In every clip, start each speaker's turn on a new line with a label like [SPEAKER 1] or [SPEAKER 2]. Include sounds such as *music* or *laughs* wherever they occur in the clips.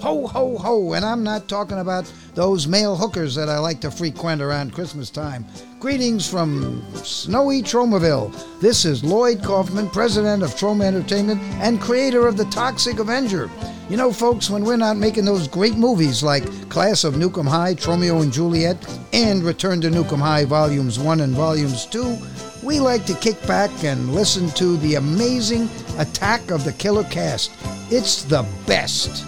[SPEAKER 1] ho, ho, ho. And I'm not talking about those male hookers that I like to frequent around Christmas time. Greetings from snowy Tromaville. This is Lloyd Kaufman, president of Troma Entertainment and creator of The Toxic Avenger. You know, folks, when we're not making those great movies like Class of Newcomb High, Tromeo and Juliet, and Return to Newcomb High Volumes 1 and Volumes 2, we like to kick back and listen to the amazing Attack of the Killer Cast. It's the best.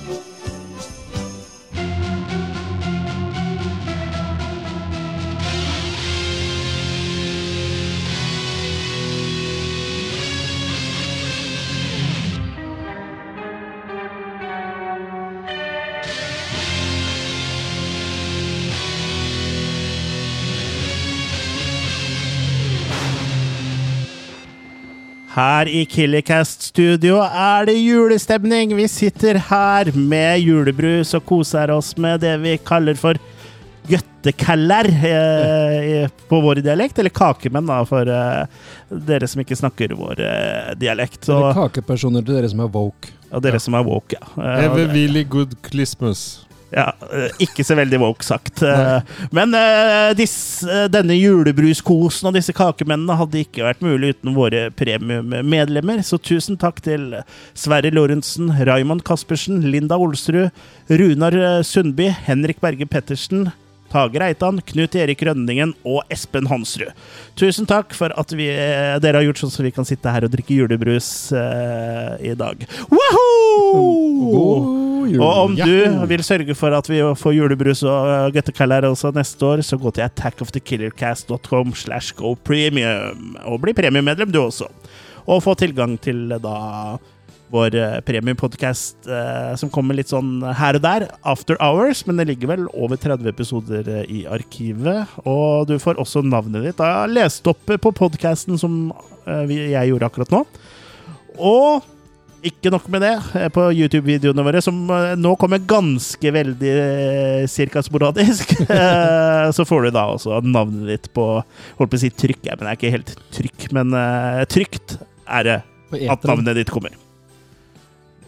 [SPEAKER 2] Her i Killercast Studio er det julestemning. Vi sitter her med julebrus og koser oss med det vi kaller for gøttekaller eh, i- på vår dialekt. Eller kakemenn, da, for eh, dere som ikke snakker vår eh, dialekt.
[SPEAKER 3] Eller
[SPEAKER 2] Og,
[SPEAKER 3] kakepersoner til dere som er woke.
[SPEAKER 2] og dere som er woke, ja. Eh,
[SPEAKER 4] Have
[SPEAKER 2] og
[SPEAKER 4] a
[SPEAKER 2] det-
[SPEAKER 4] really good Christmas.
[SPEAKER 2] Ja, eh, ikke så veldig woke sagt. Eh, Men eh, disse- eh, denne julebruskosen og disse kakemennene hadde ikke vært mulig uten våre premiummedlemmer, så tusen takk til Sverre Lorentzen, Raymond Caspersen, Linda Olsrud, Runar eh, Sundby, Henrik Berge Pettersen, Tage Reitan, Knut Erik Rønningen og Espen Hansrud. Tusen takk for at vi, eh, dere har gjort sånn så vi kan sitte her og drikke julebrus eh, i dag. Wahoo! Og om du vil sørge for at vi får julebrus og gøttekaller også neste år, så gå til attackofthekillercast.com slash go premium. Og bli premiemedlem, du også. Og få tilgang til eh, da vår eh, premiepodcast eh, som kommer litt sånn her og der, After Hours, men det ligger vel over 30 episoder eh, i arkivet. Og du får også navnet ditt da lest opp eh, på podcasten som eh, vi- jeg gjorde akkurat nå. Og ikke nok med det, eh, på YouTube-videoene våre, som eh, nå kommer ganske veldig eh, cirka sporadisk, *laughs* eh, så får du da også navnet ditt på Holdt på å si trykk, ja, men det er ikke helt trykk, men eh, trygt er det
[SPEAKER 3] På
[SPEAKER 2] at
[SPEAKER 3] eteren.
[SPEAKER 2] navnet ditt kommer.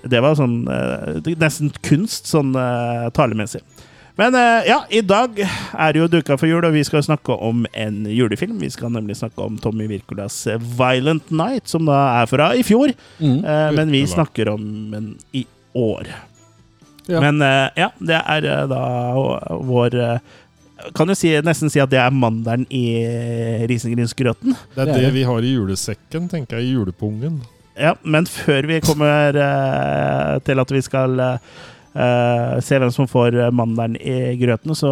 [SPEAKER 2] Det var sånn eh, det- nesten kunst, sånn eh, talemessig. Men eh, ja, i dag er det jo duka for jul, og vi skal snakke om en julefilm. Vi skal nemlig snakke om Tommy Wirkolas eh, 'Violent Night', som da er fra i fjor.
[SPEAKER 3] Mm.
[SPEAKER 2] Eh, men vi
[SPEAKER 4] Utenland.
[SPEAKER 2] snakker om den i år.
[SPEAKER 3] Ja.
[SPEAKER 2] Men eh, ja, det er eh, da vår eh, Kan jo si, nesten si at det er mandelen i risengrynsgrøten.
[SPEAKER 4] Det er
[SPEAKER 3] Det
[SPEAKER 4] det,
[SPEAKER 3] er det.
[SPEAKER 4] vi har i julesekken, tenker jeg. I julepungen.
[SPEAKER 2] Ja, men før vi kommer eh, til at vi skal eh, eh, se hvem som får eh, mandelen i grøten, så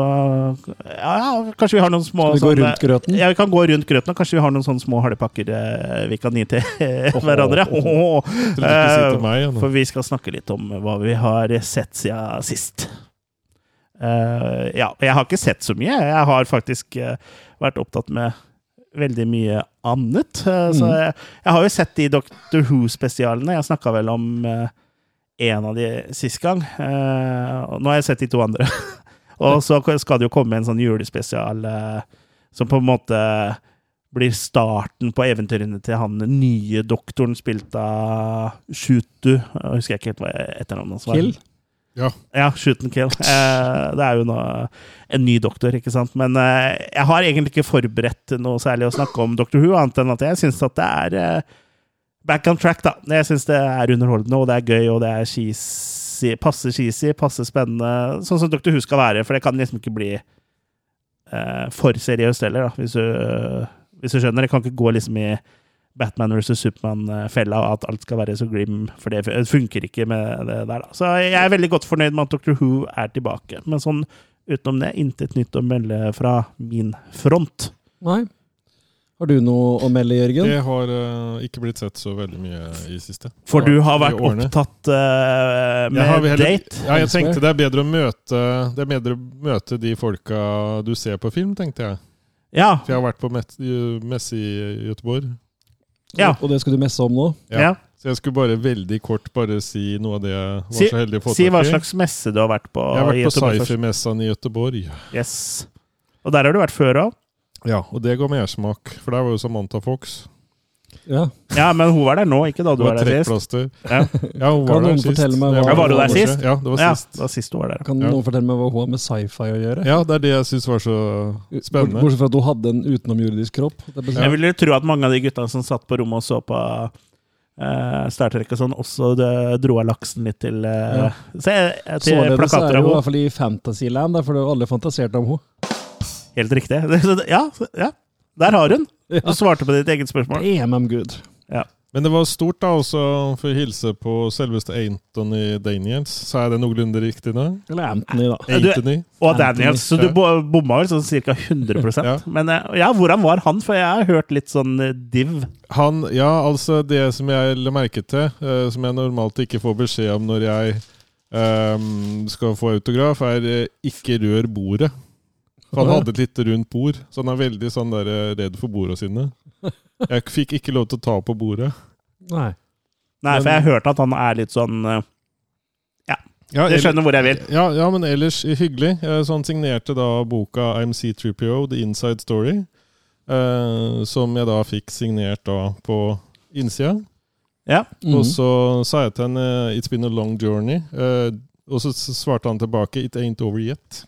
[SPEAKER 2] ja, ja, kanskje vi har noen små
[SPEAKER 3] Skal vi gå
[SPEAKER 2] sånne-
[SPEAKER 3] rundt grøten?
[SPEAKER 2] Ja, vi kan gå rundt grøten, og kanskje vi har noen sånne små halvpakker eh, vi kan gi til eh, hverandre. Åhå.
[SPEAKER 4] Trodde ikke si
[SPEAKER 2] Eh,
[SPEAKER 4] til meg. Anna.
[SPEAKER 2] For vi skal snakke litt om hva vi har sett siden sist. Eh, ja, jeg har ikke sett så mye. Jeg har faktisk eh, vært opptatt med veldig mye annet. Eh, Så jeg, jeg har jo sett de Doctor Who-spesialene. Jeg snakka vel om eh, en av de sist gang. Eh, og nå har jeg sett de to andre. og så skal det jo komme en sånn julespesial eh, som på en måte blir starten på eventyrene til han den nye doktoren spilt av Shutu. Jeg husker ikke helt hva etternavnet hans var.
[SPEAKER 3] Kill?
[SPEAKER 2] Ja, shoot and kill. Eh, det er jo nå en ny doktor, ikke sant. Men eh, jeg har egentlig ikke forberedt noe særlig å snakke om Dr. Who, annet enn at jeg syns at det er eh, back on track, da. Jeg syns det er underholdende, og det er gøy, og det er cheesy, passe cheesy, passe spennende. Sånn som Dr. Who skal være, for det kan liksom ikke bli eh, for seriøst heller, da, hvis du, hvis du skjønner. Det kan ikke gå liksom i Batman vs. Superman-fella, og at alt skal være så grim, for det fun- funker ikke med det der. da. Så jeg er veldig godt fornøyd med at Dr. Who er tilbake. Men sånn utenom det, intet nytt å melde fra min front.
[SPEAKER 3] Nei. Har du noe å melde, Jørgen?
[SPEAKER 4] Det har eh, ikke blitt sett så veldig mye i siste.
[SPEAKER 2] For du har
[SPEAKER 4] I
[SPEAKER 2] vært
[SPEAKER 4] årene.
[SPEAKER 2] opptatt eh, med
[SPEAKER 4] Jeg har vel heller-
[SPEAKER 2] date.
[SPEAKER 4] Ja, jeg tenkte det er bedre å møte Det er bedre å møte de folka du ser på film, tenkte jeg.
[SPEAKER 2] Ja,
[SPEAKER 4] For jeg har vært på met- i- messe i Göteborg.
[SPEAKER 2] ja.
[SPEAKER 3] Og det skal du messe om nå?
[SPEAKER 4] Ja.
[SPEAKER 2] ja.
[SPEAKER 4] Så jeg skulle bare veldig kort bare si noe av det jeg var
[SPEAKER 2] Si-
[SPEAKER 4] så heldig å få
[SPEAKER 2] Si hva
[SPEAKER 4] tak i.
[SPEAKER 2] slags messe du har vært på.
[SPEAKER 4] Jeg har
[SPEAKER 2] i
[SPEAKER 4] vært på
[SPEAKER 2] Göteborg først.
[SPEAKER 4] sci-fi-messaen i Göteborg.
[SPEAKER 2] Yes. Og der har du vært før òg.
[SPEAKER 4] Ja, og det ga mersmak, for der var jo Samantha Fox.
[SPEAKER 3] Ja.
[SPEAKER 2] Ja, men hun var der nå, ikke da du
[SPEAKER 4] Det
[SPEAKER 2] var
[SPEAKER 4] var
[SPEAKER 2] der sist.
[SPEAKER 4] trekkplaster.
[SPEAKER 2] Ja.
[SPEAKER 4] Ja, hun var
[SPEAKER 3] Kan
[SPEAKER 4] der
[SPEAKER 3] noen
[SPEAKER 4] sist.
[SPEAKER 3] fortelle meg
[SPEAKER 4] Det
[SPEAKER 3] hva-
[SPEAKER 2] Var du der
[SPEAKER 4] kanskje.
[SPEAKER 2] sist?
[SPEAKER 4] Ja, det var
[SPEAKER 2] Ja,
[SPEAKER 4] sist.
[SPEAKER 2] det var sist hun var der.
[SPEAKER 3] Kan
[SPEAKER 4] Ja.
[SPEAKER 3] noen fortelle meg hva hun har med sci-fi å gjøre?
[SPEAKER 4] Ja, det er det jeg syns var så
[SPEAKER 3] Bort-
[SPEAKER 4] spennende.
[SPEAKER 3] Bortsett fra at hun hadde en utenomjordisk kropp. Det er
[SPEAKER 2] Jeg ville tro at mange av de gutta som satt på rommet og så på eh, Star Trek og sånn, også eh, dro av laksen litt til, eh, se, eh, til
[SPEAKER 3] Således er
[SPEAKER 2] plakater
[SPEAKER 3] det
[SPEAKER 2] av
[SPEAKER 3] jo i
[SPEAKER 2] henne.
[SPEAKER 3] hvert fall i Fantasyland, der, for det er jo alle fantaserte om henne.
[SPEAKER 2] Helt riktig. *laughs* Ja, ja, der har hun! Du svarte på ditt eget spørsmål.
[SPEAKER 3] Damn, I'm good.
[SPEAKER 4] Men det var stort, da, også for å hilse på selveste Anthony Daniels. Sa jeg det noenlunde riktig nå?
[SPEAKER 3] Eller Anthony, da.
[SPEAKER 2] Du-
[SPEAKER 4] Anthony.
[SPEAKER 2] Og Daniels. Så du
[SPEAKER 4] Ja.
[SPEAKER 2] bo- bomma vel sånn ca.
[SPEAKER 3] *laughs*
[SPEAKER 2] 100
[SPEAKER 4] Ja.
[SPEAKER 2] Men eh, ja, hvordan var han? For jeg har hørt litt sånn eh, div.
[SPEAKER 4] Han, ja, altså det som jeg la merke til, eh, som jeg normalt ikke får beskjed om når jeg ehm, skal få autograf, er eh, 'ikke rør bordet'. For han hadde et litt rundt bord, så han er veldig sånn der, eh, redd for borda sine. Jeg fikk ikke lov til å ta på bordet.
[SPEAKER 3] Nei.
[SPEAKER 2] Nei, for jeg har hørt at han er litt sånn eh,
[SPEAKER 4] Ja,
[SPEAKER 2] Jeg skjønner hvor jeg vil.
[SPEAKER 4] Ja, ja, men ellers hyggelig. Eh, Så han signerte da boka IMC3PO, The Inside Story, eh, som jeg da fikk signert da på innsida.
[SPEAKER 2] Ja.
[SPEAKER 3] Mhm.
[SPEAKER 4] Og så sa jeg til han eh, 'It's been a long journey', eh, og så s- svarte han tilbake 'It ain't over yet'.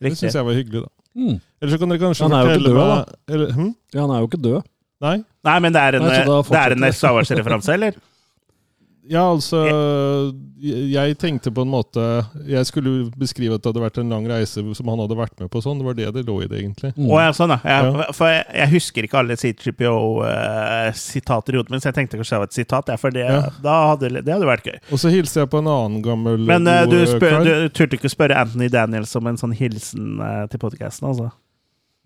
[SPEAKER 4] Det
[SPEAKER 2] Riktig.
[SPEAKER 4] syns jeg var hyggelig, da.
[SPEAKER 3] Mhm.
[SPEAKER 4] Eller så kan dere kanskje
[SPEAKER 3] Han er jo ikke
[SPEAKER 4] fortelle
[SPEAKER 3] død,
[SPEAKER 4] meg eller, hm?
[SPEAKER 3] Ja, han er jo ikke død.
[SPEAKER 4] Nei?
[SPEAKER 2] Nei, men det er en,
[SPEAKER 3] Nei, så
[SPEAKER 2] eh, det
[SPEAKER 3] da
[SPEAKER 2] er
[SPEAKER 3] fortsetter
[SPEAKER 2] en
[SPEAKER 3] jeg.
[SPEAKER 2] Star Wars-referanse,
[SPEAKER 3] *laughs*
[SPEAKER 2] eller?
[SPEAKER 4] Ja, altså jeg- Jeg tenkte på en måte Jeg skulle beskrive at det hadde vært en lang reise som han hadde vært med på sånn. Det var det det lå i det, egentlig.
[SPEAKER 2] Å
[SPEAKER 3] Mm.
[SPEAKER 2] ja, sånn, ja. Jeg,
[SPEAKER 4] Mm. Ja.
[SPEAKER 2] for jeg, jeg husker ikke alle CTPO-sitater i hodet mitt, så jeg tenkte kanskje det var et sitat. Ja, for det,
[SPEAKER 4] Ja.
[SPEAKER 2] da hadde, det hadde vært gøy.
[SPEAKER 4] Og så hilser jeg på en annen gammel
[SPEAKER 2] Men eh,
[SPEAKER 4] god,
[SPEAKER 2] du,
[SPEAKER 4] eh,
[SPEAKER 2] spør,
[SPEAKER 4] kar.
[SPEAKER 2] du turte ikke spørre Anthony Daniels om en sånn hilsen eh, til podkasten, altså?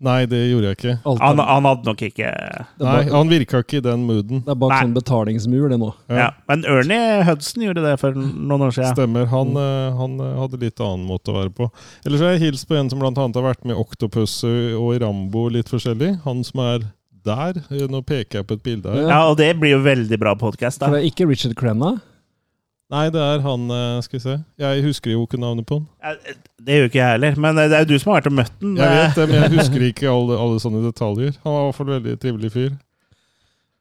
[SPEAKER 4] Nei, det gjorde jeg ikke.
[SPEAKER 3] Alt
[SPEAKER 2] Han,
[SPEAKER 3] er,
[SPEAKER 2] han hadde nok ikke
[SPEAKER 3] det,
[SPEAKER 4] Nei,
[SPEAKER 3] er bak,
[SPEAKER 4] Han virka ikke i den mooden.
[SPEAKER 3] det er bak
[SPEAKER 2] Nei.
[SPEAKER 3] sånn betalingsmur, det nå.
[SPEAKER 2] ja. Men Ernie Hudson gjorde det for noen år siden.
[SPEAKER 4] Stemmer.
[SPEAKER 3] Mm.
[SPEAKER 4] Han, eh, han eh, hadde litt annen måte å være på. Ellers har jeg hilst på en som bl.a. har vært med i Octopus eh, og i Rambo litt forskjellig. Han som er der. Eh, Nå peker jeg på et bilde her.
[SPEAKER 3] Ja.
[SPEAKER 2] Ja, og det blir jo veldig bra podkast,
[SPEAKER 3] For
[SPEAKER 2] da.
[SPEAKER 3] det er ikke Richard Crenna.
[SPEAKER 4] Nei, det er han eh, Skal vi se. Jeg husker jo ikke navnet på han.
[SPEAKER 2] Eh, Det gjør ikke jeg heller, men eh, det er jo du som har vært og møtt den. eh,
[SPEAKER 4] Jeg vet det, men jeg husker ikke alle, alle sånne detaljer. Han var i hvert fall veldig trivelig fyr.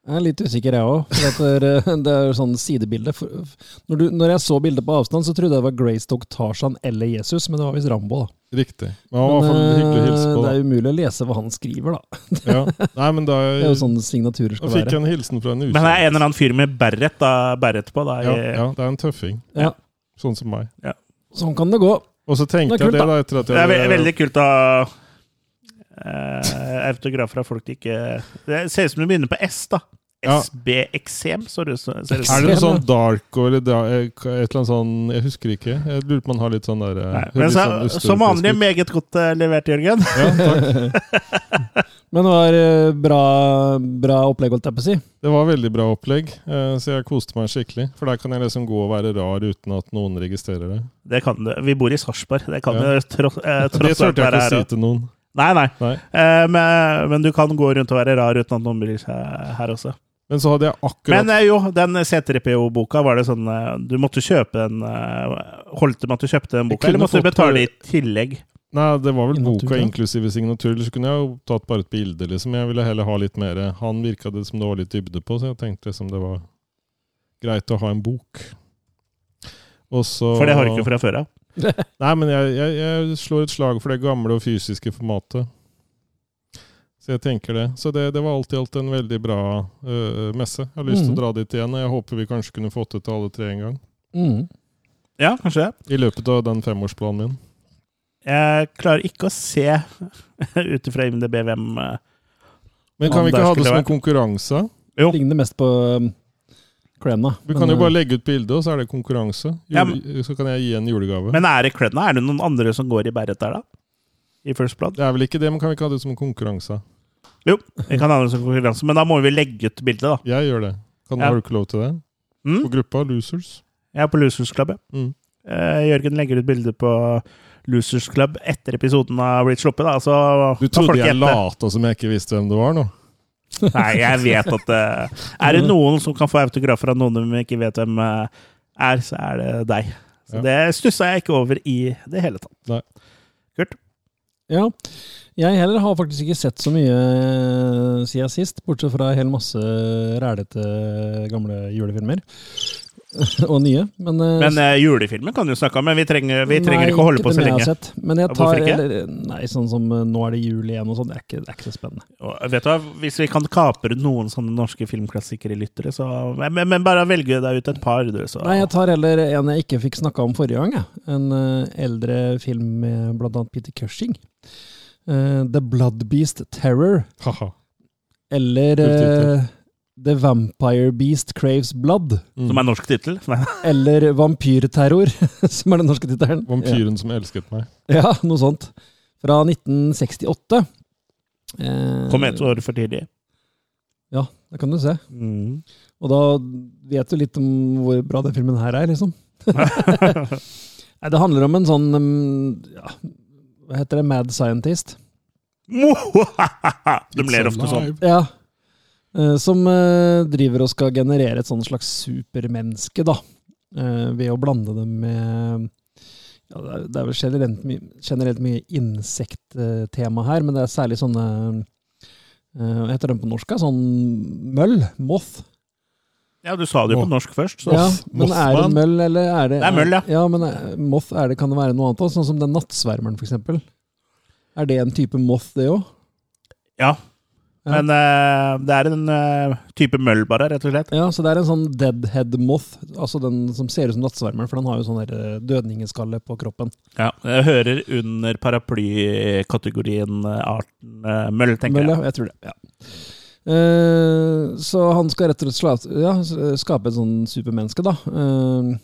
[SPEAKER 3] Jeg er litt usikker, jeg òg. *laughs* Det er jo sånn sidebilde. For- Når, du, når jeg så bildet på avstand, så trodde jeg det var Greystock, Tarzan eller Jesus, men det var visst Rambo, da.
[SPEAKER 4] Riktig. Men han var i hvert fall
[SPEAKER 3] Men,
[SPEAKER 4] hyggelig å hilse
[SPEAKER 3] eh,
[SPEAKER 4] på.
[SPEAKER 3] det
[SPEAKER 4] da.
[SPEAKER 3] er umulig å lese hva han skriver, da.
[SPEAKER 4] Ja. Nei, men da,
[SPEAKER 3] *laughs* Det er jo sånn signaturer
[SPEAKER 4] da
[SPEAKER 3] skal
[SPEAKER 4] fikk jeg
[SPEAKER 3] være.
[SPEAKER 4] en hilsen fra en
[SPEAKER 2] Men eh, det er
[SPEAKER 4] ukjent.
[SPEAKER 2] en eller annen fyr med beret da, beret på, da. i-
[SPEAKER 4] Ja, ja, det er en tøffing.
[SPEAKER 3] Ja.
[SPEAKER 4] Sånn som meg.
[SPEAKER 3] Sånn kan det gå.
[SPEAKER 4] Og så tenkte
[SPEAKER 3] Det er kult,
[SPEAKER 4] jeg det da, etter at
[SPEAKER 2] Det
[SPEAKER 4] øh, jeg
[SPEAKER 2] er ve veldig kult å ha eh, autografer av folk de ikke Det ser ut som du begynner på S, da.
[SPEAKER 4] Ja.
[SPEAKER 2] SB Eksem, så det ut som. ser det ut
[SPEAKER 4] Er
[SPEAKER 2] som.
[SPEAKER 4] det noe sånn dark eller da, et eller annet sånn Jeg husker ikke. Jeg lurer på om man har litt sånn der
[SPEAKER 2] Nei, Men så, som vanlig meget godt eh, levert, Jørgen.
[SPEAKER 4] Ja, takk.
[SPEAKER 3] *laughs* Men det var eh, bra, bra opplegg, holdt jeg på å si.
[SPEAKER 4] Det var veldig bra opplegg, eh, så jeg koste meg skikkelig. For der kan jeg liksom gå og være rar uten at noen registrerer det.
[SPEAKER 2] Det kan du. Vi bor i Sarpsborg. Det kan
[SPEAKER 4] Ja.
[SPEAKER 2] du tross, eh,
[SPEAKER 4] Det
[SPEAKER 2] tross alt
[SPEAKER 4] turte jeg
[SPEAKER 2] være
[SPEAKER 4] ikke å
[SPEAKER 2] her.
[SPEAKER 4] si til noen.
[SPEAKER 2] Nei, nei.
[SPEAKER 4] Nei.
[SPEAKER 2] Eh, men, men du kan gå rundt og være rar uten at noen bryr seg her også.
[SPEAKER 4] Men så hadde jeg akkurat
[SPEAKER 2] Men eh, jo, den C3PO-boka, var det sånn eh, Du måtte kjøpe den eh, Holdt det med at du kjøpte den boka,
[SPEAKER 4] Jeg kunne
[SPEAKER 2] eller måtte du
[SPEAKER 4] fått eh,
[SPEAKER 2] betale
[SPEAKER 4] bare-
[SPEAKER 2] i tillegg?
[SPEAKER 4] Nei, det var vel
[SPEAKER 3] Signatur,
[SPEAKER 4] boka
[SPEAKER 3] ja.
[SPEAKER 4] inklusive signatur. Eller så kunne jeg jo tatt bare et bilde, liksom. Jeg ville heller ha litt mer Han virka det som det var litt dybde på, så jeg tenkte liksom det var greit å ha en bok. Og så
[SPEAKER 2] For det har du ikke fra før av.
[SPEAKER 4] Nei, men jeg, jeg, jeg slår et slag for det gamle og fysiske formatet. Så jeg tenker det. Så det, det var alt i alt en veldig bra øh, messe. Jeg har lyst til
[SPEAKER 3] Mhm.
[SPEAKER 4] å dra dit igjen, og jeg håper vi kanskje kunne fått det til alle tre en gang.
[SPEAKER 3] Mm.
[SPEAKER 2] Ja, kanskje det.
[SPEAKER 4] I løpet av den femårsplanen min.
[SPEAKER 2] Jeg klarer ikke å se *laughs* ut ifra IMDb hvem eh,
[SPEAKER 4] Men
[SPEAKER 2] Ja,
[SPEAKER 4] kan vi
[SPEAKER 2] der
[SPEAKER 4] ikke ha det
[SPEAKER 2] skulle
[SPEAKER 4] som
[SPEAKER 2] det
[SPEAKER 4] en konkurranse?
[SPEAKER 2] Jo.
[SPEAKER 3] Ligner mest på um, Crenna.
[SPEAKER 4] Vi kan jo
[SPEAKER 3] eh,
[SPEAKER 4] bare legge ut bilde, og så er det konkurranse.
[SPEAKER 2] Ja,
[SPEAKER 4] Jule, så kan jeg gi en julegave.
[SPEAKER 2] Men er det Crenna? Er det noen andre som går i beret der, da? I First
[SPEAKER 4] *laughs*
[SPEAKER 2] Blood?
[SPEAKER 4] det er vel ikke det, men kan vi ikke ha det som en konkurranse?
[SPEAKER 2] Jo, vi kan ha den som konkurranse, men da må vi legge ut bildet, da.
[SPEAKER 4] Jeg gjør det. Kan
[SPEAKER 2] Ja.
[SPEAKER 4] Har du ikke lov til det?
[SPEAKER 2] Mm?
[SPEAKER 4] På gruppa Losers.
[SPEAKER 2] Jeg er på Losers Club, ja.
[SPEAKER 4] Mm.
[SPEAKER 2] Eh, Jørgen legger ut bilde på Losers Club etter episoden har blitt sluppet, da. Så
[SPEAKER 4] Du
[SPEAKER 2] kan folk
[SPEAKER 4] trodde jeg
[SPEAKER 2] gjette.
[SPEAKER 4] lata som jeg ikke visste hvem det var nå?
[SPEAKER 2] *laughs* Nei, jeg vet at eh, Er det noen som kan få autografer av noen de ikke vet hvem eh, er, så er det deg. Så
[SPEAKER 4] Ja.
[SPEAKER 2] det stussa jeg ikke over i det hele tatt.
[SPEAKER 4] Nei.
[SPEAKER 2] Kurt?
[SPEAKER 3] Ja. Jeg heller har faktisk ikke sett så mye eh, siden sist, bortsett fra en hel masse rælete gamle julefilmer. *laughs* Og nye. Men, eh,
[SPEAKER 2] Men eh, julefilmer kan du snakke om, men vi trenger, vi trenger
[SPEAKER 3] nei, altså.
[SPEAKER 2] ikke å holde på så
[SPEAKER 3] dem jeg har
[SPEAKER 2] lenge.
[SPEAKER 3] sett. Men
[SPEAKER 2] Ja,
[SPEAKER 3] jeg tar,
[SPEAKER 2] hvorfor ikke?
[SPEAKER 3] eller, nei, sånn som eh, Nå er det jul igjen og sånn, det, er ikke- det er ikke så spennende.
[SPEAKER 2] Og vet du hva, Hvis vi kan kapre noen sånne norske filmklassikere-lyttere, så men, men- men bare velge deg ut et par, du, så
[SPEAKER 3] Nei, jeg tar heller en jeg ikke fikk snakka om forrige gang. Jeg. En eh, eldre film med bl.a. Peter Cushing. Eh, The Blood Beast Terror.
[SPEAKER 4] Haha.
[SPEAKER 3] Eller
[SPEAKER 4] Kulttitel.
[SPEAKER 3] eh, The Vampire Beast Craves Blood.
[SPEAKER 4] Mm.
[SPEAKER 2] Som er norsk tittel. *laughs* Nei.
[SPEAKER 3] Eller Vampyrterror, *laughs* som er den norske tittelen.
[SPEAKER 4] Vampyren som elsket meg.
[SPEAKER 3] Ja, ja, noe sånt. Fra 1968. Eh,
[SPEAKER 2] Kom et år for tidlig.
[SPEAKER 3] Ja, det kan du se.
[SPEAKER 2] Mm. *laughs*
[SPEAKER 3] Og da vet du litt om hvor bra den filmen her er, liksom. Nei, det handler om en sånn mm, ja, Hva heter det? Mad scientist?
[SPEAKER 2] De ler ofte sånn.
[SPEAKER 3] Ja. Eh, Som eh, driver og skal generere et sånn slags supermenneske, da. Eh, Ved å blande det med ja, Det er- det er vel generelt mye, generelt mye insekttema her, men det er særlig sånne eh, Hva heter den på norsk? da? Sånn møll? Moth?
[SPEAKER 2] Ja, du sa det jo på norsk først, så
[SPEAKER 3] Ja, men er det
[SPEAKER 4] Mothman?
[SPEAKER 3] møll, eller er det
[SPEAKER 2] Det er møll, ja.
[SPEAKER 3] ja men eh, moth, er det, kan det være noe annet òg? Sånn som den nattsvermeren, for eksempel. Er det en type moth, det òg?
[SPEAKER 2] Ja.
[SPEAKER 3] Ja.
[SPEAKER 2] Men eh, det er en eh, type møll, bare, rett og slett.
[SPEAKER 3] Ja, så det er en sånn deadhead moth, altså den som ser ut som nattsvermeren, for den har jo sånn der eh, dødningeskalle på kroppen.
[SPEAKER 2] Ja, jeg hører under paraplykategorien eh, arten eh, møll, tenker
[SPEAKER 3] Mølle,
[SPEAKER 2] jeg.
[SPEAKER 3] jeg tror det, ja. Eh, så han skal rett og slett sla- ja, s- eh, skape et sånn supermenneske, da. Eh,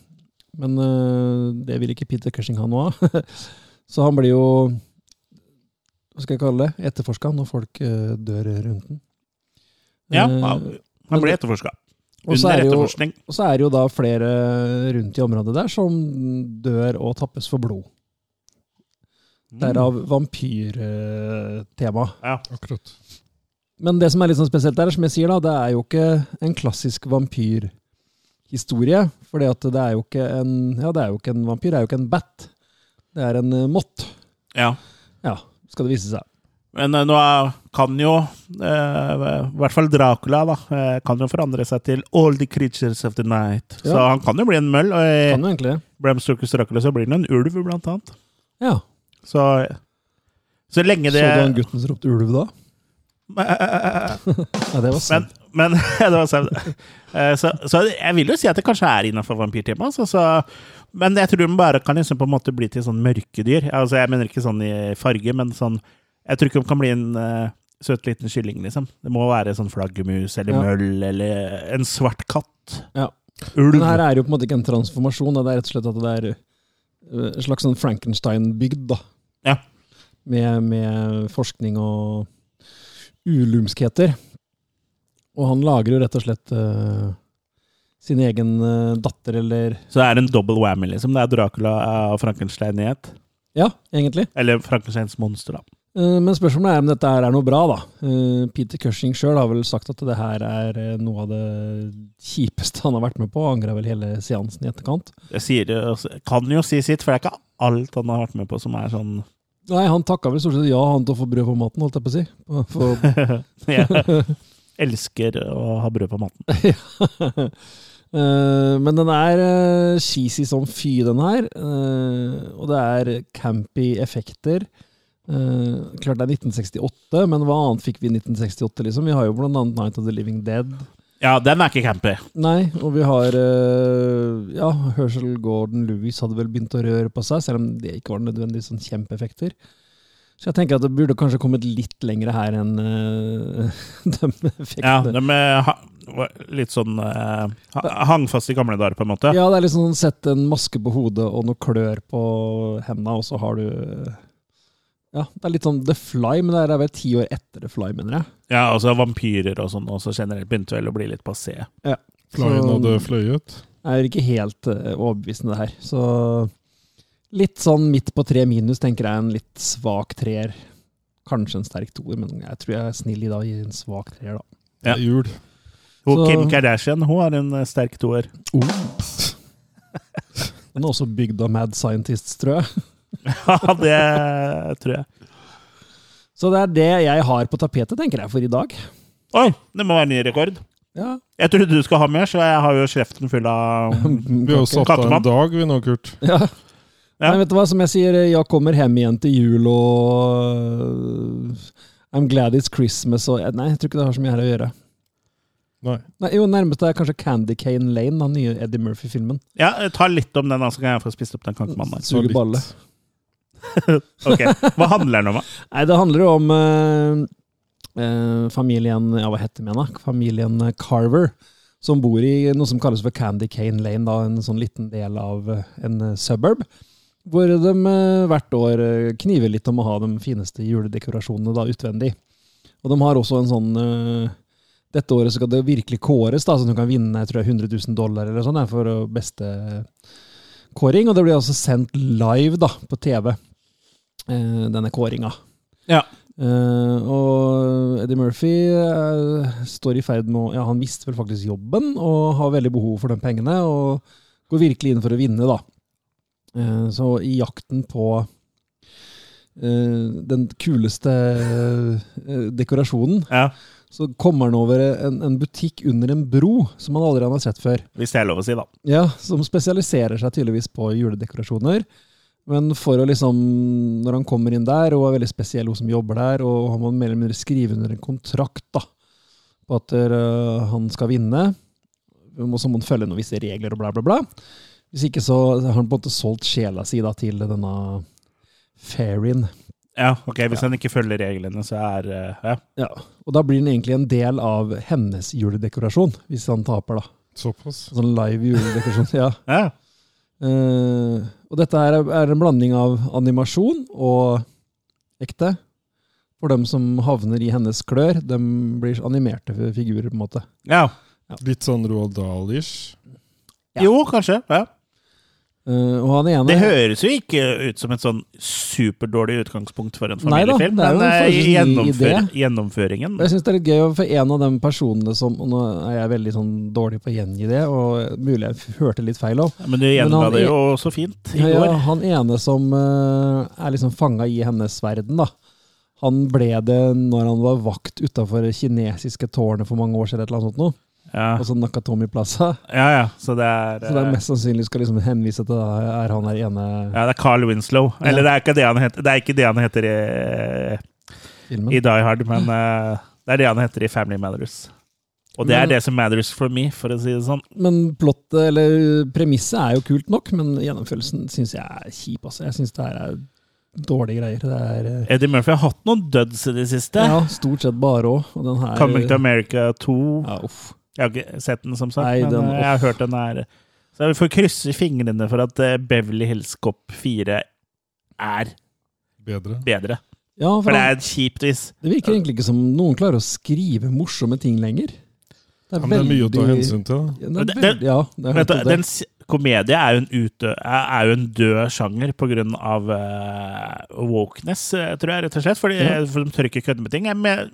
[SPEAKER 3] men eh, det vil ikke Peter Cushing ha noe av. *laughs* så han blir jo Hva skal jeg kalle det? Etterforska når folk eh, dør rundt den.
[SPEAKER 2] Ja,
[SPEAKER 3] Eh,
[SPEAKER 2] han ble etterforska.
[SPEAKER 3] og så
[SPEAKER 2] Under
[SPEAKER 3] er det jo-
[SPEAKER 2] etterforskning.
[SPEAKER 3] Og så er det jo da flere rundt i området der som dør og tappes for blod. Derav vampyrtema.
[SPEAKER 2] Mm, Ja.
[SPEAKER 4] Akkurat.
[SPEAKER 3] Men det som er litt sånn spesielt der, som jeg sier da, det er jo ikke en klassisk vampyrhistorie. For det er jo ikke en Ja, det er jo ikke en vampyr, det er jo ikke en bat. Det er en eh, mott,
[SPEAKER 2] ja.
[SPEAKER 3] skal det vise seg.
[SPEAKER 2] Men eh, nå er- kan jo eh, I hvert fall Dracula da, eh, kan jo forandre seg til all the creatures of the night. Så
[SPEAKER 3] Ja.
[SPEAKER 2] han kan jo bli en møll. Og i
[SPEAKER 3] Kan jo egentlig det.
[SPEAKER 2] Bram Stokers Dracula så blir han en ulv, blant annet.
[SPEAKER 3] Ja.
[SPEAKER 2] Så, eh, så lenge det
[SPEAKER 3] Så du han gutten som ropte ulv da?
[SPEAKER 2] *laughs*
[SPEAKER 3] Ja, det var
[SPEAKER 2] Men,
[SPEAKER 3] sant.
[SPEAKER 2] men *laughs* det var sant. Eh, Så, så jeg vil jo si at det kanskje er innafor vampyrtema. Så, så, men jeg tror de bare kan liksom på en måte bli til sånn mørkedyr. Altså Jeg mener ikke sånn i farge, men sånn Jeg tror ikke de kan bli en eh, søt liten kylling, liksom. Det må være sånn flaggermus eller
[SPEAKER 3] Ja.
[SPEAKER 2] møll eller en svart katt.
[SPEAKER 3] Ja.
[SPEAKER 2] Ulv.
[SPEAKER 3] Men her er det jo på en måte ikke en transformasjon, da. det er rett og slett at det er eh, en slags sånn Frankenstein-bygd, da.
[SPEAKER 2] Ja.
[SPEAKER 3] Med, med forskning og ulumskheter. Og han lager jo rett og slett eh, sin egen eh, datter, eller
[SPEAKER 2] Så det er en double whammy, liksom. Det er Dracula og Frankenstein i ett.
[SPEAKER 3] Ja, egentlig.
[SPEAKER 2] Eller Frankensteins monster, da.
[SPEAKER 3] Eh, Men spørsmålet er om dette her er noe bra, da. Eh, Peter Cushing sjøl har vel sagt at det her er eh, noe av det kjipeste han har vært med på, og angra vel hele seansen i etterkant.
[SPEAKER 2] Jeg sier, det- altså, kan jo si sitt, for det er ikke alt han har vært med på som er sånn
[SPEAKER 3] Nei, han takka vel stort sett ja han til å få brød på maten, holdt jeg på å si. For,
[SPEAKER 2] *laughs* Jeg elsker å ha brød på maten.
[SPEAKER 3] Eh, men den er eh, cheesy som fy, den her. Eh, og det er campy effekter. Eh, klart det er 1968, men hva annet fikk vi i 1968? liksom? Vi har jo blant annet Night of the Living Dead.
[SPEAKER 2] Ja, den er ikke campy.
[SPEAKER 3] Nei, og vi har eh, Ja, Herschel Gordon Lewis hadde vel begynt å røre på seg, selv om det ikke var nødvendigvis sånn kjempeeffekter. Så jeg tenker at det burde kanskje kommet litt lengre her enn eh, *laughs* de
[SPEAKER 2] Ja,
[SPEAKER 3] effektene.
[SPEAKER 2] de er ha, litt sånn eh, ha- hang fast i gamle dager, på en måte.
[SPEAKER 3] Ja, det er liksom sånn sett en maske på hodet og noen klør på henda, og så har du eh, Ja, det er litt sånn The Fly, men det her er vel ti år etter The Fly, mener jeg.
[SPEAKER 2] Ja, og så vampyrer og sånn også generelt begynte vel å bli litt passé.
[SPEAKER 4] Flyen
[SPEAKER 3] Så-
[SPEAKER 4] hadde fløyet.
[SPEAKER 3] Jeg er ikke helt eh, overbevisende, det her. Så litt sånn midt på tre minus, tenker jeg. En litt svak treer. Kanskje en sterk toer, men jeg tror jeg er snill i dag og gir en svak treer, da.
[SPEAKER 2] Ja.
[SPEAKER 4] Det er Jul.
[SPEAKER 2] Hun,
[SPEAKER 3] Så-
[SPEAKER 2] Kim Kardashian hun har en eh, sterk toer. *laughs*
[SPEAKER 3] Den er også bygd av Mad Scientists, tror jeg.
[SPEAKER 2] Ja, det tror jeg.
[SPEAKER 3] Så det er det jeg har på tapetet, tenker jeg, for i dag.
[SPEAKER 2] Oi, det må være ny rekord.
[SPEAKER 3] Ja.
[SPEAKER 2] Jeg trodde du skulle ha mer, så jeg har jo kjeften full av *laughs*
[SPEAKER 4] Vi har jo satt av
[SPEAKER 2] Kakemann.
[SPEAKER 4] en dag, vi nå, Kurt.
[SPEAKER 3] Mm, ja.
[SPEAKER 2] Ja.
[SPEAKER 3] Nei, vet du hva, som jeg sier, jeg kommer hjem igjen til jul og øh, I'm glad it's Christmas og eh, Nei, jeg tror ikke det har så mye her å gjøre.
[SPEAKER 4] Nei.
[SPEAKER 3] Nei, jo, nærmest er kanskje Candy Cane Lane, den nye Eddie Murphy-filmen.
[SPEAKER 2] Ja, ta litt om den, da, så kan jeg få spist opp den kakemannen. der.
[SPEAKER 4] Så
[SPEAKER 3] Suger
[SPEAKER 4] litt.
[SPEAKER 3] balle.
[SPEAKER 2] Ok, Hva handler den om, da?
[SPEAKER 3] Nei, det handler jo om eh, eh, familien Ja, hva heter den igjen, da? Familien Carver. Som bor i noe som kalles for Candy Cane Lane, da, en sånn liten del av eh, en eh, suburb. Hvor de eh, hvert år eh, kniver litt om å ha de fineste juledekorasjonene da, utvendig. Og de har også en sånn eh, Dette året så skal det virkelig kåres, da, så du kan vinne jeg tror det er 100 000 dollar eller sånn, eh, for eh, beste kåring. Og det blir altså sendt live da, på TV, eh, denne kåringa.
[SPEAKER 2] Ja.
[SPEAKER 3] Eh, og Eddie Murphy eh, står i ferd med å Ja, han mister vel faktisk jobben og har veldig behov for de pengene, og går virkelig inn for å vinne, da. Eh, så i jakten på eh, den kuleste eh, dekorasjonen,
[SPEAKER 2] Ja,
[SPEAKER 3] så kommer han over en, en butikk under en bro som han aldri har sett før.
[SPEAKER 2] Hvis det er lov å si, da.
[SPEAKER 3] Ja, som spesialiserer seg tydeligvis på juledekorasjoner. Men for å liksom, når han kommer inn der, og er veldig spesiell hun som jobber der, og han må mer eller mindre skrive under en kontrakt da, på at øh, han skal vinne, og så må han følge noen visse regler og bla, bla, bla. Hvis ikke så har han på en måte solgt sjela si da, til denne fairien.
[SPEAKER 2] Ja, ok, Hvis han ikke følger reglene, så er eh, ja.
[SPEAKER 3] Ja, og da blir han egentlig en del av hennes juledekorasjon, hvis han taper da.
[SPEAKER 4] Såpass.
[SPEAKER 3] Sånn live juledekorasjon, *laughs* ja.
[SPEAKER 2] ja.
[SPEAKER 3] Eh, og dette her er, er en blanding av animasjon og ekte. For dem som havner i hennes klør, de blir animerte fi- figurer, på en måte.
[SPEAKER 2] ja.
[SPEAKER 4] Litt sånn Roald Dahl-ish.
[SPEAKER 3] Ja.
[SPEAKER 2] Jo, kanskje. Ja.
[SPEAKER 3] Eh, og han ene
[SPEAKER 2] Det høres jo ikke ut som et sånn superdårlig utgangspunkt for en
[SPEAKER 3] Nei da,
[SPEAKER 2] familiefilm,
[SPEAKER 3] det er jo
[SPEAKER 2] men eh,
[SPEAKER 3] forholdsvis ny
[SPEAKER 2] gjennomfør, gjennomføringen
[SPEAKER 3] Og Jeg syns det er litt gøy, for en av de personene som og Nå er jeg veldig sånn dårlig på å gjengi det, og mulig jeg f- hørte litt feil òg.
[SPEAKER 2] Ja, Men du
[SPEAKER 3] Men
[SPEAKER 2] gjenga
[SPEAKER 3] han
[SPEAKER 2] det
[SPEAKER 3] er-
[SPEAKER 2] jo så fint i
[SPEAKER 3] Ja, ja,
[SPEAKER 2] går.
[SPEAKER 3] han ene som eh, er liksom fanga i hennes verden, da. Han ble det når han var vakt utafor kinesiske tårnet for mange år siden, et eller annet sånt noe.
[SPEAKER 2] Ja,
[SPEAKER 3] Altså Nakatomi Plaza.
[SPEAKER 2] ja. ja så det er
[SPEAKER 3] Så det er
[SPEAKER 2] eh,
[SPEAKER 3] mest sannsynlig skal liksom henvise til da, er han her ene
[SPEAKER 2] Ja, det er Carl Winslow. Eller det er ikke det han heter, det er ikke det han heter i,
[SPEAKER 3] filmen.
[SPEAKER 2] i Die Hard, men eh, det er det han heter i Family Matters. Og det er
[SPEAKER 3] Men-
[SPEAKER 2] det som matters for me, for å si det sånn.
[SPEAKER 3] Men plottet, eller premisset, er jo kult nok, men gjennomførelsen syns jeg er kjip. Altså. Jeg syns det her er dårlige greier. Det er eh,
[SPEAKER 2] Eddie Murphy har hatt noen duds i det siste.
[SPEAKER 3] ja, stort sett bare òg. Og den her
[SPEAKER 2] Coming to America 2.
[SPEAKER 3] ja, uff.
[SPEAKER 2] Jeg har ikke sett den, som sagt,
[SPEAKER 3] Nei,
[SPEAKER 2] men
[SPEAKER 3] den-
[SPEAKER 2] eh, jeg har hørt den er Så vi får krysse fingrene for at eh, Beverly Hills Cop 4 er
[SPEAKER 4] Bedre.
[SPEAKER 2] bedre.
[SPEAKER 3] ja for
[SPEAKER 2] For det er
[SPEAKER 3] det,
[SPEAKER 2] kjipt hvis
[SPEAKER 3] det virker egentlig ikke som noen klarer å skrive morsomme ting lenger.
[SPEAKER 4] Ja, men det er mye å ta hensyn til. da.
[SPEAKER 3] Ja, det
[SPEAKER 2] Det-
[SPEAKER 3] er
[SPEAKER 2] det-
[SPEAKER 3] veldig, ja, det er
[SPEAKER 2] Vet du,
[SPEAKER 3] nettopp det.
[SPEAKER 2] den s- komedie er jo en, utdø, er er jo en død sjanger på grunn av eh, wokeness, eh, tror jeg, rett og slett. Fordi, eh,
[SPEAKER 3] Ja.
[SPEAKER 2] For de tør ikke kødde med ting. Jeg med,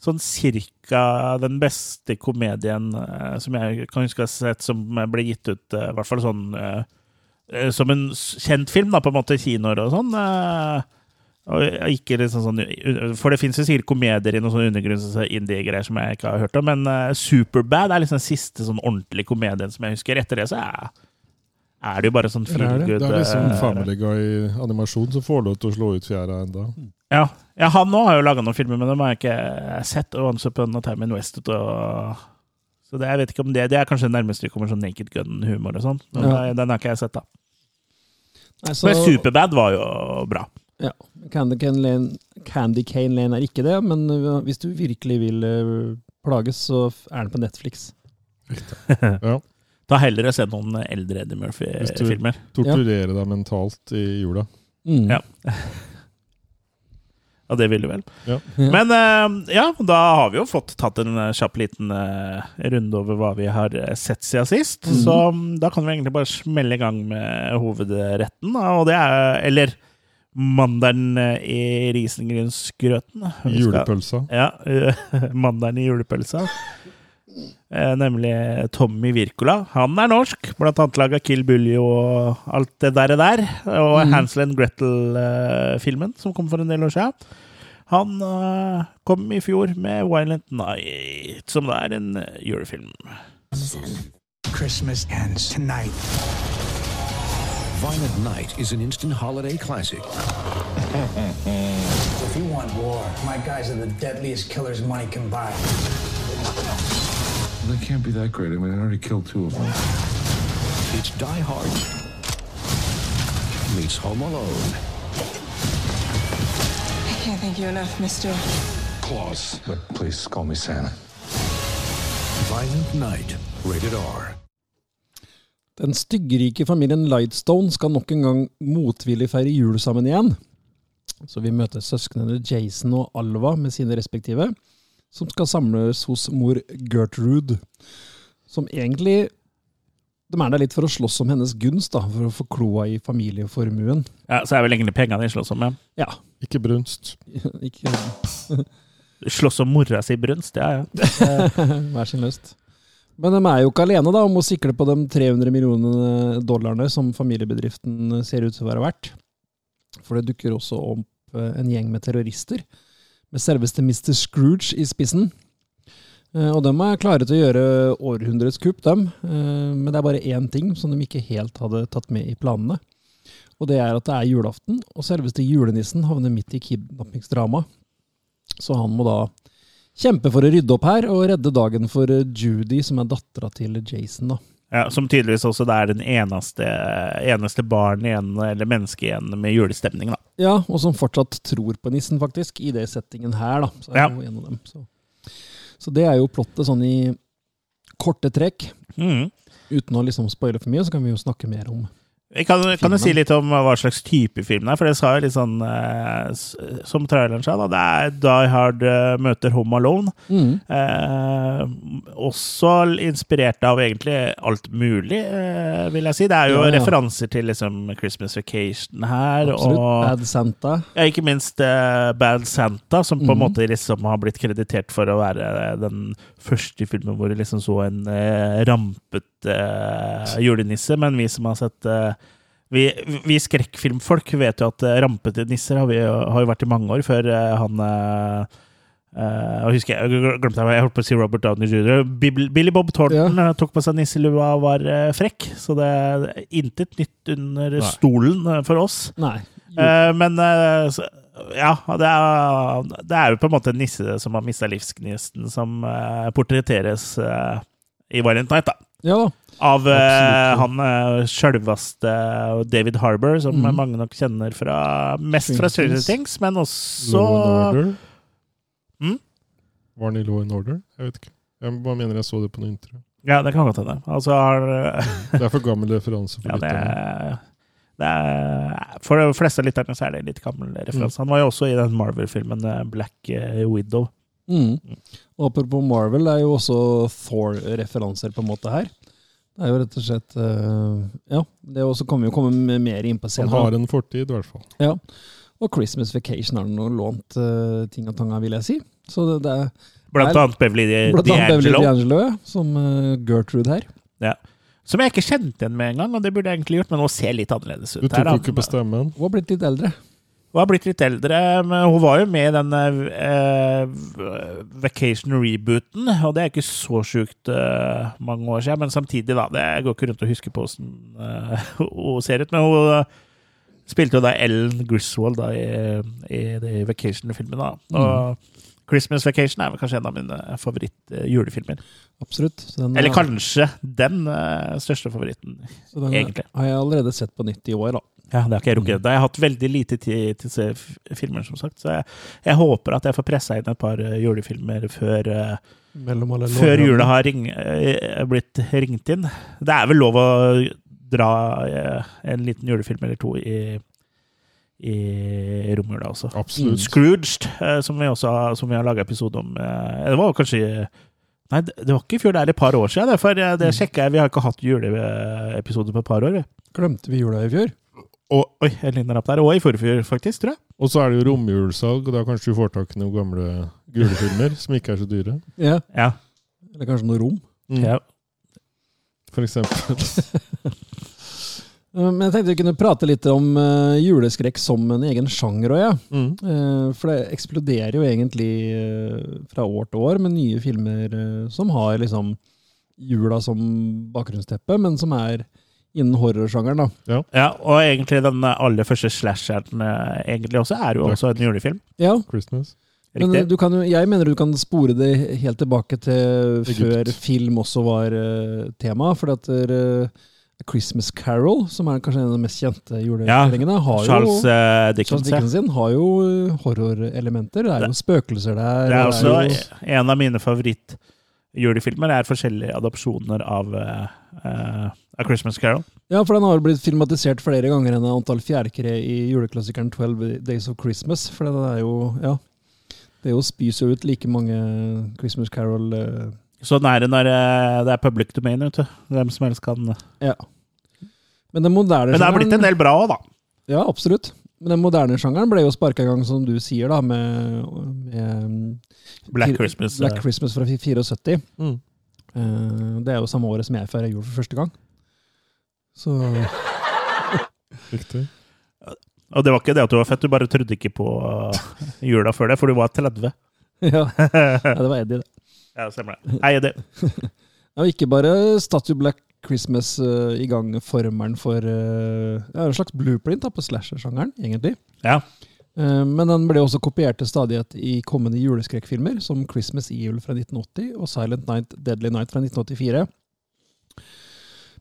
[SPEAKER 2] sånn cirka den beste komedien eh, som jeg kan huske å ha sett, som ble gitt ut, eh, i hvert fall sånn eh, eh, som en s- kjent film, da, på en måte, i kinoer og sånn. eh, og jeg- ikke liksom sånn, for det fins jo sikkert komedier i noen sånne undergrunns- og indie-greier som jeg ikke har hørt om, men eh, Superbad er liksom den siste sånn ordentlige komedien som jeg husker. Etter det så er, er det jo bare sånn
[SPEAKER 3] Det er det. sånn
[SPEAKER 2] feelgood
[SPEAKER 4] Det er liksom
[SPEAKER 2] eh,
[SPEAKER 4] Family Guy-animasjon som får lov til å slå ut fjæra enda.
[SPEAKER 2] Ja. ja, han nå har jo laga noen filmer, men dem har jeg ikke sett. Og Once Upon a Time in West og Så det, jeg vet ikke om det Det er kanskje det nærmeste vi kommer sånn Naked Gun-humor og sånn. Men
[SPEAKER 3] Ja.
[SPEAKER 2] eh, den har ikke jeg sett, da.
[SPEAKER 3] Nei, så-
[SPEAKER 2] Men Superbad var jo bra.
[SPEAKER 3] Ja. Candy Cane Lane, Candy Cane Lane er ikke det, men øh, hvis du virkelig vil øh, plages, så f- er den på Netflix.
[SPEAKER 2] Da heller å se noen eldre Eddie
[SPEAKER 4] Hvis du-
[SPEAKER 2] Murphy-filmer.
[SPEAKER 4] Torturere deg mentalt i jula.
[SPEAKER 3] Mm.
[SPEAKER 2] Ja. Ja, det vil du vel.
[SPEAKER 4] Ja.
[SPEAKER 3] Ja.
[SPEAKER 2] Men eh, ja, da har vi jo fått tatt en eh, kjapp liten eh, runde over hva vi har eh, sett siden sist.
[SPEAKER 3] Mhm.
[SPEAKER 2] Så mm, da kan vi egentlig bare smelle i gang med hovedretten. da, Og det er Eller mandelen eh, i risengrynsgrøten. Vi skal-
[SPEAKER 4] Julepølsa.
[SPEAKER 2] Ja, *laughs* mandelen i julepølsa. Eh, Nemlig Tommy Wirkola. Han er norsk, blant annet laga Kill Bully og alt det der. Og der, og
[SPEAKER 3] Mm.
[SPEAKER 2] eh, Hansel and Gretel-filmen, som kom for en del år siden. Han eh, kom i fjor med Violent Night, som da er en eh, julefilm.
[SPEAKER 5] Christmas ends tonight.
[SPEAKER 6] Violent Night is an instant holiday classic.
[SPEAKER 5] If you want war, my guys are the deadliest killers money can buy.
[SPEAKER 7] They can't be that great. I mean, I already killed two of them.
[SPEAKER 6] It's Die Hard meets Home Alone.
[SPEAKER 8] I can't thank you enough, mister.
[SPEAKER 7] Claws. But please call me Santa.
[SPEAKER 6] Violent Night, rated R.
[SPEAKER 3] Den styggrike familien Lightstone skal nok en gang motvillig feire jul sammen igjen. Så vi møter søsknene Jason og Alva med sine respektive, som skal samles hos mor Gertrude. Som egentlig De er der litt for å slåss om hennes gunst, da, for å få kloa i familieformuen. *laughs*
[SPEAKER 2] Ja, så er vel egentlig pengene de slåss om. Ja.
[SPEAKER 3] Ja,
[SPEAKER 4] Ikke brunst.
[SPEAKER 3] ikke
[SPEAKER 2] Slåss om mora si brunst, ja ja.
[SPEAKER 3] *laughs* Hver sin lyst. Men de er jo ikke alene da, om å sikle på de 300 millionene dollarene som familiebedriften ser ut til å være verdt. For det dukker også opp eh, en gjeng med terrorister, med selveste Mr. Scrooge i spissen. Eh, Og de er klare til å gjøre århundrets kupp, dem. Eh, Men det er bare én ting som de ikke helt hadde tatt med i planene. Og det er at det er julaften, og selveste julenissen havner midt i kidnappingsdramaet. Så han må da kjempe for å rydde opp her og redde dagen for eh, Judy, som er dattera til Jason. da.
[SPEAKER 2] ja. Som tydeligvis også da er den eneste, eneste barn igjen, eller menneske igjen, med julestemning, da.
[SPEAKER 3] Ja, og som fortsatt tror på nissen, faktisk, i det settingen her. da. Så er
[SPEAKER 2] Ja.
[SPEAKER 3] hun en av dem. Så. så det er jo plottet sånn i korte trekk.
[SPEAKER 2] Mhm.
[SPEAKER 3] Uten å liksom spoile for mye, så kan vi jo snakke mer om
[SPEAKER 2] Jeg Kan, kan du
[SPEAKER 3] Filmen.
[SPEAKER 2] si litt om hva slags type film det er? For det sa jo litt sånn eh, s- Som traileren sa, da. Det er Die Hard eh, møter Home Alone. Eh, også inspirert av egentlig alt mulig, eh, vil jeg si. Det er jo
[SPEAKER 3] Ja, ja.
[SPEAKER 2] referanser til liksom Christmas Vacation her,
[SPEAKER 3] Absolutt.
[SPEAKER 2] og
[SPEAKER 3] Bad Santa.
[SPEAKER 2] ja, ikke minst eh, Bad Santa, som på en måte liksom har blitt kreditert for å være eh, den første filmen hvor du liksom så en eh, rampet eh, julenisse. Men vi som har sett eh, vi, vi skrekkfilmfolk vet jo at eh, rampete nisser har, vi, jo- har jo vært i mange år før eh, han eh, eh, og husker jeg, jeg glemte jeg, jeg holdt på å si Robert Downey jr. Bill- Billy Bob Thornton eh, tok på seg nisselua og var eh, frekk, så det er intet nytt under stolen eh, for oss.
[SPEAKER 3] Nei.
[SPEAKER 2] Eh, men eh, så, ja, det er, det er jo på en måte en nisse som har mista livsgnisten, som eh, portretteres eh, i Violent Night, da.
[SPEAKER 3] Ja da.
[SPEAKER 2] Av eh,
[SPEAKER 3] Absolutt.
[SPEAKER 2] han uh, sjølveste David Harbour, som
[SPEAKER 3] Mhm.
[SPEAKER 2] mange nok kjenner fra, mest fra Stranger
[SPEAKER 3] Stranger Things.
[SPEAKER 2] Things, men
[SPEAKER 4] Law and
[SPEAKER 2] også
[SPEAKER 4] Order.
[SPEAKER 2] Mm?
[SPEAKER 4] Var den i Law and Order? Jeg vet ikke. Jeg bare mener jeg så det på noen intro.
[SPEAKER 2] Ja, det kan godt hende. Altså
[SPEAKER 3] *laughs*
[SPEAKER 2] har
[SPEAKER 4] Det er for gammel referanse for
[SPEAKER 2] Ja, det
[SPEAKER 4] lytterne.
[SPEAKER 2] er, det er For de fleste av lytterne så er det en litt gammel referanse. Han var jo også i den Marvel-filmen eh, Black eh, Widow.
[SPEAKER 3] Mm. Og apropos Marvel, det er jo også Thor-referanser på en måte her. Det er jo rett og slett eh, Ja, det er også kommer jo komme med mer inn på
[SPEAKER 4] Han
[SPEAKER 3] scenen.
[SPEAKER 4] har en fortid, i hvert fall.
[SPEAKER 3] Ja. Og Christmas Vacation har noe lånt eh, ting og tanga, vil jeg si. Så det, det er
[SPEAKER 2] Blant
[SPEAKER 3] Nei,
[SPEAKER 2] annet Beverly eh,
[SPEAKER 3] blant annet Beverly
[SPEAKER 2] D'Angelo.
[SPEAKER 3] D'Angelo, ja, som eh, Gertrude her.
[SPEAKER 2] Ja. Som jeg ikke kjente igjen med en gang, og det burde jeg egentlig gjort, men hun ser litt annerledes ut.
[SPEAKER 4] Du tok
[SPEAKER 2] her, da.
[SPEAKER 4] jo ikke på stemmen.
[SPEAKER 3] Hun har blitt litt eldre.
[SPEAKER 2] Hun har blitt litt eldre, men hun var jo med i den eh, vacation rebooten, og det er ikke så sjukt eh, mange år siden, men samtidig, da. Det jeg går ikke rundt og husker på åssen eh, *laughs* hun ser ut, men hun eh, spilte jo da Ellen Griswold da, i, i, de vacation-filmene.
[SPEAKER 4] Mm.
[SPEAKER 2] da. Og Christmas Vacation er vel kanskje en av mine favoritt-julefilmer.
[SPEAKER 3] Absolutt. Så den, eh,
[SPEAKER 2] Eller kanskje den eh, største favoritten.
[SPEAKER 3] så den eh,
[SPEAKER 2] egentlig.
[SPEAKER 3] har jeg allerede sett på nytt i år, da.
[SPEAKER 2] Ja, det har ikke jeg rukket. Jeg har hatt veldig lite tid til å se f- filmer, som sagt. Så jeg, jeg håper at jeg får pressa inn et par eh, julefilmer før, eh,
[SPEAKER 3] Mellom alle
[SPEAKER 2] før
[SPEAKER 3] lovene.
[SPEAKER 2] jula har ring, eh, blitt ringt inn. Det er vel lov å dra eh, en liten julefilm eller to i, i romjula også.
[SPEAKER 4] Absolutt.
[SPEAKER 2] Scrooged, eh, som vi også har, som vi har laga episode om eh, Det var kanskje Nei, det det var ikke i fjor, det er et par år siden. det, For eh, det sjekket jeg, vi har ikke hatt juleepisode på et par år. vi.
[SPEAKER 3] Glemte vi jula i fjor?
[SPEAKER 2] Og, oi, en liten rapp der. Og i forfjor, faktisk, tror jeg.
[SPEAKER 4] Og så er det jo romjulssalg, og da kanskje du får tak i noen gamle julefilmer som ikke er så dyre.
[SPEAKER 3] Ja.
[SPEAKER 2] Ja.
[SPEAKER 3] Eller kanskje noe rom?
[SPEAKER 4] Mm.
[SPEAKER 2] Ja.
[SPEAKER 4] For eksempel.
[SPEAKER 3] Eh, Men jeg tenkte vi kunne prate litt om eh, juleskrekk som en egen sjanger òg, ja.
[SPEAKER 4] Mm.
[SPEAKER 3] Eh, For det eksploderer jo egentlig eh, fra år til år med nye filmer eh, som har liksom jula som bakgrunnsteppe, men som er innen horrorsjangeren, da.
[SPEAKER 2] Ja, og egentlig den aller første slasheren eh, egentlig også er jo også en julefilm.
[SPEAKER 3] Ja,
[SPEAKER 4] *laughs* Christmas.
[SPEAKER 3] men eh,
[SPEAKER 2] Riktig.
[SPEAKER 3] du kan jo, jeg mener du kan spore det helt tilbake til
[SPEAKER 4] Egypt.
[SPEAKER 3] før film også var eh, tema, for at eh, A Christmas Carol, som er kanskje en av de mest kjente julestrengene, har jo
[SPEAKER 2] Charles eh,
[SPEAKER 3] Charles
[SPEAKER 2] Dickens. ja.
[SPEAKER 3] Dickens sin har jo eh, horrorelementer. Det er jo spøkelser der.
[SPEAKER 2] Det er
[SPEAKER 3] og
[SPEAKER 2] også
[SPEAKER 3] jo-
[SPEAKER 2] en av mine favorittjulefilmer. er forskjellige adopsjoner av eh, eh, A Christmas Carol.
[SPEAKER 3] Ja, for den har jo blitt filmatisert flere ganger enn antall fjærkre i juleklassikeren 12 Days of Christmas. For den er jo Ja. Det er jo spys jo ut like mange Christmas Carol eh,
[SPEAKER 2] Sånn er det når eh, det er public domain. Vet du. Hvem som helst kan
[SPEAKER 3] Ja. Men den moderne
[SPEAKER 2] Men det er blitt en del bra òg, da.
[SPEAKER 3] Ja, absolutt. Men den moderne sjangeren ble jo sparka i gang, som du sier, da, med, med
[SPEAKER 2] Black
[SPEAKER 3] Fir-
[SPEAKER 2] Christmas. eh,
[SPEAKER 3] Black Christmas fra 74.
[SPEAKER 4] Mm.
[SPEAKER 3] Eh, Det er jo samme året som jeg feirer jul for første gang. Så *laughs*
[SPEAKER 4] Riktig.
[SPEAKER 2] Og det var ikke det at du var fett, du bare trodde ikke på eh, jula før det, for du var 30.
[SPEAKER 3] ja. ja, det var Eddie, det.
[SPEAKER 2] *laughs* Ja, stemmer det. Hei, det.
[SPEAKER 3] Ja, og ikke bare Statue Black Christmas eh, i gang formelen for eh, ja, en slags blueprint da, på slasher-sjangeren, egentlig.
[SPEAKER 2] Ja.
[SPEAKER 3] Eh, men den ble også kopiert til stadighet i kommende juleskrekkfilmer, som Christmas Evil fra 1980 og Silent Night Deadly Night fra 1984.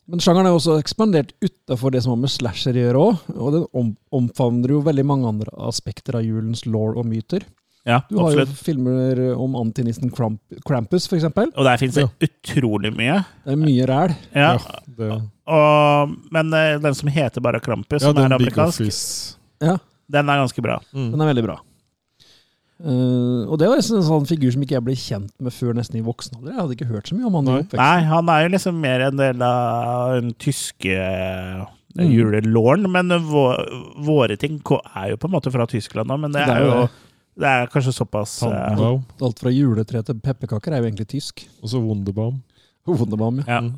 [SPEAKER 3] Men sjangeren er også ekspandert utafor det som har med slasher å gjøre òg, og den om, omfavner jo veldig mange andre aspekter av julens law og myter.
[SPEAKER 2] Ja,
[SPEAKER 3] Du har
[SPEAKER 2] absolutt.
[SPEAKER 3] jo filmer om antinissen Kramp Krampus, f.eks. Det
[SPEAKER 2] Og der fins det utrolig mye.
[SPEAKER 3] er mye ræl.
[SPEAKER 2] Ja,
[SPEAKER 4] Det,
[SPEAKER 2] og, men eh, den som heter bare Krampus,
[SPEAKER 4] ja,
[SPEAKER 2] som
[SPEAKER 4] den
[SPEAKER 2] er
[SPEAKER 4] Big
[SPEAKER 2] amerikansk,
[SPEAKER 4] Office.
[SPEAKER 3] Ja.
[SPEAKER 2] den er ganske bra.
[SPEAKER 3] Den er veldig bra. Eh, og det var en sånn figur som ikke jeg ble kjent med før nesten i voksen alder. Jeg hadde ikke hørt så mye om han i
[SPEAKER 4] Nei.
[SPEAKER 3] oppveksten.
[SPEAKER 2] Nei, han er jo liksom mer en del av den tyske eh,
[SPEAKER 3] Mm.
[SPEAKER 2] julelåren, men vå- våre ting ko- er jo på en måte fra Tyskland òg, men det
[SPEAKER 3] Det er
[SPEAKER 2] er
[SPEAKER 3] jo
[SPEAKER 2] jo
[SPEAKER 3] det.
[SPEAKER 2] det er kanskje såpass eh,
[SPEAKER 4] Tannenbaum.
[SPEAKER 3] Alt fra juletre til pepperkaker er jo egentlig tysk. *laughs*
[SPEAKER 4] Og så Wunderbaum.
[SPEAKER 3] Hovedbaum, ja.
[SPEAKER 2] ja.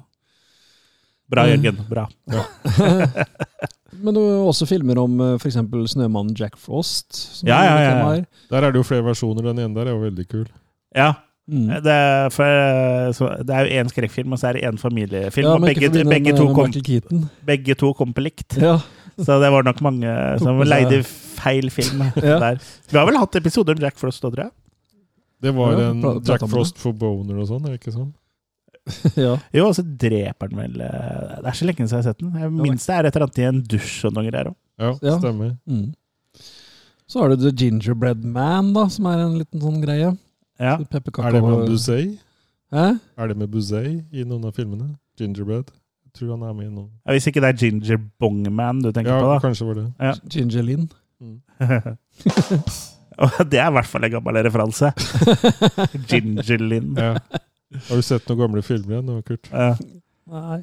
[SPEAKER 2] Bra, Jørgen. Bra.
[SPEAKER 3] *laughs* Men det var også filmer om f.eks. snømannen Jack Frost. som
[SPEAKER 2] Ja,
[SPEAKER 3] er
[SPEAKER 2] ja,
[SPEAKER 3] et
[SPEAKER 2] ja.
[SPEAKER 3] tema her.
[SPEAKER 4] Der er det jo flere versjoner. Den ene der er jo veldig kul.
[SPEAKER 2] Ja.
[SPEAKER 3] Mm.
[SPEAKER 2] Det er, for, eh, så, det er jo én skrekkfilm, og så er det én familiefilm.
[SPEAKER 3] Ja,
[SPEAKER 2] og
[SPEAKER 3] men ikke
[SPEAKER 2] begge,
[SPEAKER 3] forbi den
[SPEAKER 2] begge, to
[SPEAKER 3] med
[SPEAKER 2] kom,
[SPEAKER 3] Michael Keaton. *laughs*
[SPEAKER 2] begge to kom på likt.
[SPEAKER 3] Ja,
[SPEAKER 2] Så det var nok mange som
[SPEAKER 3] med seg-
[SPEAKER 2] leide feil film
[SPEAKER 3] *laughs* Ja.
[SPEAKER 2] der. Vi har vel hatt episoder om Jack Frost òg, tror jeg.
[SPEAKER 4] Det var
[SPEAKER 3] Ja,
[SPEAKER 4] en
[SPEAKER 3] pra- prate
[SPEAKER 4] Jack
[SPEAKER 3] om det.
[SPEAKER 4] Frost for boner og sånn, er det ikke sånn?
[SPEAKER 3] ja.
[SPEAKER 2] Jo, og så dreper han vel eh, Det er så lenge siden jeg har sett den. Jeg minst det er et eller annet i en dusj og noe greier òg.
[SPEAKER 4] Ja,
[SPEAKER 3] Ja.
[SPEAKER 4] stemmer.
[SPEAKER 3] Mm. Så har du The Gingerbread Man, da, som er en liten sånn greie.
[SPEAKER 2] Ja.
[SPEAKER 3] Pepperkaker
[SPEAKER 4] Er det med
[SPEAKER 3] og-
[SPEAKER 4] Buzay?
[SPEAKER 3] Hæ?
[SPEAKER 4] Er det med Buzay i noen av filmene? Gingerbread? Jeg tror han er med i noen.
[SPEAKER 2] Ja, Hvis ikke det er Ginger Bongman du tenker
[SPEAKER 4] Ja,
[SPEAKER 2] på, da.
[SPEAKER 4] kanskje var det.
[SPEAKER 3] Gingerlin.
[SPEAKER 2] *laughs* Og det er i hvert fall en gammel referanse.
[SPEAKER 3] *laughs*
[SPEAKER 2] Gingerlin.
[SPEAKER 4] Ja. Har du sett noen gamle filmer igjen, nå, Kurt?
[SPEAKER 2] Ja.
[SPEAKER 3] Nei.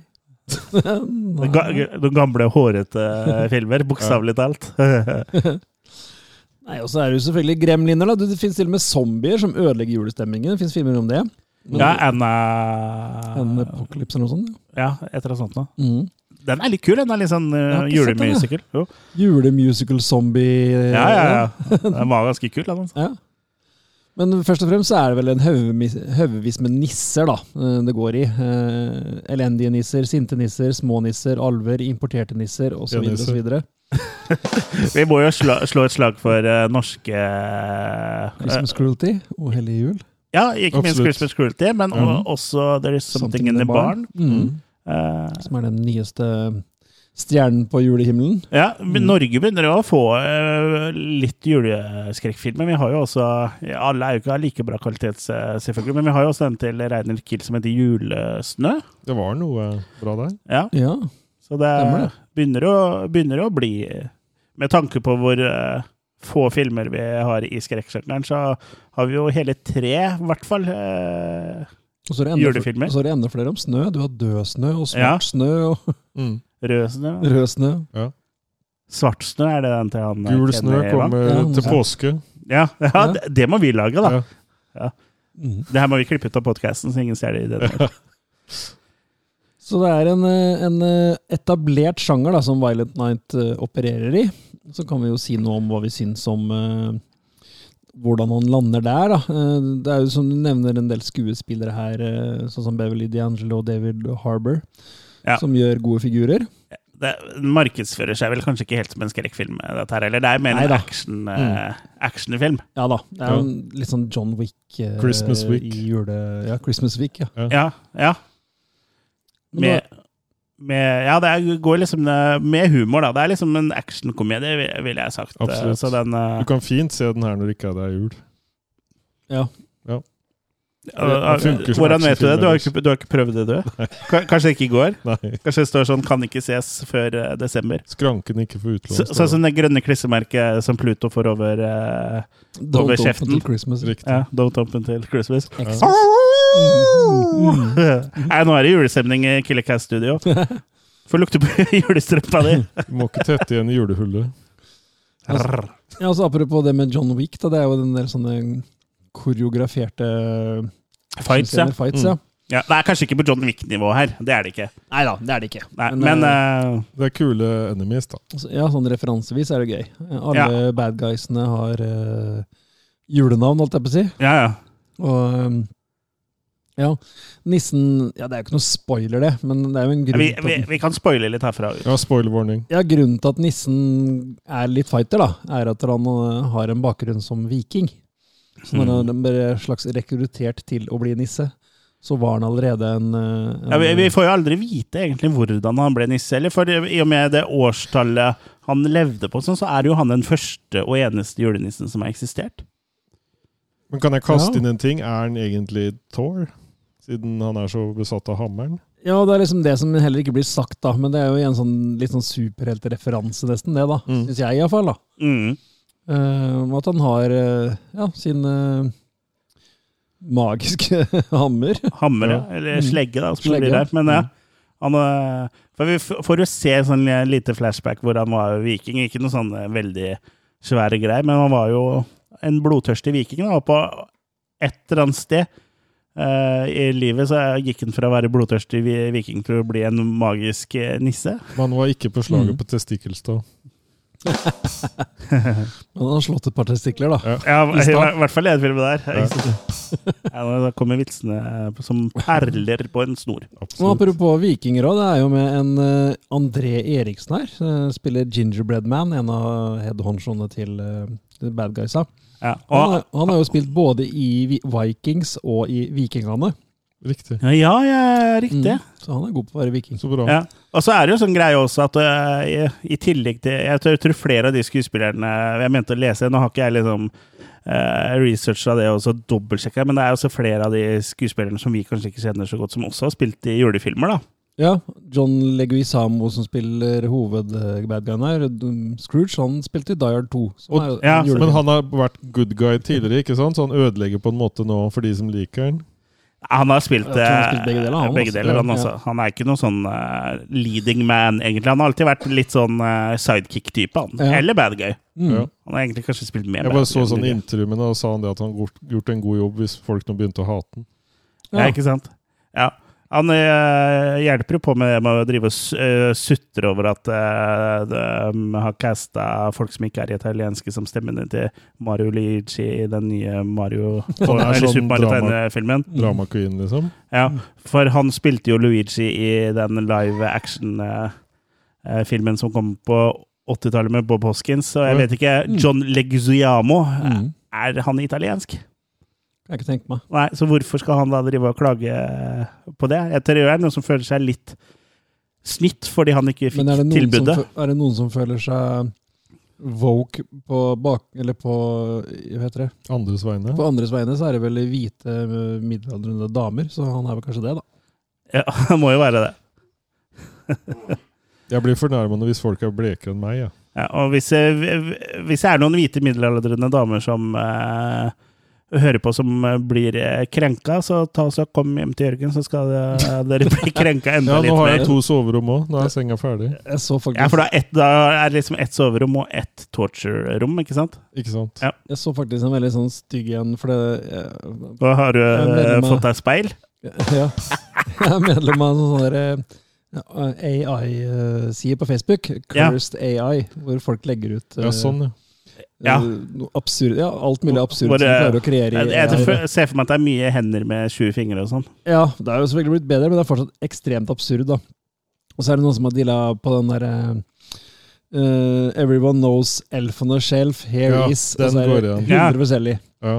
[SPEAKER 2] De ga- de gamle, hårete eh, filmer, bokstavelig talt. *laughs*
[SPEAKER 3] Nei, og så er det jo selvfølgelig gremliner. da. Det- Det finnes til og med zombier som ødelegger julestemningen. Det finnes filmer om det. Men-
[SPEAKER 2] Ja, Anna
[SPEAKER 3] En apocalypse eller noe sånt. Ja.
[SPEAKER 2] Ja, et eller annet sånt noe.
[SPEAKER 3] Mm.
[SPEAKER 2] Den er litt kul. Den er litt sånn
[SPEAKER 3] Jeg
[SPEAKER 2] uh,
[SPEAKER 3] har ikke sett den, jeg.
[SPEAKER 2] julemusical. Jo.
[SPEAKER 3] Julemusical-zombie.
[SPEAKER 2] Ja, ja, ja. *laughs* Den var ganske kul, den. Altså.
[SPEAKER 3] eh, Ja. Men først og fremst så er det vel en haugemis- haugevis med nisser da, eh, det går i. Eh, Elendige nisser, sinte nisser, små nisser, alver, importerte nisser osv.
[SPEAKER 4] Ja, nisser.
[SPEAKER 3] videre.
[SPEAKER 2] Eh, Vi må jo slå, slå et slag for eh, norske eh,
[SPEAKER 3] Christmas cruelty og hellig jul.
[SPEAKER 2] Ja, ikke minst
[SPEAKER 4] Absolutt.
[SPEAKER 2] Christmas Cruelty, men
[SPEAKER 4] Mhm.
[SPEAKER 2] o- også There Is Something, in the Barn.
[SPEAKER 3] Mm.
[SPEAKER 2] Eh,
[SPEAKER 3] Som er den nyeste stjernen på julehimmelen.
[SPEAKER 2] ja, men Norge begynner jo å få eh, litt juleskrekkfilmer. Vi har jo også ja, Alle er jo ikke av like bra kvalitet, se- selvfølgelig, men vi har jo også den til Reiner Kiel som heter Julesnø.
[SPEAKER 4] Det var noe eh, bra der.
[SPEAKER 2] Ja,
[SPEAKER 3] Ja.
[SPEAKER 2] Så det
[SPEAKER 3] Stemmer
[SPEAKER 2] begynner å, begynner å bli Med tanke på hvor eh, få filmer vi har i skrekksjangeren, så har vi jo hele tre, i hvert fall. eh,
[SPEAKER 3] Og så er det enda,
[SPEAKER 2] Julefilmer.
[SPEAKER 3] Og så er det enda flere om snø. Du har død snø og svart
[SPEAKER 2] Ja.
[SPEAKER 3] snø og *laughs*
[SPEAKER 2] Rød snø.
[SPEAKER 3] rød snø.
[SPEAKER 2] Svart snø er det den til han eh,
[SPEAKER 4] Gul snø
[SPEAKER 2] Kenny Wang?
[SPEAKER 4] kommer
[SPEAKER 3] Ja,
[SPEAKER 4] til
[SPEAKER 3] ja.
[SPEAKER 4] påske.
[SPEAKER 2] Ja, *laughs* ja,
[SPEAKER 3] Ja.
[SPEAKER 2] Det, det må vi lage, da.
[SPEAKER 4] Ja.
[SPEAKER 3] Mm.
[SPEAKER 2] Mm. Det her må vi klippe ut av podkasten, så ingen ser det. i det.
[SPEAKER 3] Så det er en, eh, en eh, etablert sjanger da, som Violent Night eh, opererer i. Så kan vi jo si noe om hva vi syns om eh, hvordan han lander der. Da. Eh, Det er jo som du nevner en del skuespillere her, eh, sånn som Beverly D'Angelo og David Harbour,
[SPEAKER 2] Ja.
[SPEAKER 3] som gjør gode figurer.
[SPEAKER 2] det markedsfører seg vel kanskje ikke helt som en skrekkfilm, dette her heller. Det er mer en
[SPEAKER 3] Neida.
[SPEAKER 2] action, eh, actionfilm.
[SPEAKER 3] Ja da. Det er jo en- litt sånn John Wick. eh,
[SPEAKER 4] Christmas Wick.
[SPEAKER 3] I jule, ja, Christmas Wick, ja.
[SPEAKER 2] Ja. ja. Med, med Ja, det er, går liksom eh, med humor, da. Det er liksom en actionkomedie, vil- ville jeg sagt. Eh,
[SPEAKER 4] Absolutt.
[SPEAKER 2] Så den eh,
[SPEAKER 4] Du kan fint se den her når det ikke er jul. *laughs*
[SPEAKER 2] eh,
[SPEAKER 4] det funker som
[SPEAKER 2] Hvordan vet du det?
[SPEAKER 4] actionfilm,
[SPEAKER 2] Du har
[SPEAKER 4] ellers.
[SPEAKER 2] ikke, du har ikke prøvd det, du? Ka- Kanskje det ikke går?
[SPEAKER 4] Nei.
[SPEAKER 2] Kanskje det står sånn 'kan ikke ses før eh, desember'?
[SPEAKER 4] Skranken ikke får utlån.
[SPEAKER 2] Så-
[SPEAKER 4] står
[SPEAKER 2] Sånn
[SPEAKER 4] det.
[SPEAKER 2] som det grønne klissemerket som Pluto får over eh,
[SPEAKER 3] Don't
[SPEAKER 2] Over
[SPEAKER 3] Open
[SPEAKER 2] kjeften.
[SPEAKER 3] Till Christmas.
[SPEAKER 4] Riktig.
[SPEAKER 2] ja, Don't Open Till Christmas.
[SPEAKER 3] *laughs* Xmas.
[SPEAKER 2] Nei, nå er det julestemning i Killercast Studio. Får lukte på *laughs* julestrømpa di.
[SPEAKER 4] Du må ikke tette igjen i julehullet.
[SPEAKER 3] Ja, altså Apropos det med John Wick, da, det er jo en del sånne koreograferte
[SPEAKER 2] Fights, ja. Mm.
[SPEAKER 3] scener, fights ja.
[SPEAKER 2] ja. Det er kanskje ikke på John Wick-nivå her. Det er det ikke.
[SPEAKER 3] Nei da, det er det ikke.
[SPEAKER 2] Nei,
[SPEAKER 3] Men,
[SPEAKER 2] men eh,
[SPEAKER 4] Det er kule enemies, da.
[SPEAKER 3] Altså, Ja, sånn referansevis er det gøy. Alle bad guysene har eh, julenavn, holdt jeg på å si.
[SPEAKER 2] ja, ja.
[SPEAKER 3] Og um, ja, nissen Ja, det er jo ikke noe spoiler, det, men det er jo en grunn
[SPEAKER 2] Vi,
[SPEAKER 3] til
[SPEAKER 2] vi,
[SPEAKER 3] at den-
[SPEAKER 2] vi kan spoile litt herfra.
[SPEAKER 4] Ja, spoiler warning.
[SPEAKER 3] ja, grunnen til at nissen er litt fighter, da, er at han eh, har en bakgrunn som viking. Så når
[SPEAKER 2] Mm.
[SPEAKER 3] han ble slags rekruttert til å bli nisse, så var han allerede en, eh, en
[SPEAKER 2] Ja, vi, vi får jo aldri vite egentlig hvordan han ble nisse, eller? For i og med det årstallet han levde på, og sånn, så er jo han den første og eneste julenissen som har eksistert.
[SPEAKER 4] Men kan jeg kaste
[SPEAKER 3] Ja.
[SPEAKER 4] inn en ting? Er han egentlig Thor? Siden han er så besatt av hammeren?
[SPEAKER 3] Ja, det er liksom det som heller ikke blir sagt, da. Men det er jo en sånn, litt sånn superheltreferanse, nesten, det, da.
[SPEAKER 4] Mm.
[SPEAKER 3] Synes Syns jeg, iallfall.
[SPEAKER 2] Mm.
[SPEAKER 3] Uh, at han har eh, ja, sin eh, magiske *laughs* hammer.
[SPEAKER 2] Hammer, ja.
[SPEAKER 4] Ja.
[SPEAKER 2] Eller
[SPEAKER 3] Mm.
[SPEAKER 2] slegge, da. Som det
[SPEAKER 3] Slegge,
[SPEAKER 2] blir her. Men
[SPEAKER 3] ja.
[SPEAKER 2] ja, han øh, For vi f- får jo se sånn lite flashback hvor han var viking. Ikke noe sånn øh, veldig svære greier, men han var jo en blodtørstig viking. Da, og på et eller annet sted øh, i livet så gikk han fra å være blodtørstig vi- viking til å bli en magisk eh, nisse.
[SPEAKER 4] Men han var ikke på slaget
[SPEAKER 3] Mm.
[SPEAKER 4] på Testikkelstad.
[SPEAKER 3] Men han har slått et par testikler, da.
[SPEAKER 2] Ja, i,
[SPEAKER 3] stad.
[SPEAKER 2] hver- hvert fall i den filmen der.
[SPEAKER 4] Ja.
[SPEAKER 2] Ikke sant? Ja, da kommer vitsene eh, som perler på en snor.
[SPEAKER 3] Og
[SPEAKER 4] Absolutt.
[SPEAKER 3] apropos vikinger òg, det er jo med en eh, André Eriksen her. eh, spiller Gingerbread Man, en av headhonchene til eh, de bad guysa.
[SPEAKER 2] Ja,
[SPEAKER 3] Han,
[SPEAKER 2] og,
[SPEAKER 3] har- han har jo spilt både i Vi- Vikings og i Vikingene,
[SPEAKER 4] Riktig.
[SPEAKER 2] ja, ja, riktig.
[SPEAKER 3] så han er god på å være viking.
[SPEAKER 4] Så bra.
[SPEAKER 2] Ja. Og så er det jo sånn greie også at øh, i, i tillegg til Jeg tror, jeg tror flere av de skuespillerne Jeg mente å lese, nå har ikke jeg liksom uh, researcha det og så dobbeltsjekka, men det er også flere av de skuespillerne som vi kanskje ikke kjenner så godt, som også har spilt i julefilmer, da.
[SPEAKER 3] Ja, John Leguizamo som spiller hovedbadguyen her, Dum- Scrooge, han spilte i Die Hard 2. Som
[SPEAKER 4] Og-
[SPEAKER 3] er en
[SPEAKER 2] ja,
[SPEAKER 3] julefilm.
[SPEAKER 4] Men han har vært good guy tidligere, ikke sant? så han ødelegger på en måte nå for de som liker han.
[SPEAKER 2] Han har spilt,
[SPEAKER 3] Jeg tror han har spilt
[SPEAKER 2] eh,
[SPEAKER 3] begge deler, han
[SPEAKER 2] begge
[SPEAKER 3] også.
[SPEAKER 2] deler, han, også. han er ikke noen sånn eh, leading man, egentlig. Han har alltid vært litt sånn eh, sidekick-type, han.
[SPEAKER 3] Ja.
[SPEAKER 2] Eller bad guy.
[SPEAKER 3] Mm.
[SPEAKER 4] Ja.
[SPEAKER 2] Han har egentlig kanskje spilt mer
[SPEAKER 4] Jeg
[SPEAKER 2] bad
[SPEAKER 4] bare så
[SPEAKER 2] guy enn
[SPEAKER 4] sånn
[SPEAKER 2] good guy.
[SPEAKER 4] intervjuene, og sa han det at han har gjort en god jobb hvis folk nå begynte å
[SPEAKER 2] *laughs*
[SPEAKER 4] hate han.
[SPEAKER 2] Ja.
[SPEAKER 3] Ja.
[SPEAKER 2] ikke sant? Ja. Han eh, hjelper jo på med det med å drive og s- eh, sutre over at eh, de har casta folk som ikke er italienske, som stemmene til Mario Luigi i den nye Mario
[SPEAKER 4] det er
[SPEAKER 2] Eller
[SPEAKER 4] sånn
[SPEAKER 2] Super
[SPEAKER 4] drama.
[SPEAKER 2] Mario-filmen.
[SPEAKER 4] Drama queen, liksom.
[SPEAKER 2] Ja, for han spilte jo Luigi i den live action-filmen som kom på 80-tallet med Bob Hoskins, og jeg
[SPEAKER 4] Ja.
[SPEAKER 2] vet ikke John Leguizamo,
[SPEAKER 3] Mm.
[SPEAKER 2] er han italiensk?
[SPEAKER 3] Jeg kan ikke tenke meg.
[SPEAKER 2] Nei, så hvorfor skal han da drive og klage på det? Jeg tror det er noen som føler seg litt snytt fordi han ikke fikk
[SPEAKER 3] Men er det, noen som,
[SPEAKER 2] tilbudet.
[SPEAKER 3] fø- er det noen som føler seg woke på bak... Eller på eh, Hva heter det?
[SPEAKER 4] Andres vegne.
[SPEAKER 3] På andres vegne så er det vel hvite eh, middelaldrende damer, så han er vel kanskje det, da.
[SPEAKER 2] Ja, *laughs* han må jo være det.
[SPEAKER 4] Jeg blir fornærmende hvis folk er blekere enn meg. Ja.
[SPEAKER 2] Ja, og hvis, eh, hvis det er noen hvite middelaldrende damer som eh, hører på som eh, blir eh, krenka, så ta og så kom hjem til Jørgen, så skal eh, dere
[SPEAKER 3] *laughs*
[SPEAKER 2] bli krenka
[SPEAKER 4] Ja,
[SPEAKER 2] enda
[SPEAKER 4] nå har
[SPEAKER 2] litt
[SPEAKER 4] jeg
[SPEAKER 2] mer.
[SPEAKER 4] to soverom òg. Nå er senga ferdig.
[SPEAKER 3] Jeg så faktisk,
[SPEAKER 2] Ja, for da er, ett- da er det liksom ett soverom og ett torture-rom, ikke sant?
[SPEAKER 4] Ikke sant?
[SPEAKER 2] Ja.
[SPEAKER 3] jeg så faktisk en veldig sånn stygg en, for det eh,
[SPEAKER 2] Og har du
[SPEAKER 3] Jeg mener
[SPEAKER 2] eh,
[SPEAKER 3] meg-
[SPEAKER 2] fått deg speil?
[SPEAKER 3] Ja. *laughs* Jeg er medlem av en sånn AI-side eh, på Facebook,
[SPEAKER 2] Ja.
[SPEAKER 3] Cursed AI, hvor folk legger ut
[SPEAKER 4] Ja, sånn, ja.
[SPEAKER 3] eh,
[SPEAKER 2] Ja.
[SPEAKER 3] noe absurd, ja, alt mulig absurd
[SPEAKER 2] Hvor,
[SPEAKER 3] som de
[SPEAKER 2] eh,
[SPEAKER 3] klarer å kreere.
[SPEAKER 2] Jeg,
[SPEAKER 3] i
[SPEAKER 2] jeg,
[SPEAKER 3] AI.
[SPEAKER 2] ser for meg at det er mye hender med 20 fingre og sånn.
[SPEAKER 3] Ja, det er jo selvfølgelig blitt bedre, men det er fortsatt ekstremt absurd, da. Og så er det noen som har deala på den derre eh, Everyone knows elf on a shelf, here
[SPEAKER 4] Ja,
[SPEAKER 3] is
[SPEAKER 4] den
[SPEAKER 3] Og så er
[SPEAKER 4] går
[SPEAKER 3] det
[SPEAKER 4] igjen.
[SPEAKER 3] 100 forskjellig.
[SPEAKER 4] ja.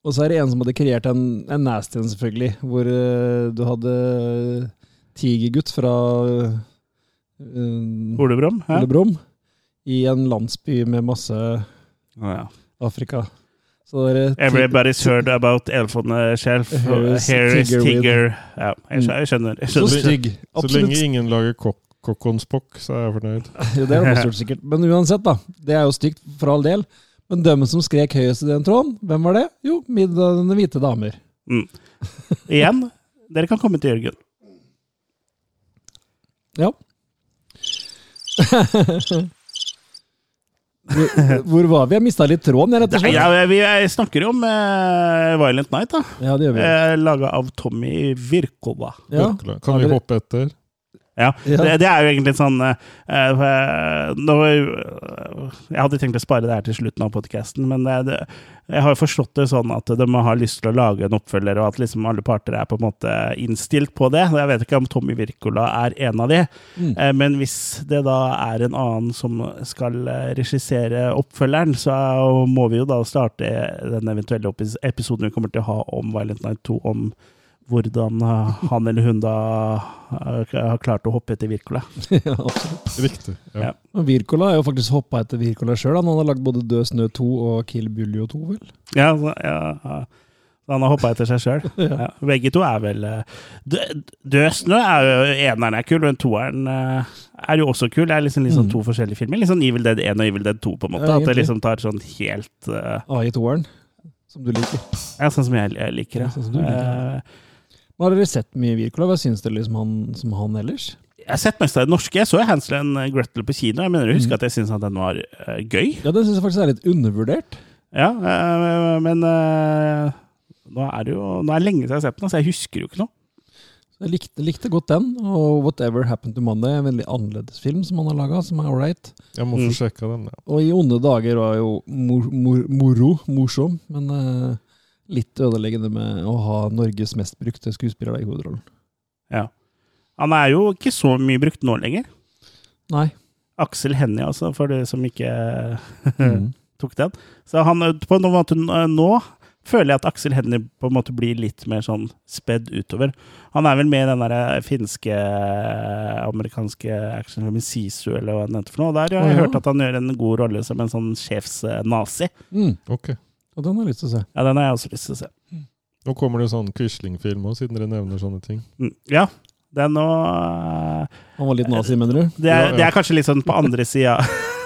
[SPEAKER 3] Og så er det en som hadde kreert en, en nasty en, selvfølgelig, hvor eh, du hadde eh, tigergutt fra eh, uh,
[SPEAKER 2] Olebrom? Ja.
[SPEAKER 3] Ullebrom i en landsby med masse
[SPEAKER 2] Ja.
[SPEAKER 3] Afrika. Så det er, eh,
[SPEAKER 2] Everybody's heard about elf on a shelf.
[SPEAKER 3] Here is
[SPEAKER 2] Here is
[SPEAKER 3] Tigger with-
[SPEAKER 2] Tigger. Ja, jeg skjø- jeg skjønner. Jeg
[SPEAKER 3] Så
[SPEAKER 2] skjønner.
[SPEAKER 3] stygg.
[SPEAKER 4] Så
[SPEAKER 3] Absolutt.
[SPEAKER 4] lenge ingen lager kok kokkonspokk, så er jeg fornøyd.
[SPEAKER 3] *laughs* Jo, det er det stort sikkert. Men uansett, da. Det er jo stygt for all del. Men dem som skrek høyest i den tråden, hvem var det? Jo, middelaldrende hvite damer.
[SPEAKER 2] Igjen, dere kan komme til Jørgen.
[SPEAKER 3] Ja.
[SPEAKER 2] *laughs*
[SPEAKER 3] hvor, hvor var vi? Jeg mista litt tråden, jeg, rett og
[SPEAKER 2] Nei,
[SPEAKER 3] slett.
[SPEAKER 2] ja, vi jeg snakker jo om eh, Violent Night, da.
[SPEAKER 3] Ja, det gjør vi.
[SPEAKER 2] Uh, Laga av Tommy Virkova.
[SPEAKER 3] Ja. *laughs*
[SPEAKER 4] Kan
[SPEAKER 3] Har
[SPEAKER 4] vi
[SPEAKER 3] dere-
[SPEAKER 4] hoppe etter?
[SPEAKER 2] Ja,
[SPEAKER 3] Ja.
[SPEAKER 2] Det, det er jo egentlig sånn eh, eh, nå, eh, Jeg hadde tenkt å spare det her til slutten av podkasten, men det, det, jeg har jo forstått det sånn at de har lyst til å lage en oppfølger, og at liksom alle parter er på en måte innstilt på det. Jeg vet ikke om Tommy Wirkola er en av de,
[SPEAKER 3] Mm.
[SPEAKER 2] eh, men hvis det da er en annen som skal eh, regissere oppfølgeren, så må vi jo da starte den eventuelle oppi- episoden vi kommer til å ha om Violent Night 2 om hvordan eh, han eller hun da eh, har klart å hoppe etter Wirkola.
[SPEAKER 3] Ja, absolutt.
[SPEAKER 4] Riktig.
[SPEAKER 2] Ja.
[SPEAKER 4] Ja.
[SPEAKER 3] Og Wirkola har jo faktisk hoppa etter Wirkola sjøl. Han har lagd både Død snø 2 og Kill Buljo 2, vel?
[SPEAKER 2] Ja, så- ja, ja. Han har hoppa etter seg sjøl. *laughs* Ja. Begge to er vel eh, dø- Død snø er jo Eneren er kul, men toeren eh, er jo også kul. Det er liksom, liksom
[SPEAKER 3] Mm.
[SPEAKER 2] to forskjellige filmer. Liksom Evil Dead 1 og Evil Dead 2, på en måte.
[SPEAKER 3] Ja,
[SPEAKER 2] At det
[SPEAKER 3] egentlig.
[SPEAKER 2] liksom tar sånn helt eh,
[SPEAKER 3] AI-toeren, som du liker.
[SPEAKER 2] Ja, sånn som jeg, jeg liker det.
[SPEAKER 3] Sånn som du liker, ja.
[SPEAKER 2] Eh,
[SPEAKER 3] Men Har dere sett mye Wirkola? Hva syns dere liksom han, som han ellers?
[SPEAKER 2] jeg har sett mest av det norske. Jeg så Hansel and Gretel på kino. Jeg mener å huske
[SPEAKER 3] Mm.
[SPEAKER 2] at jeg syntes at den var eh, gøy.
[SPEAKER 3] Ja, den syns jeg faktisk er litt undervurdert.
[SPEAKER 2] Ja, eh, men eh, nå er det jo Nå er det lenge siden jeg har sett den, så jeg husker jo ikke noe.
[SPEAKER 3] Jeg likte, likte godt den, og Whatever Happened to Monday, en veldig annerledes film som han har laga, som er ålreit.
[SPEAKER 4] Jeg må
[SPEAKER 2] Mm.
[SPEAKER 4] få sjekka den. Ja.
[SPEAKER 3] Og I onde dager var jo mor, mor, moro, morsom, men eh, litt ødeleggende med å ha Norges mest brukte skuespiller da i hovedrollen.
[SPEAKER 2] Han er jo ikke så mye brukt nå lenger.
[SPEAKER 3] Nei.
[SPEAKER 2] Aksel Hennie, altså, for de som ikke *laughs*
[SPEAKER 3] Mm.
[SPEAKER 2] tok den. Så han, på en måte nå føler jeg at Aksel Hennie på en måte blir litt mer sånn spedd utover. Han er vel med i den der eh, finske eh, amerikanske actionfilmen Sisu, eller hva den heter for noe. Der har jeg
[SPEAKER 3] Å, ja.
[SPEAKER 2] hørt at han gjør en god rolle som en sånn sjefsnazi.
[SPEAKER 3] Mm.
[SPEAKER 4] Ok.
[SPEAKER 3] Og den har jeg lyst til å se.
[SPEAKER 2] Ja, den har jeg også lyst til å se.
[SPEAKER 4] Nå kommer det sånn Quisling-film òg, siden dere nevner sånne ting.
[SPEAKER 2] Mm, Ja, den nå
[SPEAKER 3] Han var litt nazi, mener du?
[SPEAKER 2] eh, Det er,
[SPEAKER 4] Ja, ja.
[SPEAKER 2] det er kanskje litt sånn på andre sida.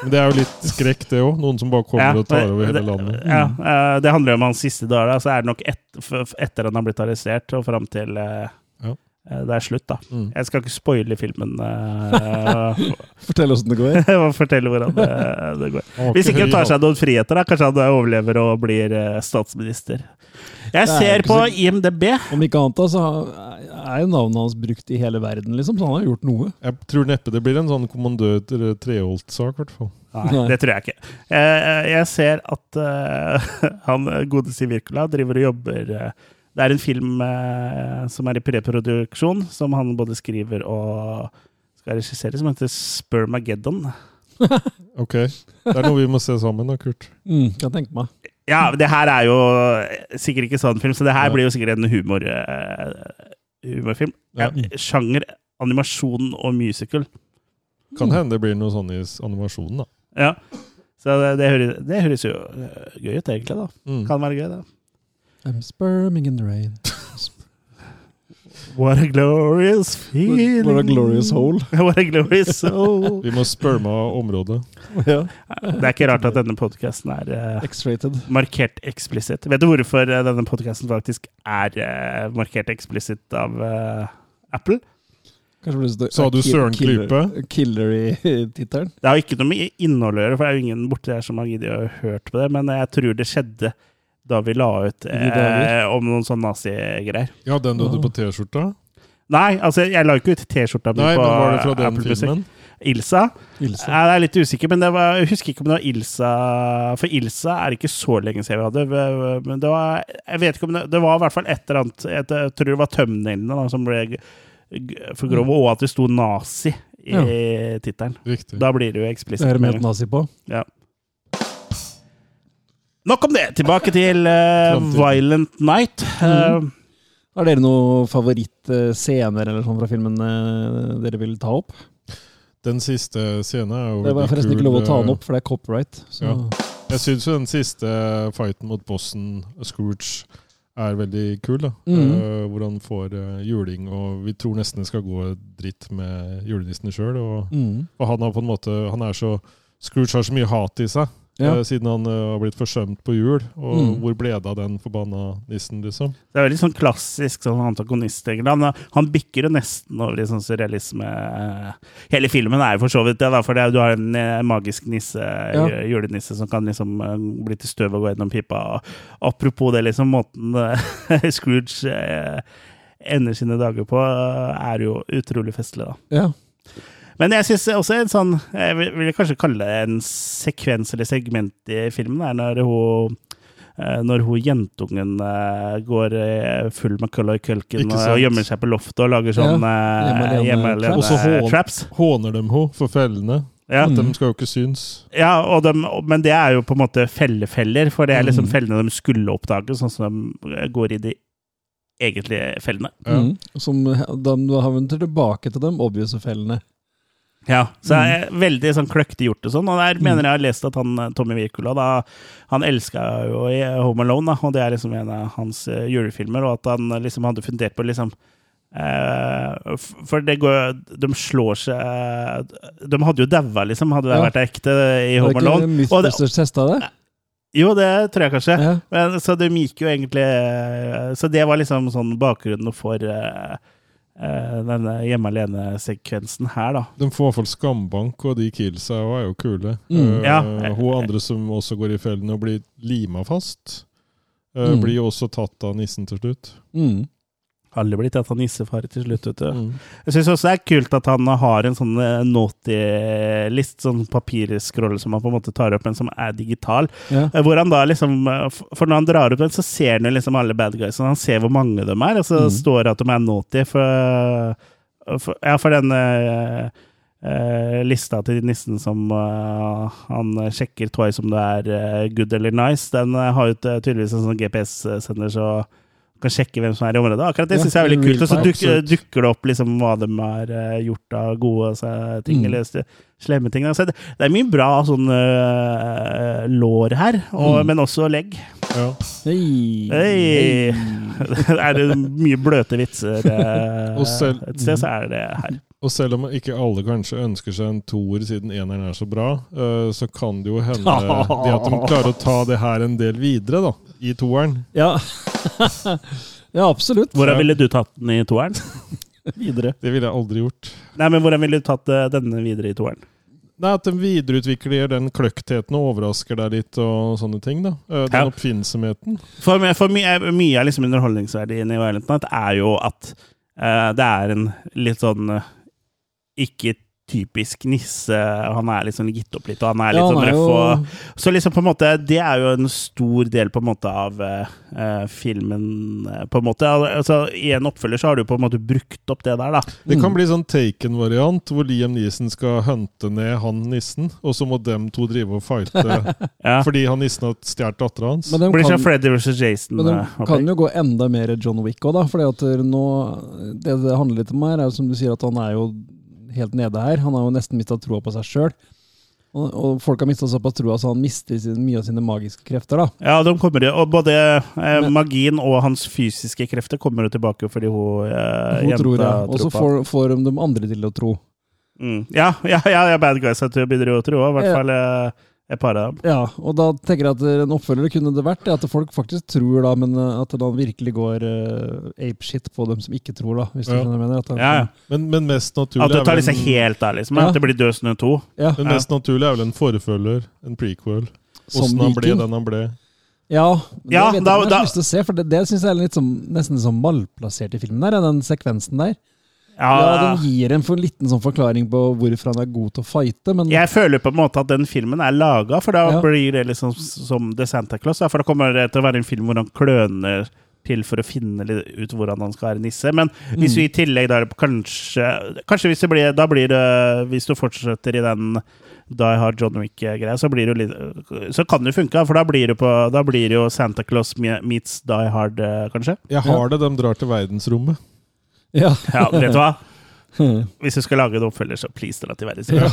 [SPEAKER 4] Men det er jo litt skrekk, det òg. Noen som bare *laughs* kommer og tar over hele landet. Mm.
[SPEAKER 2] Ja, eh, det handler jo om hans siste dager. Da, så er det nok et, f- etter han har blitt arrestert, og fram til eh,
[SPEAKER 4] Ja.
[SPEAKER 2] eh, det er slutt, da.
[SPEAKER 4] Mm.
[SPEAKER 2] Jeg skal ikke spoile filmen eh,
[SPEAKER 3] *laughs*
[SPEAKER 2] *laughs*
[SPEAKER 3] Fortell åssen det går.
[SPEAKER 2] og fortelle hvordan det, det går.
[SPEAKER 4] Han var
[SPEAKER 2] Hvis ikke
[SPEAKER 4] høy
[SPEAKER 2] han tar
[SPEAKER 4] i
[SPEAKER 2] seg noen friheter, da. Kanskje han overlever og blir eh, statsminister. Jeg
[SPEAKER 3] jo
[SPEAKER 2] ser
[SPEAKER 3] ikke
[SPEAKER 2] på
[SPEAKER 3] så-
[SPEAKER 2] IMDb.
[SPEAKER 3] Om ikke annet, da, så er jo navnet hans brukt i hele verden, liksom, så han har gjort noe.
[SPEAKER 4] Jeg tror neppe det blir en sånn kommandør eller Treholt-sak, i hvert fall.
[SPEAKER 2] Nei, det tror jeg ikke. Eh, Jeg ser at eh, *laughs* han godeste i Wirkola driver og jobber eh, Det er en film eh, som er i preproduksjon, som han både skriver og skal regissere, som heter Spermageddon.
[SPEAKER 4] Ok. Det er noe vi må se sammen, da, Kurt.
[SPEAKER 3] Mm, kan jeg tenke meg.
[SPEAKER 2] Ja, det her er jo sikkert ikke sånn film, så det her blir jo sikkert en humor, eh, humorfilm.
[SPEAKER 4] Ja.
[SPEAKER 2] Ja, Sjanger animasjon og musical.
[SPEAKER 4] Kan hende det blir noe sånn i s- animasjonen, da.
[SPEAKER 2] Ja. Så det, det, høres, det høres jo eh, gøy ut, egentlig. da.
[SPEAKER 4] Mm.
[SPEAKER 2] Kan være gøy, det.
[SPEAKER 3] I'm sperming in the rain.
[SPEAKER 2] What a glorious feeling.
[SPEAKER 3] What a glorious hole.
[SPEAKER 2] *laughs* What a glorious soul.
[SPEAKER 4] Vi må sperme av området.
[SPEAKER 3] *laughs* Ja.
[SPEAKER 2] Det er ikke rart at denne podkasten er eh,
[SPEAKER 3] X-rated.
[SPEAKER 2] markert eksplisitt. Vet du hvorfor eh, denne podkasten faktisk er eh, markert eksplisitt av eh, Apple?
[SPEAKER 3] Kanskje blir det sånn-
[SPEAKER 4] Sa du
[SPEAKER 3] kill-
[SPEAKER 4] Søren
[SPEAKER 3] killer-
[SPEAKER 4] Klype?
[SPEAKER 3] Killer i tittelen.
[SPEAKER 2] Det har ikke noe med innholdet å gjøre, for det er jo ingen borti her som har giddet å hørt på det, men jeg tror det skjedde da vi la ut
[SPEAKER 3] I de dager.
[SPEAKER 2] eh, om noen sånn nazigreier.
[SPEAKER 4] Ja, den du hadde på T-skjorta?
[SPEAKER 2] Nei, altså, jeg la jo ikke ut T-skjorta mi
[SPEAKER 4] Nei,
[SPEAKER 2] på
[SPEAKER 4] men var det fra den
[SPEAKER 2] Apple Music.
[SPEAKER 4] filmen?
[SPEAKER 2] Ilsa?
[SPEAKER 3] Ilse.
[SPEAKER 2] Ja, Jeg er litt usikker, men det var, jeg husker ikke om det var Ilsa For Ilsa er det ikke så lenge siden vi hadde. Men det var Jeg vet ikke om det Det var i hvert fall et eller annet Jeg t- tror det var tømmerneglene da, som ble g- g- for grove, og at det sto 'nazi' i tittelen.
[SPEAKER 4] Riktig.
[SPEAKER 2] Da blir det jo
[SPEAKER 3] Det er
[SPEAKER 2] eksplisitt.
[SPEAKER 3] det med et nazi på.
[SPEAKER 2] Ja. Nok om det! Tilbake til eh,
[SPEAKER 4] Framtiden.
[SPEAKER 2] Violent Night.
[SPEAKER 3] Mm.
[SPEAKER 2] Eh,
[SPEAKER 3] Har dere noen favorittscener eller sånn fra filmen eh, dere vil ta opp?
[SPEAKER 4] Den siste scenen er jo
[SPEAKER 3] Det var
[SPEAKER 4] veldig
[SPEAKER 3] forresten ikke
[SPEAKER 4] kul,
[SPEAKER 3] lov å ta den
[SPEAKER 4] eh,
[SPEAKER 3] opp, for det er copyright. Så.
[SPEAKER 4] Ja. Jeg syns jo den siste fighten mot bossen, Scrooge, er veldig kul. da.
[SPEAKER 3] Mhm.
[SPEAKER 4] Eh, hvor han får eh, juling, og vi tror nesten det skal gå dritt med julenissen sjøl. Og,
[SPEAKER 3] Mm.
[SPEAKER 4] og han har på en måte Han er så Scrooge har så mye hat i seg,
[SPEAKER 3] Ja.
[SPEAKER 4] eh, siden han eh, har blitt forsømt på jul. Og
[SPEAKER 3] Mhm.
[SPEAKER 4] hvor ble det av den forbanna nissen, liksom?
[SPEAKER 2] Det er veldig sånn klassisk sånn antagonist. egentlig. Han, han bikker jo nesten over i sånn surrealisme. eh, Hele filmen er jo for så vidt det, da, for det, er- du har en eh, magisk nisse,
[SPEAKER 3] Ja.
[SPEAKER 2] ju- julenisse som kan liksom eh, bli til støv og gå gjennom pipa. Og apropos det, liksom måten eh, *laughs* Scrooge eh, ender sine dager på, eh, er jo utrolig festlig, da.
[SPEAKER 3] Ja.
[SPEAKER 2] Men jeg syns også en sånn Jeg vil, vil kanskje kalle det en sekvens eller segment i filmen, er når hun eh, når hun jentungen eh, går eh, full Macaulay Culkin
[SPEAKER 4] Ikke
[SPEAKER 2] og,
[SPEAKER 4] sant.
[SPEAKER 2] og gjemmer seg på loftet og lager sånn
[SPEAKER 3] Ja,
[SPEAKER 2] eh, hjemme
[SPEAKER 3] hjemme alene traps.
[SPEAKER 2] alene eh,
[SPEAKER 4] Og så hån.
[SPEAKER 2] traps.
[SPEAKER 4] Håner dem ho for fellene.
[SPEAKER 2] Ja,
[SPEAKER 3] Mm.
[SPEAKER 4] At de skal jo ikke synes.
[SPEAKER 2] ja og dem- og- men det er jo på en måte fellefeller, for det er
[SPEAKER 3] Mm.
[SPEAKER 2] liksom fellene de skulle oppdage, sånn som de går i de egentlige fellene.
[SPEAKER 4] Ja.
[SPEAKER 3] Mm. Som, da da havner tilbake til dem obvious fellene.
[SPEAKER 2] Ja, så jeg er veldig sånn kløktig gjort og sånn, og der mener jeg har lest at han eh, Tommy Wirkola, da, han elska jo i eh, Home Alone, da, og det er liksom en av hans eh, julefilmer, og at han eh, liksom hadde fundert på liksom eh, f- for det går De slår seg eh, De hadde jo daua, liksom, hadde det
[SPEAKER 3] Ja.
[SPEAKER 2] vært ekte i
[SPEAKER 3] Var
[SPEAKER 2] Home
[SPEAKER 3] det
[SPEAKER 2] Alone.
[SPEAKER 3] ikke
[SPEAKER 2] Og det,
[SPEAKER 3] Mythbusters testa det?
[SPEAKER 2] jo, det tror jeg kanskje.
[SPEAKER 3] Ja.
[SPEAKER 2] Men, så de gikk jo egentlig eh, Så det var liksom sånn bakgrunnen for eh, eh, denne hjemme alene-sekvensen her, da.
[SPEAKER 4] De får i hvert fall skambank, og de killsa også er jo kule. Eh,
[SPEAKER 3] Mm.
[SPEAKER 2] Ja.
[SPEAKER 4] Hun andre som også går i fellen og blir lima fast, eh,
[SPEAKER 3] Mm.
[SPEAKER 4] blir jo også tatt av nissen til slutt.
[SPEAKER 3] Mm.
[SPEAKER 2] Alle blitt at han nissefar til slutt, vet du. Jeg syns også det er kult at han har en sånn eh, naughty-list, sånn papirskroll som han på en måte tar opp, men som er digital.
[SPEAKER 3] Ja.
[SPEAKER 2] Eh, Hvor han da liksom eh, f- For når han drar opp den, så ser han jo liksom alle bad guys, og han ser hvor mange de er, og så
[SPEAKER 3] Mhm.
[SPEAKER 2] står det at de er naughty, for, for Ja, for den eh, eh, lista til nissen som eh, han sjekker twice om du er eh, good eller nice, den eh, har jo t- tydeligvis en sånn GPS-sender, så kan sjekke hvem som er i området. Akkurat det
[SPEAKER 3] Ja,
[SPEAKER 2] synes jeg er veldig
[SPEAKER 3] real
[SPEAKER 2] kult. Og så
[SPEAKER 3] time,
[SPEAKER 2] duk,
[SPEAKER 3] absolutt.
[SPEAKER 2] dukker det opp liksom hva de har eh, gjort av gode altså, ting,
[SPEAKER 3] Mm.
[SPEAKER 2] eller s- slemme ting. Altså, det, det er mye bra sånn eh, lår her, og,
[SPEAKER 3] Mm.
[SPEAKER 2] men også legg. *laughs*
[SPEAKER 4] Ja.
[SPEAKER 3] Hei.
[SPEAKER 2] Hei. er det mye bløte vitser
[SPEAKER 3] *laughs*
[SPEAKER 2] eh,
[SPEAKER 4] Og selv-
[SPEAKER 2] et sted, så er det
[SPEAKER 3] Mm.
[SPEAKER 2] her.
[SPEAKER 4] Og selv om ikke alle kanskje ønsker seg en toer siden eneren er så bra, eh, så kan det jo hende det at de klarer å ta det her en del videre, da, i toeren.
[SPEAKER 3] Ja. *laughs* ja, absolutt.
[SPEAKER 2] Hvordan
[SPEAKER 4] Ja.
[SPEAKER 2] ville du tatt den i toeren?
[SPEAKER 3] *laughs* Videre.
[SPEAKER 4] Det ville jeg aldri gjort.
[SPEAKER 2] Nei, men hvordan ville du tatt eh, denne videre i toeren?
[SPEAKER 4] Nei, At de videreutvikler den kløktheten og overrasker deg litt, og sånne ting. da. Eh, Den
[SPEAKER 2] Ja.
[SPEAKER 4] oppfinnsomheten.
[SPEAKER 2] For, meg- for mye, mye av liksom underholdningsverdien i Violent Night er jo at eh, det er en litt sånn eh, ikke typisk nisse. Han er liksom gitt opp litt, og han er litt
[SPEAKER 3] Ja, han
[SPEAKER 2] sånn
[SPEAKER 3] er
[SPEAKER 2] røff.
[SPEAKER 3] jo-
[SPEAKER 2] Og, så liksom på en måte, det er jo en stor del på en måte av eh, eh, filmen, eh, på en måte. Al- Altså, I en oppfølger så har du på en måte brukt opp det der, da.
[SPEAKER 4] Det kan bli sånn Taken-variant, hvor Liam Neeson skal hunte ned han nissen, og så må dem to drive og fighte
[SPEAKER 2] *laughs* Ja.
[SPEAKER 4] fordi han nissen har stjålet dattera hans.
[SPEAKER 3] Men de
[SPEAKER 2] Blir
[SPEAKER 3] kan,
[SPEAKER 2] sånn Freddy versus Jason.
[SPEAKER 3] men de
[SPEAKER 2] eh, opplegg.
[SPEAKER 3] kan jo gå enda mer John Wick òg, da. For det det handler litt om her, er jo som du sier, at han er jo helt nede her. Han har jo nesten mista troa på seg sjøl. Og, og folk har mista såpass troa, så han mister sin, mye av sine magiske krefter, da.
[SPEAKER 2] Ja, de kommer jo, og både eh, magien og hans fysiske krefter kommer jo tilbake fordi hun, eh,
[SPEAKER 3] Hun tror det. Og så
[SPEAKER 2] tror på
[SPEAKER 3] får, får de de andre til å tro.
[SPEAKER 2] Mm. Ja, ja, ja, ja, bad guys jeg tror jeg begynner å tro, i hvert
[SPEAKER 3] Ja.
[SPEAKER 2] fall eh, et par av dem.
[SPEAKER 3] Ja, og da tenker jeg at en oppfølger kunne det vært det at folk faktisk tror, da, men eh, at det da virkelig går uh, apeshit på dem som ikke tror, da. Hvis du
[SPEAKER 4] Ja.
[SPEAKER 3] skjønner hva jeg mener. At det,
[SPEAKER 2] Ja, ja.
[SPEAKER 4] Men, men mest naturlig
[SPEAKER 2] At det tar
[SPEAKER 4] er
[SPEAKER 2] liksom
[SPEAKER 4] vel en,
[SPEAKER 2] helt av, liksom.
[SPEAKER 3] Ja.
[SPEAKER 2] At det blir Død snø 2.
[SPEAKER 3] ja,
[SPEAKER 4] men mest naturlig er vel en forfølger, en prequel.
[SPEAKER 3] som
[SPEAKER 4] Åssen han ble
[SPEAKER 3] viking.
[SPEAKER 4] den han ble.
[SPEAKER 3] Ja, men det
[SPEAKER 2] Ja,
[SPEAKER 3] vet jeg
[SPEAKER 2] da-
[SPEAKER 3] ikke om jeg
[SPEAKER 2] da-
[SPEAKER 3] har så lyst til å se, for det, det syns jeg er litt som, nesten litt sånn malplassert i filmen der, ja, den sekvensen der. Ja,
[SPEAKER 2] Ja,
[SPEAKER 3] Den gir en for liten sånn forklaring på hvorfor han er god til å fighte, men
[SPEAKER 2] jeg føler på en måte at den filmen er laga, for da
[SPEAKER 3] Ja.
[SPEAKER 2] blir det liksom som The Santa Claus. da, For da kommer det til å være en film hvor han kløner til for å finne litt ut hvordan han skal være nisse. Men hvis vi i tillegg da kanskje Kanskje hvis det blir Da blir det Hvis du fortsetter i den Die Hard John Wick-greia, så blir det jo litt Så kan det jo funke, da, for da blir det, på, da blir det jo Santa Claus me- meets Die Hard, eh, kanskje.
[SPEAKER 4] Jeg har det, de drar til verdensrommet.
[SPEAKER 3] *laughs* ja.
[SPEAKER 2] Ja, *laughs*
[SPEAKER 3] *laughs*
[SPEAKER 2] vet du hva? Hvis du skal lage en oppfølger, så please dra til verdens ja.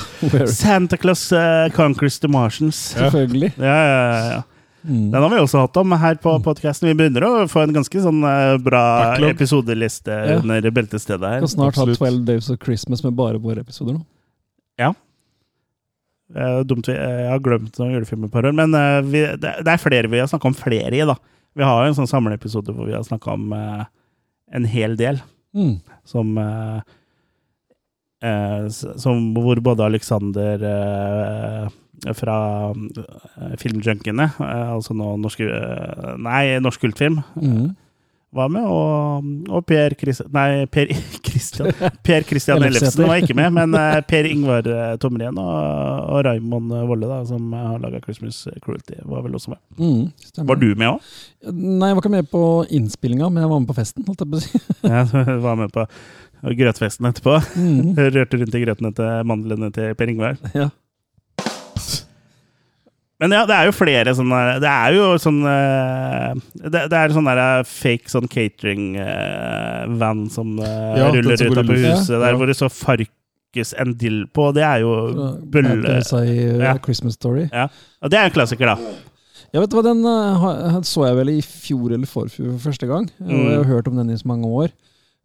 [SPEAKER 2] Santa Claus eh, Conquers the Martians. Ja,
[SPEAKER 3] Selvfølgelig. Mm.
[SPEAKER 2] ja, ja. ja. Den har vi også hatt om her på podkasten. Vi begynner å få en ganske sånn eh, bra
[SPEAKER 4] Backlog.
[SPEAKER 2] episodeliste
[SPEAKER 3] Ja.
[SPEAKER 2] under beltestedet her.
[SPEAKER 3] Kan snart
[SPEAKER 4] Absolutt.
[SPEAKER 3] ha 12 Days of Christmas med bare våre episoder nå.
[SPEAKER 2] Eh, dumt vi, eh, jeg har glemt noen julefilmer et par år, men eh, vi, det, det er flere vi har snakka om flere i, da. Vi har jo en sånn samleepisode hvor vi har snakka om eh, en hel del.
[SPEAKER 3] Mm.
[SPEAKER 2] som eh, eh, s- som, Hvor både Alexander eh, fra eh, Filmjunkene, eh, altså nå norske eh, Nei, Norsk Kultfilm,
[SPEAKER 3] Mm.
[SPEAKER 2] var med, og, og Per Christ, Nei, Per *laughs* Christian Per Christian
[SPEAKER 3] Ellefsæter.
[SPEAKER 2] Ellefsen var ikke med, men
[SPEAKER 4] *laughs*
[SPEAKER 2] eh, Per Ingvar eh, Tomren og, og Raymond eh, Volle, da, som har laga 'Christmas Cruelty', var vel også med.
[SPEAKER 3] Mm. Stemmer.
[SPEAKER 2] Var du med òg?
[SPEAKER 3] Nei, jeg var ikke med på innspillinga, men jeg var med på festen. holdt jeg på å si.
[SPEAKER 2] Ja, *laughs* du var med på grøtfesten etterpå. *laughs*
[SPEAKER 3] Mm.
[SPEAKER 2] Rørte rundt i grøtene til mandlene til Per Ingvar.
[SPEAKER 3] Ja.
[SPEAKER 2] Men ja, det er jo flere sånne Det er jo sånn eh, Det, det er sånn der eh, fake sånn catering-van som eh,
[SPEAKER 4] Ja, den
[SPEAKER 2] ruller
[SPEAKER 4] som
[SPEAKER 2] ut
[SPEAKER 4] går
[SPEAKER 2] av på
[SPEAKER 4] i
[SPEAKER 3] lus.
[SPEAKER 2] huset, der
[SPEAKER 4] Ja.
[SPEAKER 2] hvor det står Farkes and dill på. Det er jo bølle...
[SPEAKER 3] Bølle i uh,
[SPEAKER 2] Ja.
[SPEAKER 3] Christmas Story.
[SPEAKER 2] Ja. Og det er en klassiker, da.
[SPEAKER 3] Jeg vet hva, Den eh, ha- så jeg vel i fjor eller forfjor for første gang. Og
[SPEAKER 2] Mm.
[SPEAKER 3] jeg har hørt om den i så mange år.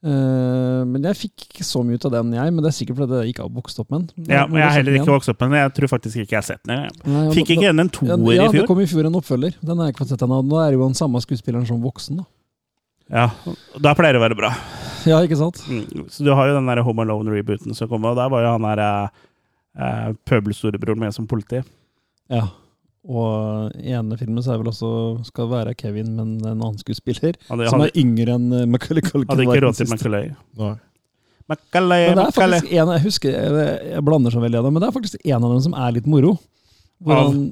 [SPEAKER 3] Eh, men jeg fikk ikke så mye ut av den, jeg. Men det er sikkert fordi jeg ikke har vokst opp med den.
[SPEAKER 2] Ja, men jeg har heller ikke vokst opp med den. Jeg tror faktisk ikke jeg har sett den. jeg.
[SPEAKER 3] Nei, og
[SPEAKER 2] Fikk
[SPEAKER 3] da-
[SPEAKER 2] ikke den en
[SPEAKER 3] Ja,
[SPEAKER 2] toer i
[SPEAKER 3] Ja, det
[SPEAKER 2] fjor.
[SPEAKER 3] kom i fjor en oppfølger. Den har jeg ikke fått sett ennå. Nå er det jo den samme skuespilleren som voksen, da.
[SPEAKER 2] Ja, Da pleier det å være bra.
[SPEAKER 3] Ja, ikke sant?
[SPEAKER 2] Mm. Så du har jo den der Home Alone-rebooten som kom, og der var jo han der eh, eh, pøbelstorebroren med som politi.
[SPEAKER 3] Ja. Og i ene filmen så er vel også skal være Kevin, men en annen skuespiller.
[SPEAKER 2] Han hadde,
[SPEAKER 3] som er yngre enn eh, Macaulay Culkin.
[SPEAKER 2] hadde
[SPEAKER 3] var
[SPEAKER 2] ikke
[SPEAKER 3] den
[SPEAKER 2] råd til
[SPEAKER 3] siste.
[SPEAKER 2] Macaulay.
[SPEAKER 4] Nei.
[SPEAKER 2] Macaulay,
[SPEAKER 3] Men det er
[SPEAKER 2] Macaulay.
[SPEAKER 3] faktisk en, jeg husker, jeg, jeg blander så veldig av dem, men det er faktisk en av dem som er litt moro. Hvor
[SPEAKER 2] Av?
[SPEAKER 3] han,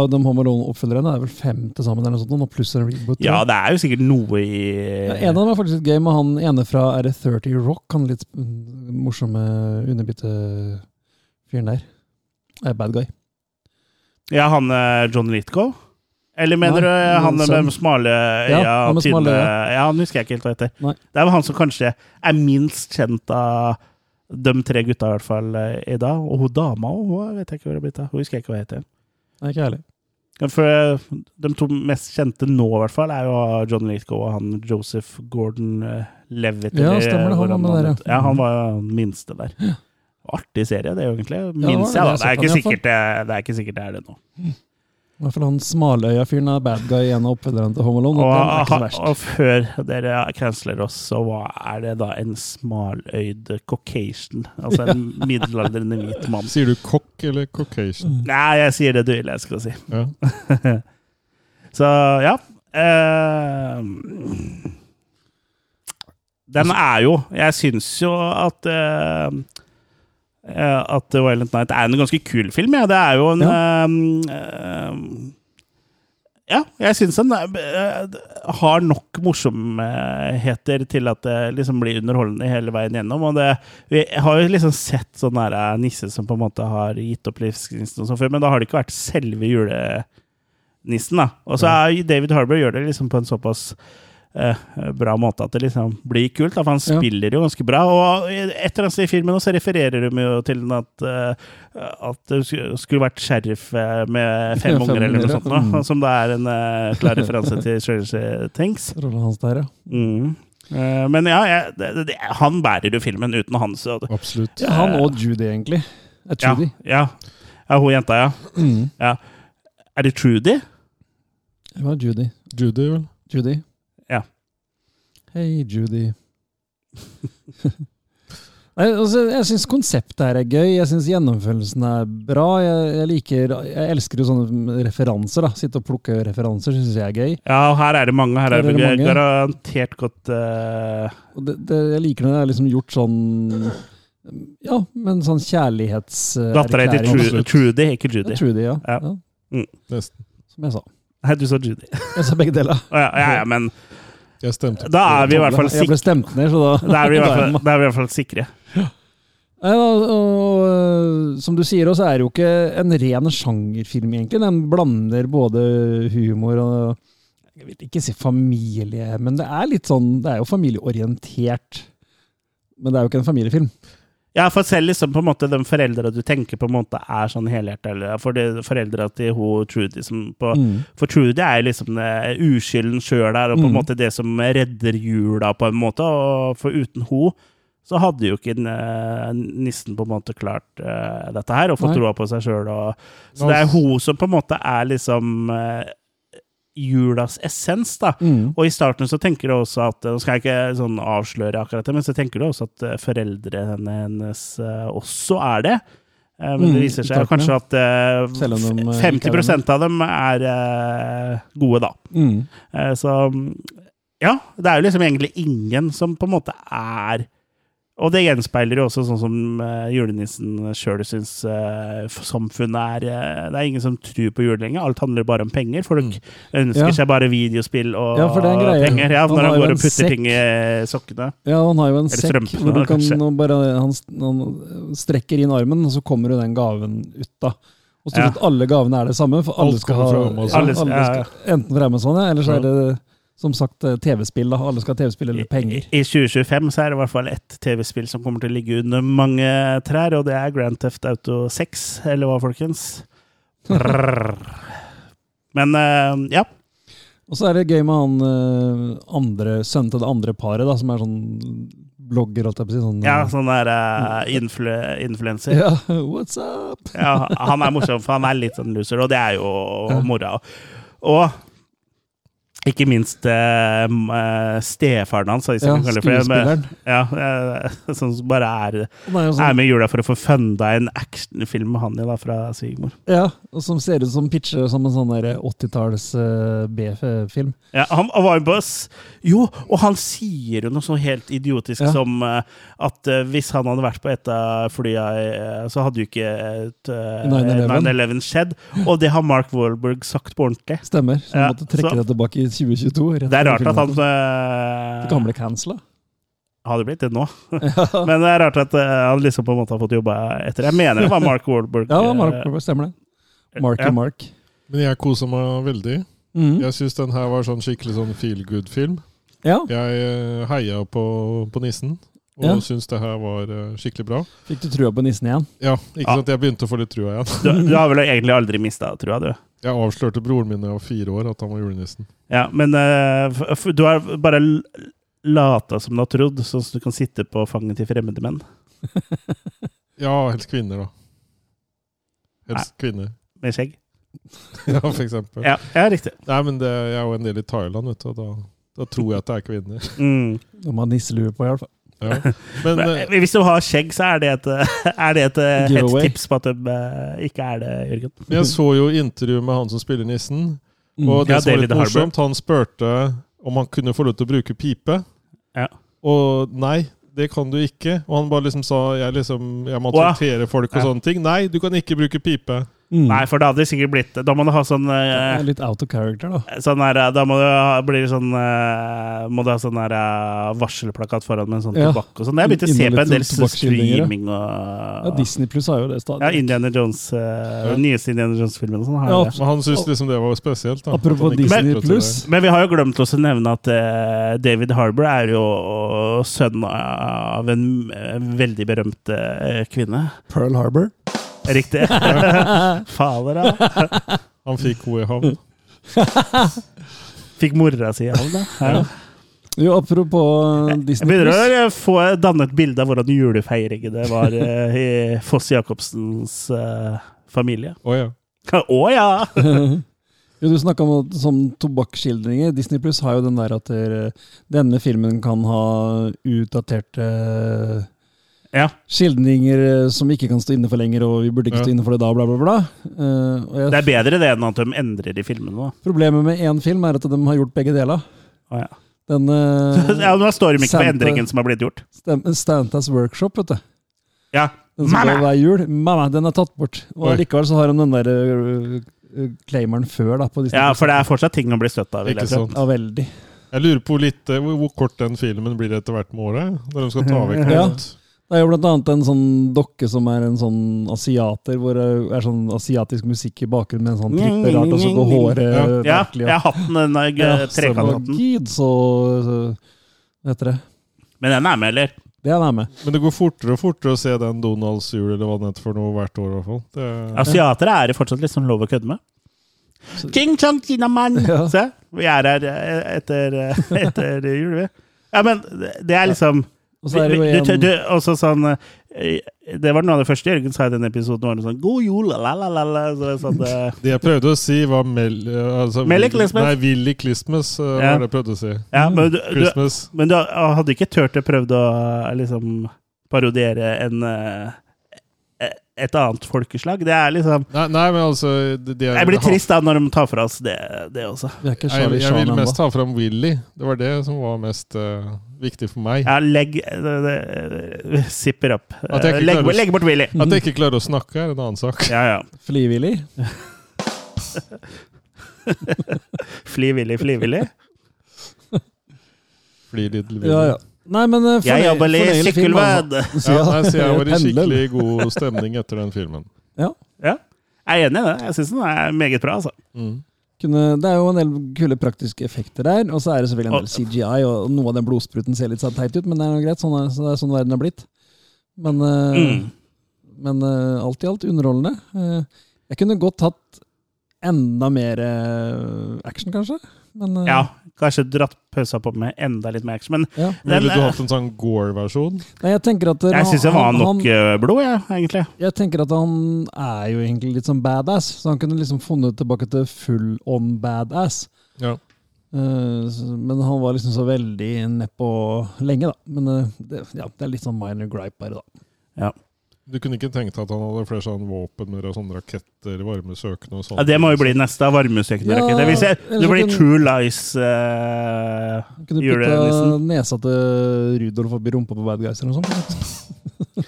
[SPEAKER 3] av de Home Alone-oppfølgerne det er vel fem til sammen, eller noe sånt, nå, pluss en reboot. tror
[SPEAKER 2] Ja,
[SPEAKER 3] jeg.
[SPEAKER 2] det er jo sikkert noe i
[SPEAKER 3] Ja, en av dem er faktisk litt gøy, med han ene fra er det 30 Rock, han litt mm, morsomme underbitte-fyren der. Er bad guy.
[SPEAKER 2] Ja, han eh, John Litko? Eller mener
[SPEAKER 3] Nei,
[SPEAKER 2] du eh, han
[SPEAKER 3] men
[SPEAKER 2] med
[SPEAKER 3] sønn.
[SPEAKER 2] de smale øya? Ja,
[SPEAKER 3] han med
[SPEAKER 2] tynne,
[SPEAKER 3] smale
[SPEAKER 2] ja, han husker jeg ikke helt hva heter.
[SPEAKER 3] Nei.
[SPEAKER 2] Det er vel han som kanskje er minst kjent av de tre gutta, i hvert fall eh, i dag. Og hun dama òg, hun vet jeg ikke hvor det er blitt av. Hun husker jeg ikke hva heter.
[SPEAKER 3] Nei, ikke ærlig.
[SPEAKER 2] Ja, For eh, de to mest kjente nå, i hvert fall, er jo John Litko og han Joseph Gordon eh, Levitt.
[SPEAKER 3] Ja,
[SPEAKER 2] eller
[SPEAKER 3] stemmer det, han
[SPEAKER 2] hvordan
[SPEAKER 3] var med der, ja. Mm.
[SPEAKER 2] het. ja. Han var jo den minste der. Artig serie, det er jo egentlig.
[SPEAKER 3] var det,
[SPEAKER 2] Minst
[SPEAKER 3] det
[SPEAKER 2] jeg,
[SPEAKER 3] har
[SPEAKER 2] da. Det er,
[SPEAKER 3] jeg
[SPEAKER 2] ikke
[SPEAKER 3] sett han i
[SPEAKER 2] sikkert, det, det er ikke sikkert det er det nå.
[SPEAKER 3] I hvert fall han smaløya-fyren er bad guy i en av oppfølgerne til Home Alone. Og, den er ikke så
[SPEAKER 2] Og,
[SPEAKER 3] verst.
[SPEAKER 2] og før dere canceler oss, så hva er det da en smaløyd caucasian? Altså en
[SPEAKER 3] *laughs*
[SPEAKER 2] middelaldrende hvit mann.
[SPEAKER 4] Sier du kokk eller caucasian?
[SPEAKER 2] Nei, jeg sier det du vil jeg skal si.
[SPEAKER 4] Ja.
[SPEAKER 2] Så ja. eh, den er jo Jeg syns jo at eh, eh, At The Violent Night er en ganske kul film. Ja. Det er jo en eh, eh, Ja, jeg syns den er, eh, har nok morsomheter til at det liksom blir underholdende hele veien gjennom. Og det, vi har jo liksom sett sånn der eh, nisse som på en måte har gitt opp livsgnisten og sånn før, men da har det ikke vært selve julenissen, da. Og så er David Harbour gjør det liksom på en såpass eh, bra måte at det liksom blir kult, da, for han
[SPEAKER 3] Ja.
[SPEAKER 2] spiller jo ganske bra. Og i- et eller annet sted i filmen også refererer de jo til at eh, at det sk- skulle vært sheriff eh, med fem
[SPEAKER 3] Fem
[SPEAKER 2] unger eller noe
[SPEAKER 3] unger,
[SPEAKER 2] sånt, da,
[SPEAKER 3] mm.
[SPEAKER 2] som da er en eh, *laughs* klar referanse til Stranger Things.
[SPEAKER 3] Rollen hans der, ja.
[SPEAKER 2] Mm. Eh, men ja, jeg, det, det, han bærer jo filmen uten han, så
[SPEAKER 4] Absolutt.
[SPEAKER 3] ja. Han og Judy, egentlig. Er
[SPEAKER 2] ja,
[SPEAKER 3] Judy.
[SPEAKER 2] ja. ja, hun jenta, ja. ja. Er det Trudy?
[SPEAKER 3] Ja. Mm. Det var Judy.
[SPEAKER 4] Judy, vel?
[SPEAKER 3] Judy.
[SPEAKER 2] Ja.
[SPEAKER 3] Hei, Judy. *laughs* Nei, altså, jeg syns konseptet her er gøy, jeg syns gjennomførelsen er bra. Jeg, jeg liker, jeg elsker jo sånne referanser. da, Sitte og plukke referanser syns jeg er gøy.
[SPEAKER 2] Ja, og her er det mange. Her
[SPEAKER 3] Her
[SPEAKER 2] er det
[SPEAKER 3] er det mange.
[SPEAKER 2] garantert godt eh,
[SPEAKER 3] Og det, det, jeg liker når det er liksom gjort sånn Ja, men sånn kjærlighetserklæring.
[SPEAKER 2] Dattera heter Tru-
[SPEAKER 4] absolutt.
[SPEAKER 2] Trudy, ikke Judy.
[SPEAKER 3] Trudy, ja.
[SPEAKER 2] Ja.
[SPEAKER 3] ja.
[SPEAKER 4] Nesten.
[SPEAKER 3] Som jeg sa.
[SPEAKER 2] Nei, du sa Judy.
[SPEAKER 3] Jeg sa begge deler.
[SPEAKER 2] Å, Ja, ja, ja, men
[SPEAKER 4] Jeg stemte.
[SPEAKER 2] da er vi i hvert fall
[SPEAKER 3] Jeg
[SPEAKER 2] sikre.
[SPEAKER 3] ble stemt ned, så da
[SPEAKER 2] Da er *laughs* vi i hvert
[SPEAKER 3] *laughs* da er
[SPEAKER 2] fall,
[SPEAKER 3] jeg med.
[SPEAKER 2] da er vi i hvert fall sikre.
[SPEAKER 3] Nei, og, og, øh, som du sier, også er det jo ikke en ren sjangerfilm, egentlig. Den blander både humor og Jeg vil ikke si familie, men det er litt sånn Det er jo familieorientert. Men det er jo ikke en familiefilm.
[SPEAKER 2] Ja, for selv liksom på en måte de foreldra du tenker på en måte er sånn helhjerta, eller for de foreldra til hun Trudy som på For Trudy er jo liksom eh, uskylden sjøl der, og på en
[SPEAKER 3] Mm.
[SPEAKER 2] måte det som redder jula, på en måte. Og for uten ho så hadde jo ikke den, eh, nissen på en måte klart eh, dette her, og fått
[SPEAKER 3] Nei.
[SPEAKER 2] troa på seg sjøl. Så det er ho som på en måte er liksom eh, julas essens, da.
[SPEAKER 3] Mm.
[SPEAKER 2] Og i starten så tenker du også at Nå skal jeg ikke sånn avsløre akkurat det, men så tenker du også at eh, foreldrene hennes eh, også er det. Eh, Men
[SPEAKER 3] Mm,
[SPEAKER 2] det viser seg jo
[SPEAKER 3] takk,
[SPEAKER 2] kanskje at eh,
[SPEAKER 3] Selv om de, eh,
[SPEAKER 2] f- 50 av dem er eh, gode, da.
[SPEAKER 3] Mm.
[SPEAKER 2] Eh, Så ja, det er jo liksom egentlig ingen som på en måte er Og det gjenspeiler jo også sånn som eh, julenissen sjøl syns eh, f- samfunnet er eh, Det er ingen som tror på jul lenger. Alt handler bare om penger. Folk ønsker
[SPEAKER 3] Mm. Ja.
[SPEAKER 2] seg bare videospill og
[SPEAKER 3] Ja, for det er en greie.
[SPEAKER 2] penger. Ja,
[SPEAKER 3] Han
[SPEAKER 2] når
[SPEAKER 3] har
[SPEAKER 2] han
[SPEAKER 3] jo
[SPEAKER 2] går
[SPEAKER 3] en
[SPEAKER 2] og putter
[SPEAKER 3] sekk.
[SPEAKER 2] ting i sokkene.
[SPEAKER 3] Ja, han har jo en
[SPEAKER 2] Eller
[SPEAKER 3] sekk
[SPEAKER 2] strømpen,
[SPEAKER 3] hvor du
[SPEAKER 2] da,
[SPEAKER 3] kan
[SPEAKER 2] kanskje.
[SPEAKER 3] nå bare, han, st- han strekker inn armen, og så kommer jo den gaven ut da. Og stort
[SPEAKER 2] Ja.
[SPEAKER 3] sett alle gavene er det samme, for alle
[SPEAKER 4] Alt
[SPEAKER 3] skal ha
[SPEAKER 4] kommer fra Amazon.
[SPEAKER 2] Alle-
[SPEAKER 3] ja, alle
[SPEAKER 2] ja, ja.
[SPEAKER 3] skal, enten fra Amazon, ja, eller så er det som sagt eh, TV-spill. da. Alle skal ha TV-spill eller
[SPEAKER 2] *laughs*
[SPEAKER 3] penger.
[SPEAKER 2] I 2025 så er det i hvert fall ett TV-spill som kommer til å ligge under mange trær, og det er Grand Theft Auto 6, eller hva,
[SPEAKER 3] *laughs*
[SPEAKER 2] folkens? Brrr. Men eh, ja.
[SPEAKER 3] Og så er det gøy med han eh, andre, sønnen til det andre paret, da, som er sånn blogger, holdt jeg på å si. Sånn,
[SPEAKER 2] Ja, sånn der uh, influ influenser.
[SPEAKER 3] *laughs* ja, what's up?
[SPEAKER 2] Ja, han er morsom, for han er litt sånn loser, og det er jo mora. Og ikke minst eh, m- eh, stefaren hans, hvis jeg
[SPEAKER 3] Ja,
[SPEAKER 2] kan kalle det for det, men-
[SPEAKER 3] skuespilleren.
[SPEAKER 2] Ja, eh, *laughs* sånn som bare er,
[SPEAKER 3] Han er jo
[SPEAKER 2] er
[SPEAKER 3] sånn,
[SPEAKER 2] med i jula for å få funda en actionfilm med han i, da, fra svigermor.
[SPEAKER 3] ja, og som ser ut som pitcher som en sånn der 80-talls eh, B-film.
[SPEAKER 2] Ja, han han var jo på s- Jo, og han sier jo noe så helt idiotisk
[SPEAKER 3] Ja.
[SPEAKER 2] som eh, at eh, hvis han hadde vært på et av flya, eh, så hadde jo ikke et, eh, 9-11
[SPEAKER 3] 9/11.
[SPEAKER 2] skjedd. Og det har Mark Wahlberg sagt på ordentlig.
[SPEAKER 3] Stemmer. Så han
[SPEAKER 2] Ja,
[SPEAKER 3] måtte trekke
[SPEAKER 2] så-
[SPEAKER 3] det tilbake i 2022. rett
[SPEAKER 2] Det er
[SPEAKER 3] før
[SPEAKER 2] rart at han
[SPEAKER 3] filmen. Det kan
[SPEAKER 2] eh,
[SPEAKER 3] bli cancela.
[SPEAKER 2] hadde blitt det nå. *laughs* Men det er rart at eh, han liksom på en måte har fått jobba etter. Jeg mener det var Mark Wahlberg.
[SPEAKER 3] Ja, Mark,
[SPEAKER 2] eh,
[SPEAKER 3] Wahlberg, stemmer det. Marky
[SPEAKER 2] Ja.
[SPEAKER 3] Mark.
[SPEAKER 4] Men jeg kosa meg veldig.
[SPEAKER 2] Mm.
[SPEAKER 3] Mhm.
[SPEAKER 4] Jeg syns den her var sånn skikkelig sånn feel good-film.
[SPEAKER 3] Ja,
[SPEAKER 4] Jeg eh, heia på, på nissen, og
[SPEAKER 3] Ja.
[SPEAKER 4] synes syns det her var eh, skikkelig bra.
[SPEAKER 3] Fikk du trua på nissen igjen?
[SPEAKER 4] Ja, ikke
[SPEAKER 2] Ja.
[SPEAKER 4] sant? Jeg begynte å få litt trua igjen. *laughs*
[SPEAKER 2] du, du har vel egentlig aldri mista trua, du?
[SPEAKER 4] Jeg avslørte broren min da jeg var fire år, at han var julenissen.
[SPEAKER 2] Ja, men eh, f- f- du har bare l- lata som du har trodd, sånn at du kan sitte på fanget til fremmede menn.
[SPEAKER 4] Ja, helst kvinner, da. Helst kvinner. *laughs*
[SPEAKER 2] Med skjegg.
[SPEAKER 4] Ja, for eksempel.
[SPEAKER 2] Ja, ja riktig.
[SPEAKER 4] Nei, men det, jeg er jo en del i Thailand, vet du, og da, da tror jeg at det er kvinner. *laughs*
[SPEAKER 2] Mm.
[SPEAKER 3] Om han nisselue på, i hvert fall.
[SPEAKER 4] Ja. Men eh,
[SPEAKER 2] *laughs* Men Hvis du har skjegg, så er det et, *laughs* er det et, eh, et
[SPEAKER 3] Giveaway.
[SPEAKER 2] tips på at de eh, ikke er det, Jørgen.
[SPEAKER 4] men jeg så jo intervju med han som spiller nissen,
[SPEAKER 3] Mm.
[SPEAKER 4] og det
[SPEAKER 2] Ja,
[SPEAKER 4] som var
[SPEAKER 2] David
[SPEAKER 4] litt
[SPEAKER 2] Harbour.
[SPEAKER 4] morsomt, han spurte om han kunne få lov til å bruke pipe,
[SPEAKER 2] Ja.
[SPEAKER 4] og nei, det kan du ikke. Og han bare liksom sa jeg, liksom, jeg må
[SPEAKER 2] Wow.
[SPEAKER 4] traktere folk og
[SPEAKER 2] Ja.
[SPEAKER 4] sånne ting. Nei, du kan ikke bruke pipe.
[SPEAKER 3] Mm.
[SPEAKER 2] Nei, for da hadde det sikkert blitt Da må du ha sånn
[SPEAKER 3] Det
[SPEAKER 2] eh,
[SPEAKER 3] er Litt out of character, da.
[SPEAKER 2] Sånn her, da må du ha, blir det sånn eh, Må du ha sånn her eh, varselplakat foran med en sånn
[SPEAKER 3] Ja.
[SPEAKER 2] tobakk og sånn. Jeg begynte å se
[SPEAKER 3] Innom
[SPEAKER 2] på
[SPEAKER 3] litt
[SPEAKER 2] en del
[SPEAKER 3] sånn tobakksskildringer, ja.
[SPEAKER 2] streaming
[SPEAKER 3] Ja,
[SPEAKER 2] og
[SPEAKER 3] Disney Pluss har jo det stadig.
[SPEAKER 2] Ja, Indiana Jones eh, Den nyeste Indiana Jones-filmen og sånn. har
[SPEAKER 3] Ja,
[SPEAKER 2] det.
[SPEAKER 4] Men han syntes liksom det var spesielt. Da,
[SPEAKER 3] Apropos
[SPEAKER 4] At han ikke
[SPEAKER 3] Disney
[SPEAKER 4] fikk lov til
[SPEAKER 3] Plus.
[SPEAKER 4] det.
[SPEAKER 2] Men vi har jo glemt også å nevne at eh, David Harbour er jo sønn av en eh, veldig berømt eh, kvinne.
[SPEAKER 3] Pearl Harbor.
[SPEAKER 2] Riktig. Fader, da.
[SPEAKER 4] Han fikk henne i
[SPEAKER 3] *laughs*
[SPEAKER 4] havn.
[SPEAKER 2] Fikk mora si av det. Ja.
[SPEAKER 3] Jo, apropos eh,
[SPEAKER 2] Jeg
[SPEAKER 3] Disney Plus.
[SPEAKER 2] begynner å få danne et bilde av hvordan julefeiringen det var eh, i Foss Jacobsens eh, familie.
[SPEAKER 4] Å ja.
[SPEAKER 2] Å ja!
[SPEAKER 3] Jo, du snakka om at- som tobakksskildringer. Disney Pluss har jo den der at eh, denne filmen kan ha utdaterte
[SPEAKER 2] Ja.
[SPEAKER 3] Skildringer eh, som vi ikke kan stå inne for lenger, og vi burde ikke
[SPEAKER 4] Ja.
[SPEAKER 3] stå inne for det da, bla, bla, bla. Eh, og jeg,
[SPEAKER 2] Det er bedre det enn at de endrer i filmene. da. *laughs*
[SPEAKER 3] Problemet med én film er at de har gjort begge deler.
[SPEAKER 2] Å, ja.
[SPEAKER 3] Den eh,
[SPEAKER 2] *laughs* ja, Nå står de ikke på
[SPEAKER 3] Santa-
[SPEAKER 2] endringen som har blitt gjort.
[SPEAKER 3] Stem- Stantas Workshop, vet du.
[SPEAKER 2] Ja,
[SPEAKER 3] Den som
[SPEAKER 2] Mamma!
[SPEAKER 3] går hver jul. Mamma, den er tatt bort. Og
[SPEAKER 4] Oi.
[SPEAKER 3] likevel så har de den der øh, øh, claimeren før, da. På Disney+.
[SPEAKER 2] ja for det er fortsatt ting å bli støtt av. vil
[SPEAKER 4] Ikke
[SPEAKER 2] jeg tro.
[SPEAKER 4] sant.
[SPEAKER 3] Ja, veldig.
[SPEAKER 4] Jeg lurer på litt eh, hvor, hvor kort den filmen blir etter hvert med året. Når de skal ta vekk noe.
[SPEAKER 3] Ja.
[SPEAKER 4] annet.
[SPEAKER 3] Det er jo blant annet en sånn dokke som er en sånn asiater, hvor det er sånn asiatisk musikk i bakgrunnen med en sånn trippelart, og så går håret
[SPEAKER 4] Ja.
[SPEAKER 3] øh,
[SPEAKER 2] Ja,
[SPEAKER 3] merkelig
[SPEAKER 2] ja, hatten, den der eh,
[SPEAKER 3] Ja,
[SPEAKER 4] Eh,
[SPEAKER 2] g- trekanthatten.
[SPEAKER 3] Gud, så så- Hva heter det?
[SPEAKER 2] Men den er med, eller?
[SPEAKER 3] Det er han med.
[SPEAKER 4] Men det går fortere og fortere å se den Donalds jul eller hva den heter for noe hvert år. i hvert fall. Det,
[SPEAKER 2] Asiatere er det fortsatt litt sånn lov å kødde med. King Chong Chinaman!
[SPEAKER 3] Ja.
[SPEAKER 2] Se, vi er her eh, etter, eh, etter jul, vi. Ja, men det er liksom
[SPEAKER 3] Og så er det jo
[SPEAKER 2] Du- du-
[SPEAKER 3] en
[SPEAKER 2] du- Også sånn eh, Det var noe av det første Jørgen sa i den episoden. var det sånn, God jul, la, la, la, la. Så det er sånn,
[SPEAKER 3] *laughs*
[SPEAKER 2] eh,
[SPEAKER 4] det jeg prøvde å si, var Mel... eh, Altså,
[SPEAKER 2] Merry Christmas.
[SPEAKER 4] Nei, Willy Christmas eh,
[SPEAKER 2] Ja.
[SPEAKER 4] var det jeg prøvde å si.
[SPEAKER 2] ja, men du, du,
[SPEAKER 4] Christmas.
[SPEAKER 2] Men du hadde ikke tørt å prøvd å eh, liksom parodiere en eh, eh, et annet folkeslag. Det er liksom
[SPEAKER 4] Nei, nei, men altså det, det
[SPEAKER 2] Jeg blir trist da når de tar fra oss det, det også.
[SPEAKER 3] Vi er ikke
[SPEAKER 4] Jeg,
[SPEAKER 3] Charlie
[SPEAKER 4] jeg
[SPEAKER 3] Chan
[SPEAKER 4] vil
[SPEAKER 3] ennå.
[SPEAKER 4] mest ta fram Willy. Det var det som var mest eh, viktig for meg.
[SPEAKER 2] Ja, legg det, det, det- Zipper opp.
[SPEAKER 4] At jeg ikke
[SPEAKER 2] Legg,
[SPEAKER 4] klarer å-
[SPEAKER 2] legg bort
[SPEAKER 4] *laughs*
[SPEAKER 2] Willy.
[SPEAKER 4] At jeg ikke klarer å snakke, er en annen sak.
[SPEAKER 2] Ja, ja.
[SPEAKER 3] Frivillig.
[SPEAKER 2] Fly Willy, fly Willy.
[SPEAKER 4] *laughs* Fly Little Willy.
[SPEAKER 3] Ja, ja. Nei, men øh,
[SPEAKER 2] Jeg
[SPEAKER 3] fornøy-
[SPEAKER 2] jobber i
[SPEAKER 3] fornøyelig film, altså.
[SPEAKER 2] sykkelved!
[SPEAKER 4] Ja, nei, så jeg var i
[SPEAKER 3] Pendler.
[SPEAKER 4] skikkelig god stemning etter den filmen.
[SPEAKER 2] Ja. Jeg er enig i det. Jeg syns den er meget bra, altså.
[SPEAKER 4] Mm.
[SPEAKER 3] kunne, det er jo en del kule praktiske effekter der, og så er det selvfølgelig en
[SPEAKER 2] Og-
[SPEAKER 3] del CGI, og noe av den blodspruten ser litt sånn teit ut, men det er noe greit, sånn er, så det er sånn verden er blitt. Men, eh,
[SPEAKER 2] Mm.
[SPEAKER 3] men eh, alt i alt underholdende. Eh, jeg kunne godt hatt enda mer eh, action, kanskje, men eh,
[SPEAKER 2] Ja. Kanskje dratt pausa på med enda litt mer action. Men
[SPEAKER 3] ja.
[SPEAKER 2] Den,
[SPEAKER 4] Ville du
[SPEAKER 2] eh,
[SPEAKER 4] hatt en sånn Gore-versjon?
[SPEAKER 3] Nei, jeg tenker at eh,
[SPEAKER 2] jeg syns det var
[SPEAKER 3] han-
[SPEAKER 2] nok
[SPEAKER 3] han-
[SPEAKER 2] eh, blod, jeg, egentlig.
[SPEAKER 3] Jeg tenker at han er jo egentlig litt sånn badass, så han kunne liksom funnet tilbake til full on badass.
[SPEAKER 4] Ja.
[SPEAKER 3] Eh, s- Men han var liksom så veldig nedpå lenge, da. Men eh, det, ja, det er litt sånn minor gripe bare, da.
[SPEAKER 4] Du kunne ikke tenkt at han hadde flere sånn våpener og sånne raketter, varme søkende og sånt?
[SPEAKER 2] Ja, det må jo bli neste varmesøkende
[SPEAKER 3] Ja,
[SPEAKER 2] rakett. Hvis jeg,
[SPEAKER 3] eller
[SPEAKER 2] det
[SPEAKER 3] så
[SPEAKER 2] blir
[SPEAKER 3] kunne-
[SPEAKER 2] True Lies eh,
[SPEAKER 3] Han Kunne
[SPEAKER 2] Gjør det,
[SPEAKER 3] putta
[SPEAKER 2] Nissen.
[SPEAKER 3] nesa til Rudolf oppi rumpa på Bad Guys eller noe sånt.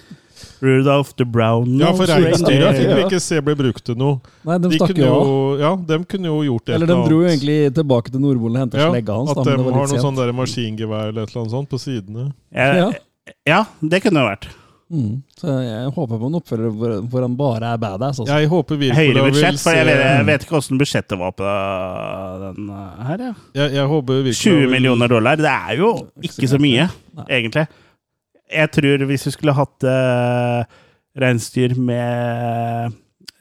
[SPEAKER 2] Rudolph the Brown
[SPEAKER 4] Ja, for
[SPEAKER 2] Nose
[SPEAKER 4] reinsdyra fikk vi
[SPEAKER 2] Reindeer.
[SPEAKER 4] ikke se ble brukt til noe.
[SPEAKER 3] Nei, de
[SPEAKER 4] De
[SPEAKER 3] stakk
[SPEAKER 4] kunne
[SPEAKER 3] jo av.
[SPEAKER 4] jo, ja, de kunne jo gjort et
[SPEAKER 3] Eller de dro jo egentlig tilbake til Nordpolen og henta
[SPEAKER 4] ja,
[SPEAKER 3] slegga hans,
[SPEAKER 4] At
[SPEAKER 3] da,
[SPEAKER 4] de
[SPEAKER 3] men det var
[SPEAKER 4] har
[SPEAKER 3] litt
[SPEAKER 4] noe
[SPEAKER 3] sent.
[SPEAKER 4] sånn der maskingevær eller et eller annet sånt på sidene.
[SPEAKER 2] Ja, ja, det kunne det vært.
[SPEAKER 3] Mm. Så jeg håper på en oppfølger hvor, hvor han bare er badass. Altså.
[SPEAKER 4] Jeg håper
[SPEAKER 2] Høyere
[SPEAKER 4] Wirkola vil
[SPEAKER 2] budsjett, for
[SPEAKER 4] se
[SPEAKER 2] jeg vet, jeg
[SPEAKER 4] jeg,
[SPEAKER 2] vet ikke åssen budsjettet var på den eh, her. Ja.
[SPEAKER 4] jeg håper Wirkola
[SPEAKER 2] 20
[SPEAKER 4] vil-
[SPEAKER 2] millioner dollar, det er jo ikke så mye, egentlig. Jeg tror hvis vi skulle hatt eh, reinsdyr med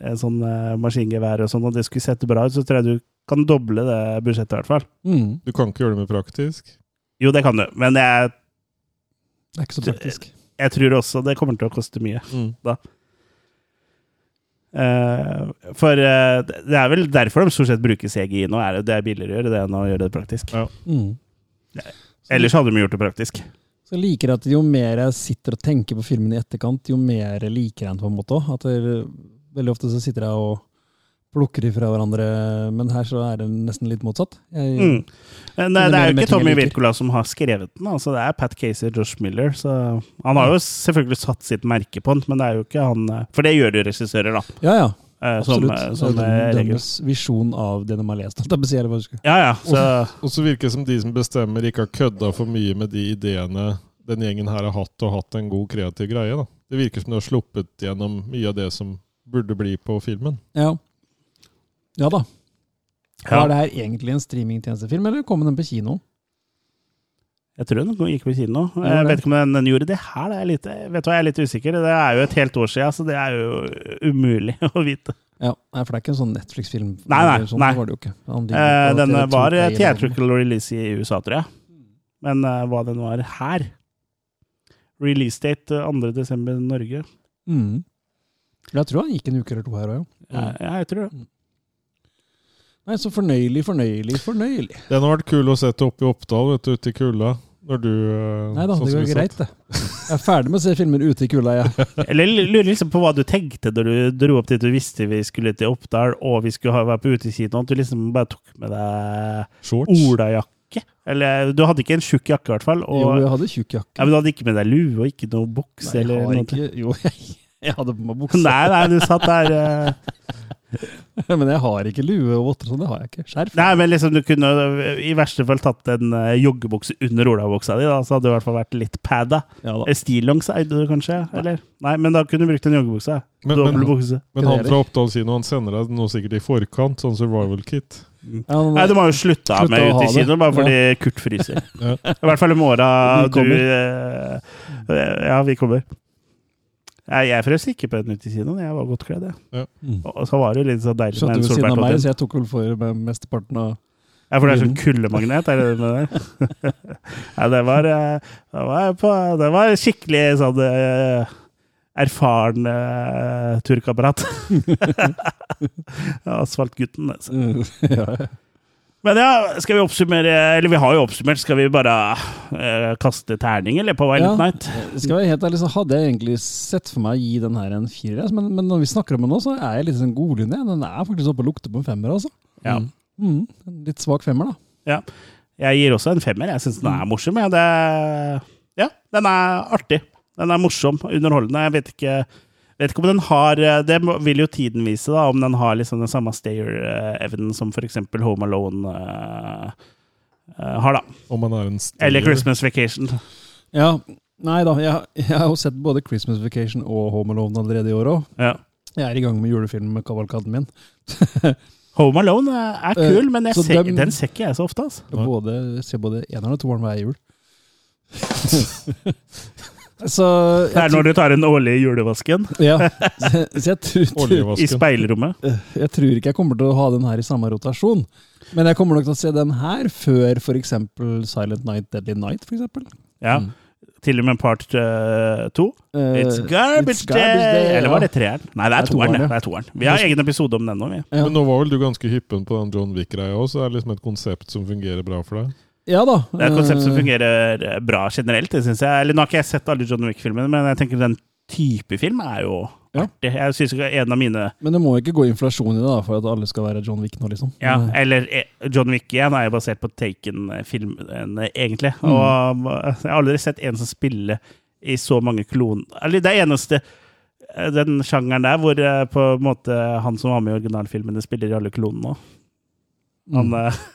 [SPEAKER 2] en sånn eh, maskingevær og sånn, og det skulle sett bra ut, så tror jeg du kan doble det budsjettet, i hvert fall.
[SPEAKER 3] Mm.
[SPEAKER 4] Du kan ikke gjøre det med praktisk.
[SPEAKER 2] Jo, det kan du, men jeg,
[SPEAKER 3] Det er ikke så
[SPEAKER 2] eh,
[SPEAKER 3] praktisk.
[SPEAKER 2] jeg tror også det kommer til å koste mye.
[SPEAKER 3] Mm.
[SPEAKER 2] Eh, for eh, det er vel derfor de stort sett bruker CGI nå. Er det, det er billigere å gjøre det enn å gjøre det praktisk.
[SPEAKER 4] Ja.
[SPEAKER 3] Mm.
[SPEAKER 2] Ellers hadde de gjort det praktisk.
[SPEAKER 3] Så jeg liker at jo mer jeg sitter og tenker på filmen i etterkant, jo mer liker jeg den på en måte òg. Veldig ofte så sitter jeg og plukker ifra hverandre, men her så er det nesten litt motsatt. Jeg,
[SPEAKER 2] Mm. Men det,
[SPEAKER 3] Men
[SPEAKER 2] det er
[SPEAKER 3] mer
[SPEAKER 2] jo
[SPEAKER 3] med
[SPEAKER 2] ikke
[SPEAKER 3] ting jeg
[SPEAKER 2] Tommy
[SPEAKER 3] liker.
[SPEAKER 2] Wirkola som har skrevet den. Altså, det er Pat Casey og Josh Miller. Så han har jo selvfølgelig satt sitt merke på den, men det er jo ikke han eh, For det gjør jo regissører, da.
[SPEAKER 3] Ja, ja.
[SPEAKER 2] eh, Som,
[SPEAKER 3] Absolutt.
[SPEAKER 2] eh, som
[SPEAKER 3] det
[SPEAKER 2] eh,
[SPEAKER 3] er
[SPEAKER 2] regel.
[SPEAKER 3] deres visjon av det de har lest. Det er bare å si det, hva du skal.
[SPEAKER 2] Ja, ja. Så
[SPEAKER 4] Og så virker det som de som bestemmer, ikke har kødda for mye med de ideene den gjengen her har hatt, og hatt en god kreativ greie. da. Det virker som de har sluppet gjennom mye av det som burde bli på filmen.
[SPEAKER 3] Ja. ja da.
[SPEAKER 2] ja,
[SPEAKER 3] Var det her egentlig en streamingtjenestefilm, eller kom den på kino?
[SPEAKER 2] jeg tror den gikk på kino.
[SPEAKER 3] Ja,
[SPEAKER 2] Jeg
[SPEAKER 3] det.
[SPEAKER 2] vet ikke om den, den gjorde det her. Da. Jeg, er litt, vet du hva, jeg er litt usikker. Det er jo et helt år siden, så det er jo umulig *laughs* å vite.
[SPEAKER 3] Ja, nei, for det er ikke en sånn Netflix-film.
[SPEAKER 2] Nei, nei,
[SPEAKER 3] Sånn
[SPEAKER 2] nei.
[SPEAKER 3] Var det jo ikke. Han ligger
[SPEAKER 2] Eh,
[SPEAKER 3] på
[SPEAKER 2] den
[SPEAKER 3] TV2
[SPEAKER 2] var
[SPEAKER 3] Play eller noe.
[SPEAKER 2] theatrical release i USA, tror jeg. Men eh, hva den var her Release date eh, 2. desember i Norge.
[SPEAKER 3] Mm. Jeg tror han gikk en uke eller to her òg, ja.
[SPEAKER 2] Ja, Eh, ja, jeg tror det.
[SPEAKER 3] Nei, så fornøyelig, fornøyelig, fornøyelig.
[SPEAKER 4] Den har vært kul å sette opp i Oppdal, vet du, ute i kulda. Når du eh,
[SPEAKER 3] Nei da,
[SPEAKER 4] sånn som
[SPEAKER 3] det går
[SPEAKER 4] vi satt.
[SPEAKER 3] greit, det. Jeg er ferdig med å se filmer ute i kulda,
[SPEAKER 2] *laughs*
[SPEAKER 3] jeg.
[SPEAKER 2] Eller lurer liksom på hva du tenkte da du dro opp dit du visste vi skulle til Oppdal, og vi skulle ha- være på utekino, at du liksom bare tok med deg
[SPEAKER 4] Shorts.
[SPEAKER 2] olajakke? Eller du hadde ikke en tjukk jakke, i hvert fall.
[SPEAKER 3] Jo,
[SPEAKER 2] Og,
[SPEAKER 3] jeg hadde tjukk jakke.
[SPEAKER 2] ja, men du hadde ikke med deg lue og ikke noe bukse
[SPEAKER 3] Nei, jeg
[SPEAKER 2] eller
[SPEAKER 3] har
[SPEAKER 2] noe?
[SPEAKER 3] ikke- Jo, *laughs* jeg, jeg hadde på meg bukse,
[SPEAKER 2] *laughs* Nei, nei, du satt der eh,
[SPEAKER 3] *laughs* men jeg har ikke lue og votter, sånn det har jeg ikke. Skjerf.
[SPEAKER 2] Nei, men liksom du kunne i verste fall tatt en eh, joggebukse under olabuksa di, da, så hadde det i hvert fall vært litt padda.
[SPEAKER 3] Ja, da.
[SPEAKER 2] Eh, Stillongs eide du kanskje? Eller? Nei, men da kunne du brukt en joggebukse.
[SPEAKER 4] Men- men-
[SPEAKER 2] Dobbel bukse.
[SPEAKER 4] Men han fra Oppdal kino han sender deg noe sikkert i forkant, sånn survival kit.
[SPEAKER 3] Ja, men-
[SPEAKER 2] Nei, du må jo slutte
[SPEAKER 3] Slutte
[SPEAKER 2] med
[SPEAKER 3] å ha
[SPEAKER 2] ute i kino,
[SPEAKER 3] det.
[SPEAKER 2] bare fordi Kurt
[SPEAKER 3] *laughs*
[SPEAKER 2] fryser.
[SPEAKER 4] Ja.
[SPEAKER 2] I hvert fall i
[SPEAKER 3] Vi
[SPEAKER 2] morgen du
[SPEAKER 3] kommer.
[SPEAKER 2] eh, eh, Ja, vi kommer. Nei, jeg frøs ikke på den ute i kinoen. Jeg var godt kledd, jeg.
[SPEAKER 4] Ja.
[SPEAKER 3] Mm.
[SPEAKER 2] Og så var det jo litt så deilig med
[SPEAKER 3] Skjønte ved
[SPEAKER 2] en
[SPEAKER 3] siden av meg,
[SPEAKER 2] solbærtåte.
[SPEAKER 3] så jeg tok vel for meg mesteparten
[SPEAKER 2] *laughs*
[SPEAKER 3] av
[SPEAKER 2] Ja, for det er
[SPEAKER 3] Mm.
[SPEAKER 2] sånn kullemagnet, er det det med det? *laughs* ja, det var, eh, det var, på, det var skikkelig sånn eh, erfaren eh, turkamerat. *laughs* Asfaltgutten. Altså.
[SPEAKER 3] ja.
[SPEAKER 2] Men ja, skal vi oppsummere Eller vi har jo oppsummert. Skal vi bare eh, kaste terning, eller, på Wild
[SPEAKER 3] Ja.
[SPEAKER 2] Night?
[SPEAKER 3] Skal jeg være helt ærlig, så hadde jeg egentlig sett for meg å gi den her en firer, altså, men, men når vi snakker om den nå, så er jeg litt sånn godlynt. jeg. Den er faktisk oppe og lukter på en femmer, altså.
[SPEAKER 2] Ja.
[SPEAKER 3] Mm. en Litt svak femmer, da.
[SPEAKER 2] ja. Jeg gir også en femmer. Jeg syns den
[SPEAKER 3] Mm.
[SPEAKER 2] er morsom. Ja, det, ja, den er artig. Den er morsom, underholdende. Jeg vet ikke, vet ikke om den har eh, Det må- vil jo tiden vise, da, om den har liksom den samme stayer-evnen som f.eks. Home Alone eh, eh, har, da.
[SPEAKER 4] Om han er en stiller.
[SPEAKER 2] Eller Christmas Vacation.
[SPEAKER 3] Ja, Nei da, jeg, jeg har jo sett både Christmas Vacation og Home Alone allerede i år òg.
[SPEAKER 2] Ja.
[SPEAKER 3] Jeg er i gang med julefilmen med kavalkaden min.
[SPEAKER 2] Home Alone eh, er kul,
[SPEAKER 3] Eh,
[SPEAKER 2] men jeg
[SPEAKER 3] så
[SPEAKER 2] ser,
[SPEAKER 3] dem-
[SPEAKER 2] den ser ikke jeg så ofte. Altså.
[SPEAKER 3] Jeg Både, jeg ser både eneren og toeren
[SPEAKER 2] *laughs*
[SPEAKER 3] hver jul. så
[SPEAKER 2] Det er når du tar den årlige julevasken
[SPEAKER 3] ja, så, så jeg
[SPEAKER 2] *laughs*
[SPEAKER 3] tror, tror
[SPEAKER 2] i
[SPEAKER 4] Oljevasken.
[SPEAKER 2] speilrommet.
[SPEAKER 3] Jeg tror ikke jeg kommer til å ha den her i samme rotasjon. Men jeg kommer nok til å se den her før f.eks. Silent Night, Deadly Night. For eksempel.
[SPEAKER 2] Ja.
[SPEAKER 3] Mm.
[SPEAKER 2] Til og med part eh, to.
[SPEAKER 3] Eh,
[SPEAKER 2] It's garbage,
[SPEAKER 3] It's Garbage Day,
[SPEAKER 2] Eller var
[SPEAKER 3] ja.
[SPEAKER 2] det treeren? Nei, det er toeren. det. Det er toeren. Vi har egen episode om den nå. vi.
[SPEAKER 3] Ja.
[SPEAKER 4] Men nå var vel du ganske hyppen på den John Wick-greia òg, så det er liksom et konsept som fungerer bra for deg.
[SPEAKER 3] Ja da.
[SPEAKER 2] Det er et konsept som
[SPEAKER 3] eh,
[SPEAKER 2] fungerer eh, bra generelt. det synes jeg. Eller Nå har ikke jeg sett alle John Wick-filmene, men jeg tenker den type film er jo
[SPEAKER 3] Ja.
[SPEAKER 2] artig. Jeg synes ikke en av mine
[SPEAKER 3] Men det må ikke gå inflasjon i det da, for at alle skal være John Wick nå, liksom.
[SPEAKER 2] ja,
[SPEAKER 3] Eh,
[SPEAKER 2] Eller eh, John Wick igjen er jo basert på Taken-filmen, eh, egentlig.
[SPEAKER 3] Mm.
[SPEAKER 2] Og eh, jeg har aldri sett en som spiller i så mange klon... Eller det er eneste eh, den sjangeren der hvor eh, på en måte han som var med i originalfilmene, spiller i alle klonene òg. Han
[SPEAKER 3] mm.
[SPEAKER 2] eh, *laughs*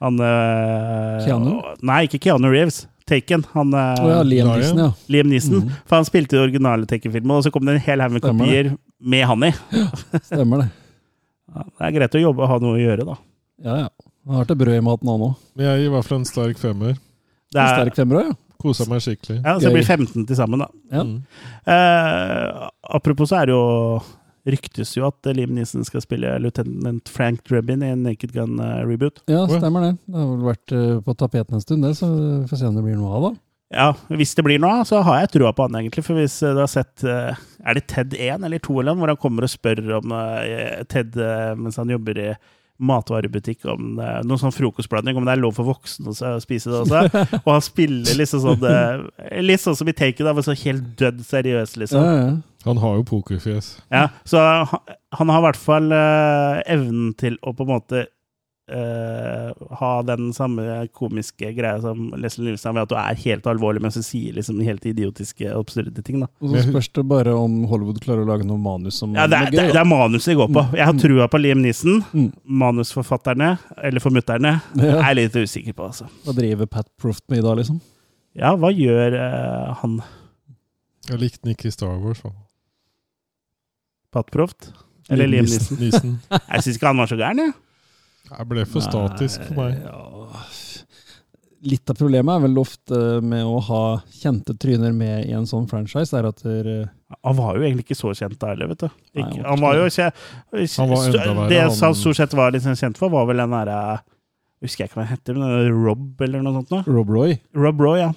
[SPEAKER 2] Han eh,
[SPEAKER 3] Keanu?
[SPEAKER 2] Nei, ikke Keanu Reeves. Taken. Han, eh,
[SPEAKER 3] Å ja, Liam
[SPEAKER 4] Ja, ja.
[SPEAKER 3] Neeson, ja.
[SPEAKER 2] Liam Neeson. For han spilte i den originale Taken-filmen, og så kom det en hel haug med
[SPEAKER 3] Stemmer
[SPEAKER 2] kopier med han i.
[SPEAKER 3] Stemmer det.
[SPEAKER 2] Ja, det er greit å jobbe og ha noe å gjøre, da.
[SPEAKER 3] Ja, ja. Han har til brød i maten, han òg.
[SPEAKER 4] Men jeg gir i hvert fall en sterk femmer.
[SPEAKER 2] Det er,
[SPEAKER 3] Sterk femmer òg, ja.
[SPEAKER 4] Kosa meg skikkelig. Mm.
[SPEAKER 2] ja, så det
[SPEAKER 3] Gøy.
[SPEAKER 2] blir 15 til sammen, da.
[SPEAKER 3] Ja.
[SPEAKER 2] Eh, apropos så er det jo Ryktes jo at Liam Neeson skal spille løytnant Frank Drebin i en Naked eh, Gun-reboot.
[SPEAKER 3] ja,
[SPEAKER 4] Å ja.
[SPEAKER 3] stemmer det. Det har vel vært eh, på tapeten en stund, det, så vi får se om det blir noe av, da.
[SPEAKER 2] Ja, hvis det blir noe, av, så har jeg trua på han, egentlig. For hvis eh, du har sett eh, Er det Ted 1 eller 2 eller noe, hvor han kommer og spør om eh, Ted eh, mens han jobber i matvarebutikk, om det er noen sånn frokostblanding, om det er lov for voksne å s- å spise *laughs* det *laughs* også. Og han spiller liksom sånn eh, Litt sånn som i Taken, da, men så helt dødd seriøs,
[SPEAKER 3] Ja,
[SPEAKER 2] liksom.
[SPEAKER 3] ja.
[SPEAKER 4] Han har jo pokerfjes.
[SPEAKER 2] Ja, så han, han har i hvert fall eh, evnen til å på en måte eh, ha den samme komiske greia som Leslie Nilsen, ved at du er helt alvorlig, men så sier liksom helt idiotiske, absurde ting. da.
[SPEAKER 3] Og så spørs det bare om Hollywood klarer å lage noe manus som
[SPEAKER 2] Ja, det, er, det, er- Mm. det er manuset jeg går på. Jeg har trua på Liam Neeson.
[SPEAKER 3] Mm.
[SPEAKER 2] Manusforfatterne, eller formutterne,
[SPEAKER 3] Ja.
[SPEAKER 2] er jeg litt usikker på, altså.
[SPEAKER 3] Hva driver Pat Proft med i dag, liksom?
[SPEAKER 2] Ja, hva gjør eh, han
[SPEAKER 4] Jeg likte den ikke i Star Wars. da.
[SPEAKER 2] Patproft? Eller Liam Neeson?
[SPEAKER 4] Nisen.
[SPEAKER 2] Jeg syns ikke han var så gæren, jeg.
[SPEAKER 4] Jeg ble for statisk for meg.
[SPEAKER 3] Nei, ja. Litt av problemet er vel ofte med å ha kjente tryner med i en sånn franchise, er at eh, der,
[SPEAKER 2] Han var jo egentlig ikke så kjent da heller, vet du.
[SPEAKER 3] Nei,
[SPEAKER 2] Ikke,
[SPEAKER 3] han var
[SPEAKER 2] han var jo ikke
[SPEAKER 4] Han var enda verre,
[SPEAKER 2] Det
[SPEAKER 4] han-
[SPEAKER 2] han stort sett var liksom kjent for, var vel den derre Husker jeg ikke hva han heter, men Rob eller noe sånt? Nå.
[SPEAKER 3] Rob Roy
[SPEAKER 2] Rob Roy, ja.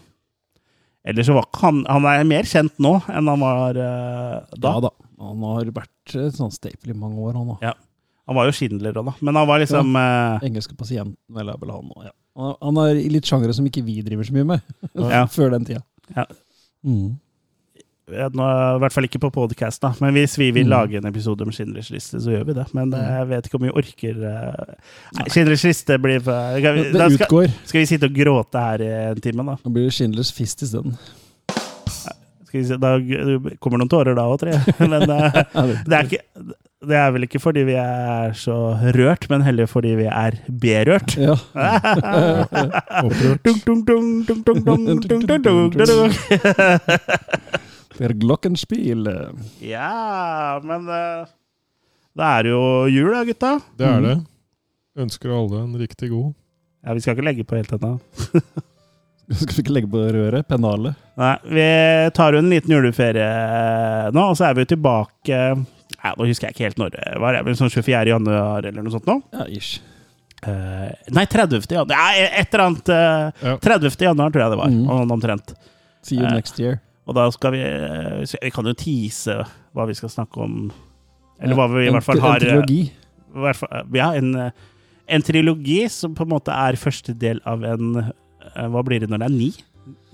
[SPEAKER 2] Ellers så var ikke han Han er mer kjent nå enn han var eh, da.
[SPEAKER 3] Ja da. Han har vært et sånn staple i mange år, han da.
[SPEAKER 2] Ja. Han var jo Schindler òg, da. Men han var liksom eh,
[SPEAKER 3] Engelske pasienten, eller vel han òg, ja. Han- Han er i litt sjangere som ikke vi driver så mye med *laughs*
[SPEAKER 2] Ja.
[SPEAKER 3] før den tida.
[SPEAKER 2] Ja.
[SPEAKER 3] Mm.
[SPEAKER 2] Ja, nå, I hvert fall ikke på podcast, da. Men hvis vi vil
[SPEAKER 3] Mm.
[SPEAKER 2] lage en episode om Schindlers liste, så gjør vi det. Men eh, jeg vet ikke om vi orker eh, Nei, Schindlers liste blir for- skal vi, Da
[SPEAKER 3] Det
[SPEAKER 2] skal,
[SPEAKER 3] utgår.
[SPEAKER 2] skal vi sitte og gråte her i en time, da?
[SPEAKER 3] Da blir det Schindlers fist isteden.
[SPEAKER 2] Skal vi se, da g- kommer noen tårer da òg, tror jeg. *laughs* Men eh,
[SPEAKER 3] *laughs* Ja, det-
[SPEAKER 2] det, er ikke, det er vel ikke fordi vi er så rørt, men heller fordi vi er berørt.
[SPEAKER 3] Ja.
[SPEAKER 4] Opprørt.
[SPEAKER 2] Dung, dung, dung, dung, dung, dung, dung, dung, dung,
[SPEAKER 3] *laughs*
[SPEAKER 2] dung.
[SPEAKER 3] Det er Glockenspiel.
[SPEAKER 2] Ja, men eh, det er jo jul, da, gutta.
[SPEAKER 4] Det er
[SPEAKER 2] Mm.
[SPEAKER 3] Mm.
[SPEAKER 4] det. Ønsker alle en riktig god.
[SPEAKER 2] Ja, Vi skal ikke legge på helt ennå.
[SPEAKER 3] Skal vi ikke legge på røret? Pennalet?
[SPEAKER 2] Nei, vi tar jo en liten juleferie eh, nå, og så er vi jo tilbake Nei, Nå husker jeg ikke helt når det var, det er vel sånn 24. januar eller noe sånt nå?
[SPEAKER 3] Ja, ish.
[SPEAKER 2] Eh, nei, 30. januar. Nei, et eller annet eh,
[SPEAKER 4] Ja.
[SPEAKER 2] 30. januar tror jeg det var,
[SPEAKER 3] Mhm.
[SPEAKER 2] om- omtrent.
[SPEAKER 3] See you
[SPEAKER 2] Eh.
[SPEAKER 3] next year.
[SPEAKER 2] Og da skal vi eh, Vi kan jo tease hva vi skal snakke om. Eller
[SPEAKER 3] Ja,
[SPEAKER 2] hva vi i
[SPEAKER 3] en-
[SPEAKER 2] hvert fall har
[SPEAKER 3] En
[SPEAKER 2] eh,
[SPEAKER 3] trilogi.
[SPEAKER 2] i hvert fall, Ja, en, eh, en trilogi som på en måte er første del av en eh, Hva blir det når det er ni?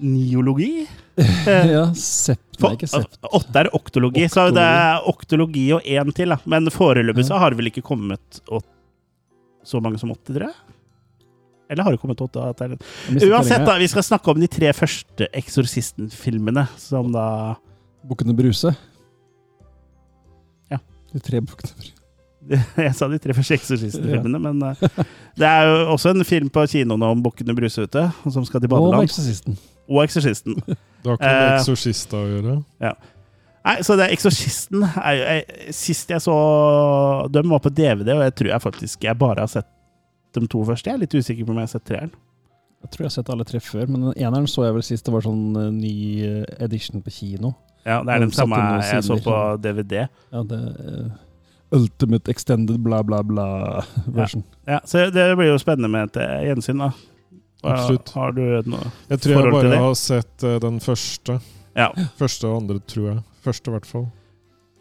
[SPEAKER 2] Niologi?
[SPEAKER 3] *laughs*
[SPEAKER 2] Eh,
[SPEAKER 3] ja, sept. Nei,
[SPEAKER 2] For,
[SPEAKER 3] ikke sept.
[SPEAKER 2] åtte er oktologi, så det er oktologi og én til. Da. Men foreløpig så har det vel ikke kommet åt, så mange som åtte, tror jeg? Eller har det kommet åtte? at det er-
[SPEAKER 3] Jeg mistet
[SPEAKER 2] Uansett,
[SPEAKER 3] tellinga.
[SPEAKER 2] da, vi skal snakke om de tre første Eksorsisten-filmene, som da *laughs*
[SPEAKER 3] Bukkene Bruse.
[SPEAKER 2] Ja.
[SPEAKER 3] De tre bukkene Bruse.
[SPEAKER 2] Jeg sa de tre første Eksorsisten-filmene, men eh, det er jo også en film på kino nå om bukkene Bruse ute, som skal til
[SPEAKER 3] Og
[SPEAKER 2] badeland.
[SPEAKER 3] Exorcisten.
[SPEAKER 2] Og Eksorsisten.
[SPEAKER 4] Det har ikke noe
[SPEAKER 2] Eh.
[SPEAKER 4] med eksorsist å gjøre.
[SPEAKER 2] Nei, så det er Eksorsisten er jo jeg, Sist jeg så dem, var på DVD, og jeg tror jeg faktisk jeg bare har sett de to første. Jeg er litt usikker på om jeg har sett treeren.
[SPEAKER 3] Jeg tror jeg har sett alle tre før, men den eneren så jeg vel sist det var sånn eh, ny eh, edition på kino.
[SPEAKER 2] Ja, det er
[SPEAKER 3] Har
[SPEAKER 2] den
[SPEAKER 3] du satt
[SPEAKER 2] samme
[SPEAKER 3] den noen
[SPEAKER 2] jeg så
[SPEAKER 3] sider?
[SPEAKER 2] på DVD.
[SPEAKER 3] Ja, det eh, Ultimate Extended bla, bla, bla version.
[SPEAKER 2] Ja, så det blir jo spennende med et eh, gjensyn, da. Hva-
[SPEAKER 4] Absolutt.
[SPEAKER 2] Har du noe
[SPEAKER 4] Jeg tror jeg
[SPEAKER 2] forhold til
[SPEAKER 4] bare
[SPEAKER 2] det?
[SPEAKER 4] har sett eh, den første.
[SPEAKER 2] Ja.
[SPEAKER 4] Første og andre, tror jeg. Første, i hvert fall.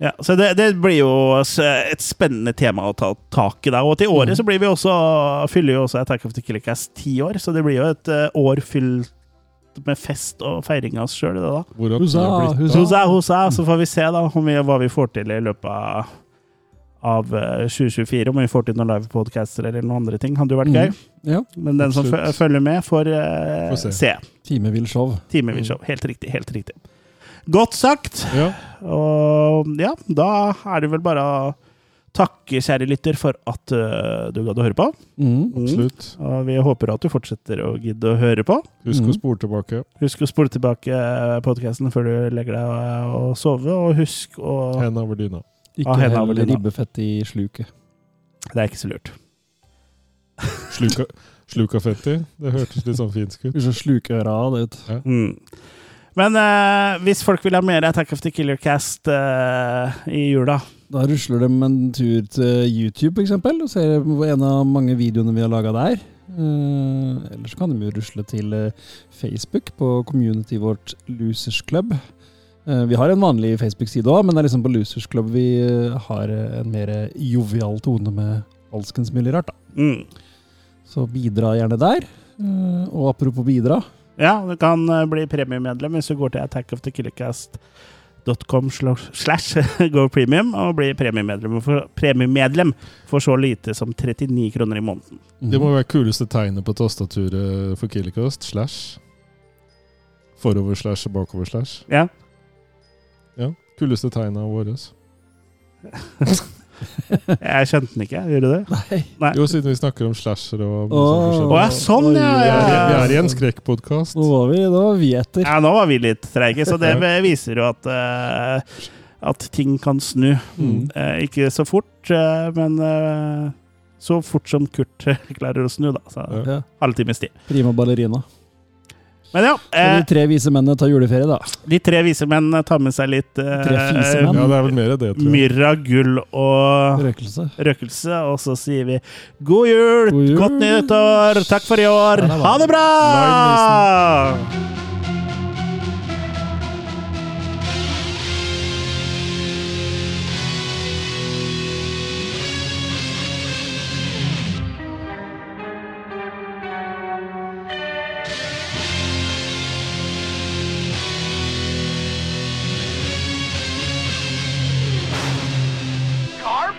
[SPEAKER 2] Ja, så det, det blir jo s- et spennende tema å ta tak i. Da. Og til året så blir vi også, fyller jo også Attack of the Killer Cast ti år, så det blir jo et eh, år fylt med fest og feiring av oss sjøl.
[SPEAKER 4] Hvorav det
[SPEAKER 3] Husa,
[SPEAKER 4] har blitt av.
[SPEAKER 3] husa.
[SPEAKER 2] Hosa, hosa, så får vi se da om vi, hva vi får til i løpet av, av eh, 2024. Om vi får til noen livepodcaster eller noen andre ting. Hadde jo vært gøy.
[SPEAKER 3] Ja.
[SPEAKER 2] Men den som fø-
[SPEAKER 4] Mhm. absolutt.
[SPEAKER 2] følger med, får eh,
[SPEAKER 4] Får se. Mhm.
[SPEAKER 2] se.
[SPEAKER 3] Timevill show.
[SPEAKER 2] Timevis show. Helt riktig. Helt riktig. Godt sagt.
[SPEAKER 4] Ja.
[SPEAKER 2] Og ja, da er det vel bare å takke, kjære lytter, for at eh, du gadd å høre på.
[SPEAKER 3] Mm.
[SPEAKER 4] Absolutt.
[SPEAKER 2] Og vi håper at du fortsetter å gidde å høre på.
[SPEAKER 4] Husk
[SPEAKER 3] Mhm.
[SPEAKER 4] å spole tilbake.
[SPEAKER 2] Husk å spole tilbake podkasten før du legger deg eh, og sove, og husk å
[SPEAKER 4] Hendene over dyna.
[SPEAKER 3] Ikke
[SPEAKER 2] Ah, henne
[SPEAKER 3] hell
[SPEAKER 2] over dyna.
[SPEAKER 3] ribbefett i sluket.
[SPEAKER 2] Det er ikke så lurt.
[SPEAKER 4] Sluka, sluka fetti. Det hørtes litt sånn finsk ut.
[SPEAKER 3] Hvis du sluker øra av det ut.
[SPEAKER 2] Mm. Men eh, hvis folk vil ha mer Attack of the Killer Cast eh, i jula
[SPEAKER 3] Da rusler de en tur til YouTube, for eksempel, og ser på en av mange videoene vi har laga der. Uh, Eller så kan de jo rusle til eh, Facebook på community vårt Losers Club. Eh, vi har en vanlig Facebook-side òg, men det er liksom på Losers Club vi eh, har eh, en mer jovial tone med alskens mulig rart. Da.
[SPEAKER 2] mm.
[SPEAKER 3] Så bidra gjerne der. Eh, og apropos bidra,
[SPEAKER 2] Ja, du kan eh, bli premiemedlem hvis du går til attackofthekillercast.com slash- slash *laughs* go premium og bli premiemedlem for, premiemedlem for så lite som 39 kroner i måneden.
[SPEAKER 4] Det
[SPEAKER 3] Mm.
[SPEAKER 4] må være kuleste tegnet på tastaturet for Killercast. Slash. Forover-slash og bakover-slash.
[SPEAKER 2] Ja.
[SPEAKER 4] Ja. Kuleste tegnet vårt.
[SPEAKER 2] Jeg skjønte den ikke, gjorde du det?
[SPEAKER 3] *laughs* Nei.
[SPEAKER 2] Nei.
[SPEAKER 4] Jo, siden vi snakker om slasher og mye
[SPEAKER 3] Åh.
[SPEAKER 2] Å
[SPEAKER 4] sånn forskjellig.
[SPEAKER 2] ja, sånn, ja!
[SPEAKER 4] Vi er, vi
[SPEAKER 2] ja.
[SPEAKER 4] er i en skrekkpodkast.
[SPEAKER 3] Nå var vi, nå var vi etter.
[SPEAKER 2] Ja, nå var vi litt treige, så det viser jo at eh, at ting kan snu.
[SPEAKER 3] Mm.
[SPEAKER 2] Eh, ikke så fort, eh, men eh, så fort som Kurt *laughs* klarer å snu, da. Så
[SPEAKER 4] Ja.
[SPEAKER 3] Ja.
[SPEAKER 2] halvtimes tid.
[SPEAKER 3] Prima ballerina.
[SPEAKER 2] Men ja,
[SPEAKER 3] Skal
[SPEAKER 2] eh,
[SPEAKER 3] de tre vise mennene ta juleferie, da?
[SPEAKER 2] de tre vise menn eh, tar med seg litt
[SPEAKER 3] Tre fise
[SPEAKER 2] eh,
[SPEAKER 3] menn.
[SPEAKER 4] Ja, det er vel mer det, tror jeg.
[SPEAKER 2] myrra, gull og
[SPEAKER 3] Røkelse.
[SPEAKER 2] røkelse, og så sier vi god jul,
[SPEAKER 3] God jul.
[SPEAKER 2] godt nytt år, takk for i år,
[SPEAKER 3] Ja, det var
[SPEAKER 2] ha det bra!
[SPEAKER 4] Lime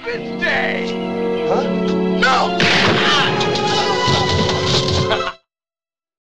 [SPEAKER 9] Independence Day! Huh? No!